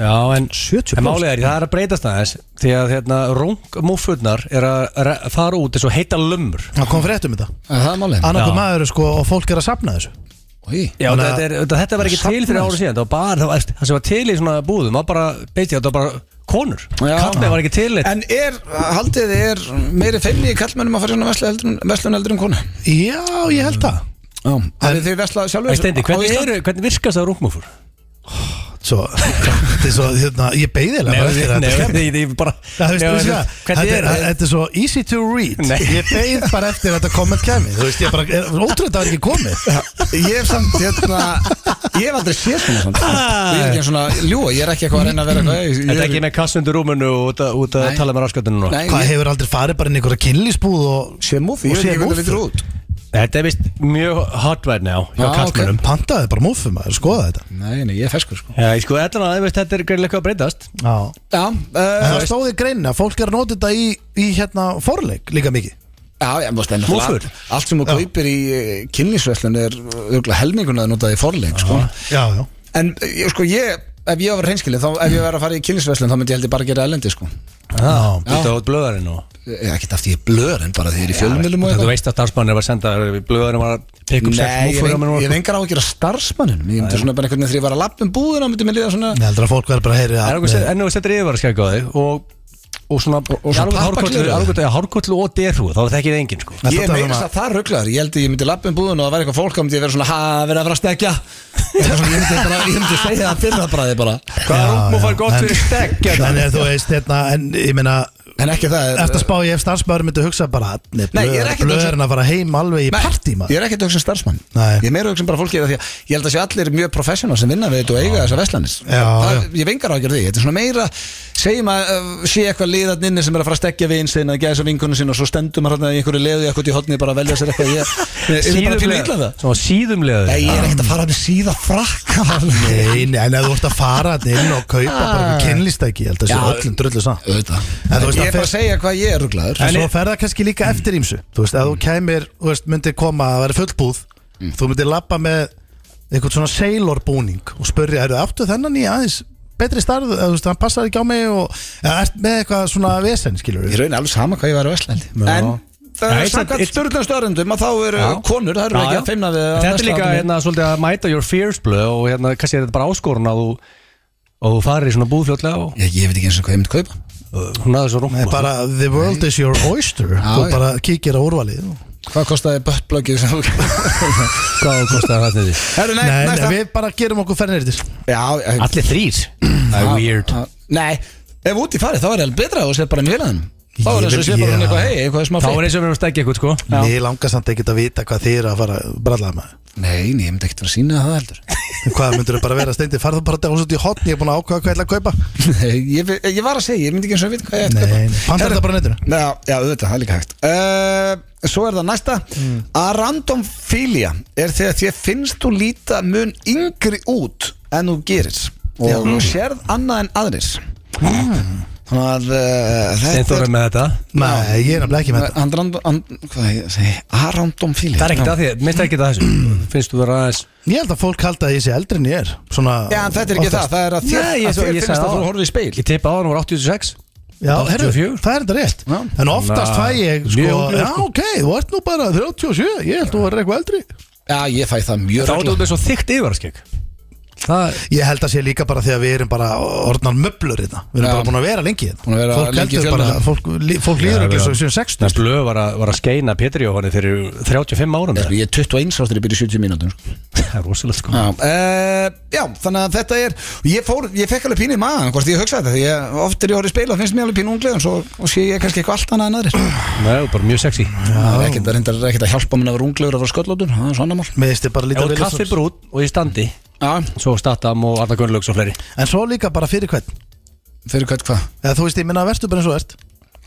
C: Já, en,
B: 70%.
C: en málið er, það er að breytast aðeins því að hérna, rungmúfurnar er að re- fara út eins og heita lumur
B: það kom frétt um þetta
A: Það er málið
B: annarko
C: Já.
B: maður er, sko og fólk er að sapna þessu
A: Í.
C: Já,
B: Þannig að-
C: þetta, er, þetta, þetta var ekki til fyrir ára síðan það, var bara, það, var- það sem var til í svona búðum var bara, beit ég, þetta var bara konur
A: Já.
C: kallið var ekki til þetta
A: En er, haldið þið er meiri feimni í kallmennum að fara í svona veslu heldur, en- verslun heldur en konu
B: já ég held það
C: Mm.
A: Já, en þið vesla sjálfur
C: Æ, Steindi, hvernig, eru, hvernig virkast það rungmúfur?
B: svo, þetta er svo hérna, ég beigðilega
C: Nei,
B: eftir að
C: nei,
B: þetta skemmti
C: nei, ég bara
B: Já, þú veist, þú
C: Nei,
B: veist
C: þú-
B: það,
C: Hvernig
B: Þetta er-
C: er það?
B: þetta er svo easy to read
C: Nei.
B: Ég beigð bara eftir að þetta komment kemi Þú veist, ég bara, er- ótrúlega það er ekki komið
A: Ég hef samt, hérna, ég hef aldrei séð svona samt
C: Ah.
A: Ég er ekki svona, ljúa, ég er ekki eitthvað að reyna að vera eitthvað ég- ég-
C: Þetta er ekki með kassundur rúmunu og út að- út að
A: Nei.
C: tala með raskatunum núna
A: Nei,
B: Hvað
A: ég-
B: hefur aldrei farið bara inn í einhverja kynlísbúð og
A: Sé múfi, ég
B: og
A: veit ekki
B: séð
A: hvernig
B: múffu?
A: við út
C: Þetta er vist mjög hot right now hjá
A: Já,
C: ah, kallmönnum
B: Pantaði bara múfum að skoða þetta
A: Nei, nei, ég er feskur sko
C: Já, ég sko, allan að veist, þetta er greinilega eitthvað að breytast
B: Já
A: Já,
B: En
A: uh,
B: það stóði greinin að fólk er að nota þetta í, í hérna forleik líka mikið
A: Já, ég mást enn
C: Múffur?
A: Allt sem þú kaupir í kynlísveslun er örgulega helminguna að nota í forleik sko.
B: Já, já
A: En eh, ég- sko ég, ef ég var reynskilin þá, ef ég var að fara í kynlísveslun þá myndi ég heldur bara að gera elendi sko.
C: Já, þú ert á blöðarinn og
A: Ég ekki eftir ég blör en bara því ég er í fjölmjölum og
C: Þú
A: eitthvað
C: veist að starfsmannir var að senda blöðarinn var að pikka upp sex
A: Nei, ég
C: múfur á mér
A: veng-
C: núna,
A: ég
C: sko.
A: vengar á að gera starfsmannin Ég myndi svona bara einhvern veginn þegar ég var að lappa um búðina myndi mér liða svona
B: Ég heldur að fólk verður bara að heyri
C: Það er okkur
B: að
C: sem- En þú setur yfir að skæka á þig og og svona, og
A: svona pappakleru.
C: svona hárkollu og derhú þá þekkir það enginn sko
B: Þetta
A: Ég
B: talar
A: meira
B: um
A: þess að það rugglar, ég held að ég myndi lappa um búðun og það væri eitthvað fólk þá myndi ég vera svona, ha, verið að fara að stekja Eitthvað svona, ég myndi bara, ég myndi segja það fyrir að bræði bara
C: Hvað er rúmúfar gott
B: en-
C: fyrir stekk
B: En ef þú veist, hérna, en ég meina
A: En ekki það er-
B: Eftir að spá ég ef starfsmæður myndi hugsa bara Nei,
A: Nei, ég er ekkert
B: blöð-
A: að hugsa-
B: blöðurinn að fara heim alveg í
A: Nei,
B: partí maður
A: Ég er ekkert að hugsa um starfsmann
B: Nei.
A: Ég er meira að hugsa um bara fólki af Því að ég held að sé allir mjög professional sem vinna við þetta og eiga þessar veslanis
B: Já, já.
A: Ég vengar á ekki því Þetta er svona meira Segjum að uh, sé eitthvað liðan inni sem er að fara að stekja við einsinn að gæsa vinkunum sinna og svo stendum að hérna í einhverju leðu í eitthvað í hotni bara að velja sér eitthvað Ég ég er bara að pínu illa um það
C: Svona síðumlega
A: Nei, ég er ekkert að fara með síða frakka
B: Nei, nei, en ef þú ert að fara þarna inn og kaupa bara kynlistæki, ég held að sé
A: Ah. Já.
B: öllum drullu saman
A: Auðvitað
B: En þú
A: Ég
B: veist, það
A: er bara að
B: fer-
A: segja hvað ég Mm. er ruglaður
B: En svo fer það kannski líka eftir ímsu Þú veist, ef þú kæmir, þú veist, myndir koma að vera fullbúð
A: Mm.
B: þú myndir lappa með einhvern svona sailor búning og spurja, eru áttu þennan í aðeins betri starð, eða, þú veist, hann passar ekki á mig og eða, ert með eitthvað svona vesen, skilur
A: Ég raun alveg sama hvað ég var á Vestlandi En
C: Nei,
A: uh,
C: þetta-
A: samkvæmt sturglum störendum að þá eru
C: Já.
A: konur, það eru
C: Já,
A: ekki
C: já.
A: að feimna við að
C: Þetta er
A: versla
C: líka
A: þarna með-
C: hérna, svolítið að mæta your fears blöð og hérna, kannski er þetta bara áskorun að þú og þú farir í svona búðfljótlega og
A: Ég, ég veit ekki eins og hvað ég myndi kaupa
C: og hún aðeins og
B: Nei,
C: rúma
B: bara the world is your oyster þú
A: já.
B: bara kíkir á úrvalið
A: Hvað kostaði böttblöggið sem þú
C: hvað kostaði það niður
A: Herru, nei,
B: Nei, nei,
A: næsta
B: við bara gerum okkur fernir
A: Já, já,
C: allir þrýr það er weird
A: já, Nei, ef út í farið þá er það betra og sér bara mjög hann Þá er
B: Ég
A: eins og
B: vil-
A: sér bara hún
B: já.
A: eitthvað hei, eitthvað smá
C: þá
A: fyrir
C: er eins og við erum að stegja eitthvað sko
B: Mér langar samt ekkert að vita hvað þið eru að fara brallega með
A: Nei, nei, ég myndi ekkert vera að sína það heldur
B: Hvað myndur þau bara vera steindi, farðu bara dás út í hotn Ég er búin að ákvaða hvað ég ætla að kaupa
A: Nei, ég, ég var að segja, ég myndi ekki eins og vita hvað ég ætti að kaupa.
B: Nei, pantar
A: Herru,
B: þetta bara á netinu.
A: Já, já, auðvitað, það er líka hægt uh, Svo er það næsta
C: Mm.
A: Arandomfília er þegar þér finnst þú líta mun yngri út en þú gerir og þú sérð annað en aðrir Þannig að uh,
C: þeim
A: þetta
C: þóra
A: er
C: með Ah. þetta
B: Nei, ég er nefnilega ekki með þetta
A: Andrandum, and, hvað ég segi, Arandomfília
C: það er ekkert að þér minnst ekki að þessu finnst þú vera aðeins
B: Ég held að fólk halda að ég sé eldri en ég er Svona
A: Já, en þetta er ekki það, það er að þér,
C: Nei,
A: að þér
C: ég
A: finnst
C: sagði
A: að þú
C: áðan.
A: horfið í speil
C: ég tippa á hann var 86
B: Já, herru,
C: 84.
B: það er þetta rétt
A: Já.
B: En oftast
C: Þannig
B: fæ
C: að-
B: ég sko,
C: Mjög unglegur,
B: Já,
C: sko.
B: ok, þú ert nú bara 37 Ég held þú verður eitthvað eldri
A: Já, ég fæ það mjög
C: þá er
A: reglulega.
C: þú með svo þygt yfirvarskegg það
B: Ég held að sé líka bara því að við erum bara orðnar möblur hérna Við erum
A: Já.
B: bara búin að vera lengi hérna
A: Búin að vera
B: Fólk
A: lengi í
B: heldur bara,
A: fjölmiðlum.
B: fólk, lí- fólk líður ekki svo sem 60
C: Næst blöð var að, var að skeina Pétur Jóhanni fyrir 35 árum
A: Ég
C: eða?
A: er 21 ást þegar ég byrja 70 mínútur sko.
C: Það er rosalega sko
A: Já, uh, já, þannig að þetta er ég, fór, ég fekk alveg pínu í maðan hvort ég hugsaði þetta því ég, oft er ég horið speila finnst mér alveg pínu unglega en svo og sé ég kannski eitthvað allt annað en aðrir
C: Nei, bara mjög sexy Ef
A: það er ekkert- það er reyndar ekkert að hjálpa mér að vera unglegur að vera sköllótur það er svona mál
B: Mér finnst ég bara
C: þú
B: lítið
C: er kaffi brút og ég standi
A: já,
C: Svo Statham og Arna Gunnlaugs og fleiri
B: En svo líka bara fyrir hvern
A: fyrir hvað hvað
B: Eða þú veist, ég minna að verður bara eins og þú ert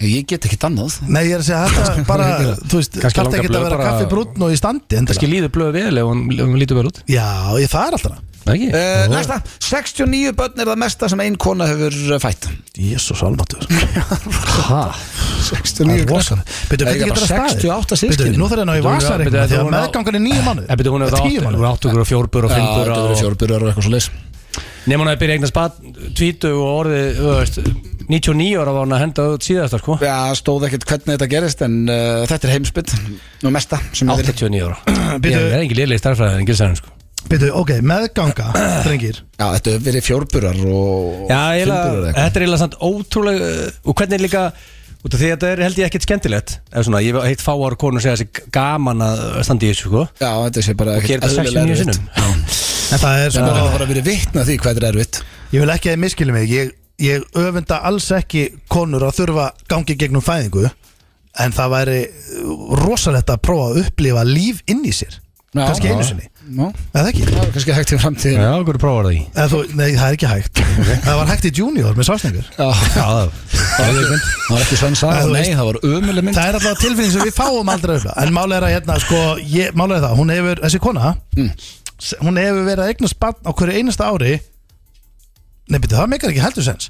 A: ég get ekki dannað
B: Nei, ég er að segja þetta bara, þú veist,
C: Kannski
B: þarf
C: langar
B: ekki að
C: blöð
B: vera
C: bara-
B: kaffi brúnn og í standi endilega.
C: Kannski líður blöðu vel ef hún, ef hún lítur vel út
B: Já, ég, það er alltaf það.
C: Nei, ekki?
A: uh, næsta 69 börn er það mesta sem ein kona hefur uh, fætt
B: Jésús almatur. Það
C: Hæ?
B: er
A: 69
B: rosalega. Býttu,
A: Nei,
B: býttu,
A: ég
B: getur
A: bara
B: það staðið?
A: 68
B: Býttu,
A: systkini.
B: nú þarf ég að ná í
C: Býttu, hún er-
B: vasaring
C: býttu,
B: því að
C: hún er á-
B: meðgangan er nýju mánuð.
C: Ef betur hún
B: Tíu
C: hefur
B: mánuð.
C: áttugur og fjórbur og
A: þetta
C: fimmur
A: verður
C: og
A: fjórbyrjar og eitthvað svo leis
C: Nefnum hann að byrja eignast bat Tvítu og orðið þú veist, 99 ára var hann að henda út síðast sko.
A: já, stóð ekkert hvernig þetta gerist en uh, þetta er heimsbytt og mesta sem ég veit.
C: 89 ára
B: Býttu-
C: Ég er engin liðlega starffræðið en gilsarinn sko.
B: Býttu, ok, meðganga, drengir.
A: já, þetta hefur verið fjórbyrjar og
C: Já, eiginlega-
A: fimmburar eða eitthvað.
C: þetta er eiginlega samt ótrúlega uh, og hvernig er líka út af því að þetta er held ég ekkert skemmtilegt ef svona, ég hef heitt fáar konur segja þessi gaman að standa í þessu sko.
A: Já, þetta sé bara
C: og gera þetta 69 sinnum
B: En það
A: Það
B: er
A: er
B: sko,
A: bara að vera vitna því hvað þetta er erfitt
B: ég vil ekki að þið miskili mig. Ég, ég öfunda alls ekki konur að þurfa gangi gegnum fæðingu. En það væri rosalegt að prófa að upplifa líf inn í sér.
A: Já.
B: Kannski einu sinni.
A: Já,
B: Eða ekki?
A: það er kannski hægt í framtíðin
C: Já, hverju prófar það í?
B: Eða Þú, nei, það er ekki hægt Það var hægt í junior með sásningur
A: Já,
C: Já, það
A: það var ekki- það var ekki svann
B: Já,
A: saga,
B: þú
A: nei,
B: veist.
A: það var ömuleg mynd
B: Það er alltaf tilfinning sem við fáum aldrei öfla En málega er að hérna, sko, ég, málega er það Hún hefur, þessi kona
A: Mm.
B: s- Hún hefur verið að eignast barn á hverju einasta ári Nei, betur, það meikar ekki heldur sens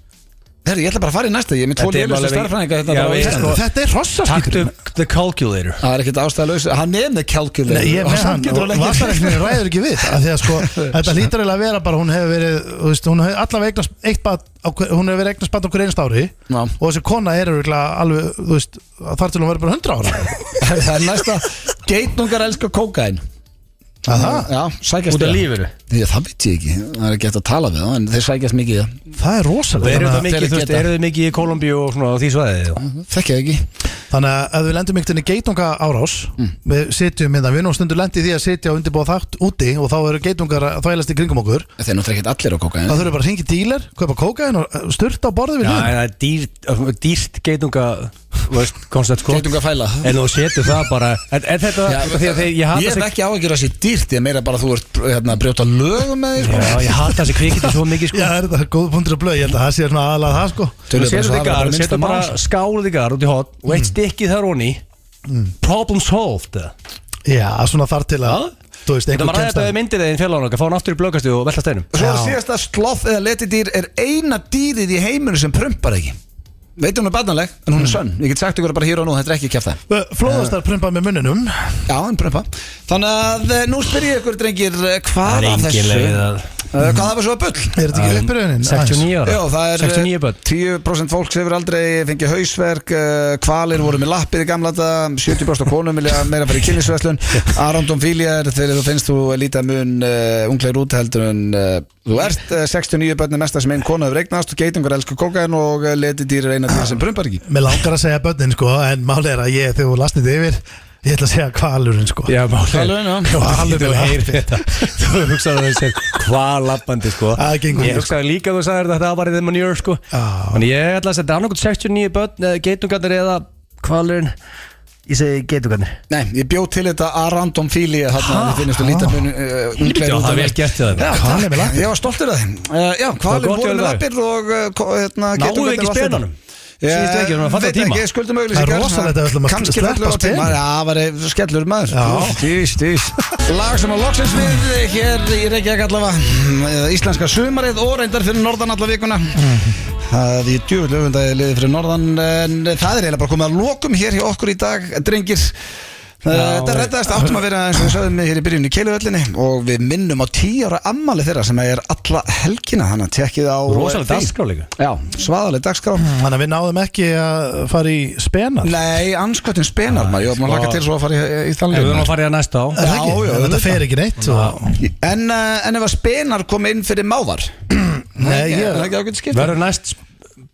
A: Herri, ég ætla bara að fara í næsta, ég er með tvo
C: Þetta er
A: lélustu
C: alveg-
A: starfræðinga
C: Já,
A: hérna á
C: við-
A: Íslandi.
C: sko-
B: Þetta er
C: Taktu
B: rossastíkur
C: the calculator
A: Það er ekkert ástæðalaus, hann er með calculator
B: Nei, ég
A: og
B: með
A: samt
B: hann
A: getur
B: og
A: ekki-
B: vasareiknir ræður ekki við af því að sko, þetta lítur eiginlega að vera bara hún hefur verið, þú veist, hún hefur allavega eignast eitt bat, á, hver- hún hefur verið eignast bat á hverju einasta ári
A: Já.
B: og þessi kona er eiginlega alveg, þú veist, þar til hún verið bara 100 ára
A: Herri, Það er næsta, geitnungar elska kókain
B: Aha.
A: Já, sækjast
C: Út
A: í
C: af
A: það.
C: lífinu
A: Já, það veit ég ekki, það er ekki hægt að tala við það en þeir sækjast mikið í það,
B: Það er
C: Og
B: rosalega Þannig
C: eru það
B: að,
A: þeir
C: mikið, þú veist,
A: geta.
C: eru þið mikið í Kolumbíu og svona á því svæðið og-
A: þekkja það ekki
B: þannig að ef við lendum einhvern veginn í geitunga árás
C: Mm.
B: Við sitjum hérna, við erum nú stundur lendið því að sitja og undirbúa þátt úti Og þá eru geitungar að þvælast í kringum okkur
C: Mm.
A: Þeir eru náttúrulega ekkert allir á kókain
B: Það þurfum bara að ringi dílar, kaupa kókaðin og styrta á borðið við
C: Já,
B: hliðin
C: en það er dýrt- dýrt geitunga þú veist, koncept sko
A: Geitunga fæla
C: En þú setur það bara En, en þetta,
A: Já,
C: þetta því að þeir, ég
A: Ég
C: hata
A: hef
C: þessi
A: ekki áhyggjur að sé dýrt, ég er meira bara að þú ert hérna, að brjóta lögum með því sko.
C: Já, ég hata þessi kvikindi svo mikið sko
B: Já, er þetta góð punktur að blöð, ég held að það sé svona aðalega það sko
C: Þú
A: Tölum bara
C: setur
A: svo að það er
C: þetta í
A: bara
C: garð,
A: minnsta
C: setur
A: mál, Mm.
C: bara skálið í garð út í hot Og eitt stykki þar onni Problem solved eða?
B: Já, svona þar til að, þú veist,
C: Þetta
B: einhver
C: var aðeins
B: kemst
C: að
B: að
C: við myndir þeim félagann okkar Fá hann aftur í blökastu og velta steinum
A: Svo er
B: Já.
A: síðasta sloth eða letidýr er eina dýrið í heiminu sem prumpar ekki veit hún er barnaleg, en
C: Mm.
A: hún er sönn ég get sagt ykkur bara hér og nú, þetta er ekki kjæft það
B: Uh, Flóðastar prumpa með munninum
A: já, en prömpa þannig að eh, nú spyr ég ykkur drengir eh, hvað af þessu
C: að
A: Eh, hvað af þessu var bull
B: Er þetta ekki
C: um
B: uppbyrjunin?
C: 69 ára
A: Já, það er
C: 69
A: eh,
C: börn
A: 10% fólks hefur aldrei fengið hausverk eh, Kvalir voru með lappir í gamla daga 70% af konum vilja meira fyrir kynlisverslun Arondum fíljar þegar þú finnst þú lítið mun uh, ungleir út heldur en uh, þú ert uh, 69 börn er mesta sem einn konu hefur eignast og geitungur elskar kókain og uh, leti dýrir eina dýr sem brumbar ekki
B: Mér langar að segja börnin sko En máli er að ég, þegar þú lasnið yfir Ég ætla að segja kvalurinn sko
C: Já, málega
A: Kvalurinn, já.
C: Þú
B: Kvalurinn, já.
C: heyrir þetta Þú hugsaði þessi hvað lappandi sko
B: Það gengur
C: Ég
B: ekki,
C: hugsaði líka þú sagði þetta var í þeim manjör sko
B: Já.
C: Þannig ég ætla að setja annarkot 69 börn eða geitungarnir eða kvalurinn Ég segi geitungarnir
A: Nei, ég bjóð til þetta Arondum fílja þarna að þið finnst þú lítið mun uh,
C: Já,
A: ungleir út
C: það er vel gert hjá þeim.
A: Já,
B: Hvalir með
A: takk,
B: lappir.
A: ég var stoltur af þeim uh, Já,
C: Það var
A: hvalir
C: gott
A: voru
C: hjá
A: með
C: þau.
A: lappir og uh, ko- hérna,
C: Náuðu
A: geitungarnir
C: ekki
A: og allt þetta.
C: spenanum? Síðustu ekki, þannig að falla
A: Eh, veit
C: tíma.
A: ekki, skuldum auðlýsingar
B: Það er rosalegt að við ætlum að sleppa spenum.
A: Já, það var eh, skellur maður
B: Já.
A: Stýs, stýs Lag sem á loksins við eh, hér í Reykjavík allavega eh, Íslenska sumarið og reyndar fyrir norðan alla vikuna Það er djúvill öfundaði liði fyrir norðan En það er eiginlega bara komið að lokum hér hjá okkur í dag Drengir Já, Þetta reddaðist áttum að vera eins og við sögðum hér í byrjunni í Keiluvöllinni og við minnum á 10 ára ammali þeirra sem er alla helgina þannig að tekkið á eh,
C: Rósalega dagskrá líka
A: Já, svaðaleg dagskrá
B: Þannig að við náðum ekki að fara í spenar
A: Nei, anskotin spenar maður, ég var maður að laka til svo að fara í, í
C: Ef við
A: þannleik
C: erum að fara í það næsta á
B: Er það ekki?
A: Já, já,
B: En Þetta
A: auðvitað.
B: fer ekki neitt sko. og...
A: en, uh, en ef að spenar kom inn fyrir mávar
B: Nei,
A: ég
B: ég
A: er ekki ákveðt skipt
C: Verður næst sko.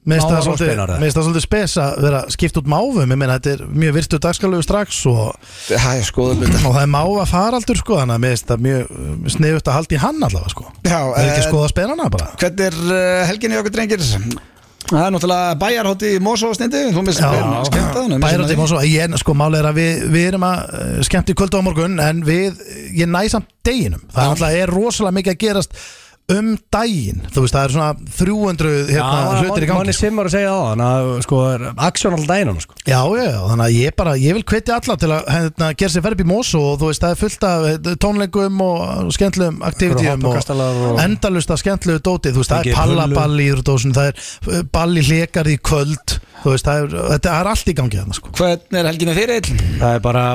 B: Mér finnst það
C: Mávar og
B: svolítið-
C: spenar, eða?
B: mér finnst það svolítið spes að vera skipt út máfum Ég meina, þetta er mjög virtu dagskalegu strax og,
A: Það er skoðum þetta
B: og það er máfa faraldur sko Þannig að mér finnst það mjög sniðut að halda í hann allavega sko
A: Já,
B: Það er ekki
A: eh,
B: að skoða spenana bara
A: Hvernig er uh, helginni okkur drengir? Það er náttúrulega bæjarhótti í Mosó og Snindi Þú misst
B: Já,
A: skemmtaðan
B: bærandi og svo Ég, sko, máli er að við, við erum að eh, skemmt í kvöldu á morgun En við, ég næ samt deginum Það er alltaf er rosalega mikið að gerast um daginn Þú veist, það er svona 300 hérna, hlutir í gangi
C: Manni
B: sko.
C: sem var að segja á Þannig að sko er aksjón alltaf dæinum sko
B: Já, já, já, þannig að ég bara, ég vil hvetja alla til að hérna, gera sér ferð upp í mós og þú veist, það er fullt af eh, tónleikum og skemmtlegum aktivitíum
C: hoppukastalar
B: og,
C: og-
B: endalust af skemmtlegu dóti, þú veist, það
C: Mikið
B: er
C: pullu.
B: pallaball í íðrúdósun, það er eh, ball í hlekarði í kvöld, þú veist, það er, þetta er allt í gangi þarna, sko.
A: Hvernig er helginni fyrir eill?
C: Það er bara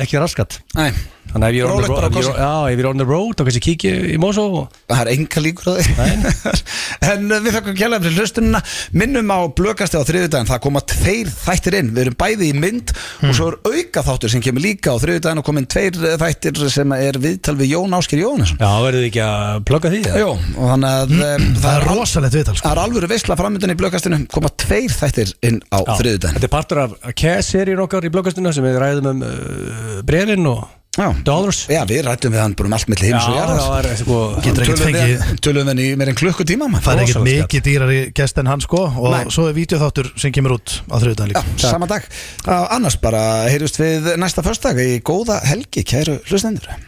C: ekki raskat
A: Nei,
C: Þannig að ef ég er on the
A: Rólegt bara á
C: road- ef ég
A: kossi.
C: er- já, ef ég er on the road þá kannski kíkja í Mosó og-
A: það er enga líkur að þið En uh, við þakkum kjærlega fyrir hlustunina Minnum á blökasti á þriðudaginn Það koma tveir þættir inn Við erum bæði í mynd
C: Hmm.
A: Og svo er auka þáttur sem kemur líka á þriðudaginn Og komin tveir uh, þættir sem er viðtal við Jón Áskir Jóhannesson
C: Já, verður þið ekki að plugga því? eða? Hmm.
A: Jó, og þannig að um,
B: Það er
A: al-
B: rosalegt viðtal, sko.
A: Það er alvöru veistla framöndan í blökastinu Koma tveir þættir inn á
C: Já,
A: þriðudaginn
C: Þetta er partur af Cass-seríun okkar í blokkastinu sem við ræðum um uh, brefin og
A: Já.
C: dollars
A: Já, við rættum við hann bara um allt milli heims og jarðar
C: það er sko
B: Getur ekkert
A: Tölum við-
B: fengið-
A: Tölum við hann í meir en klukkutíma mann.
B: Það er ekkert
C: Rosalega
B: mikið dýrari gest en hann, sko, og
A: Nei.
B: svo er videoþáttur sem kemur út á þriðdagen
A: Já,
B: líka.
A: sama dag. Á, Annars bara heyrjumst við næsta förstak í góða helgi, kæru hlustendur.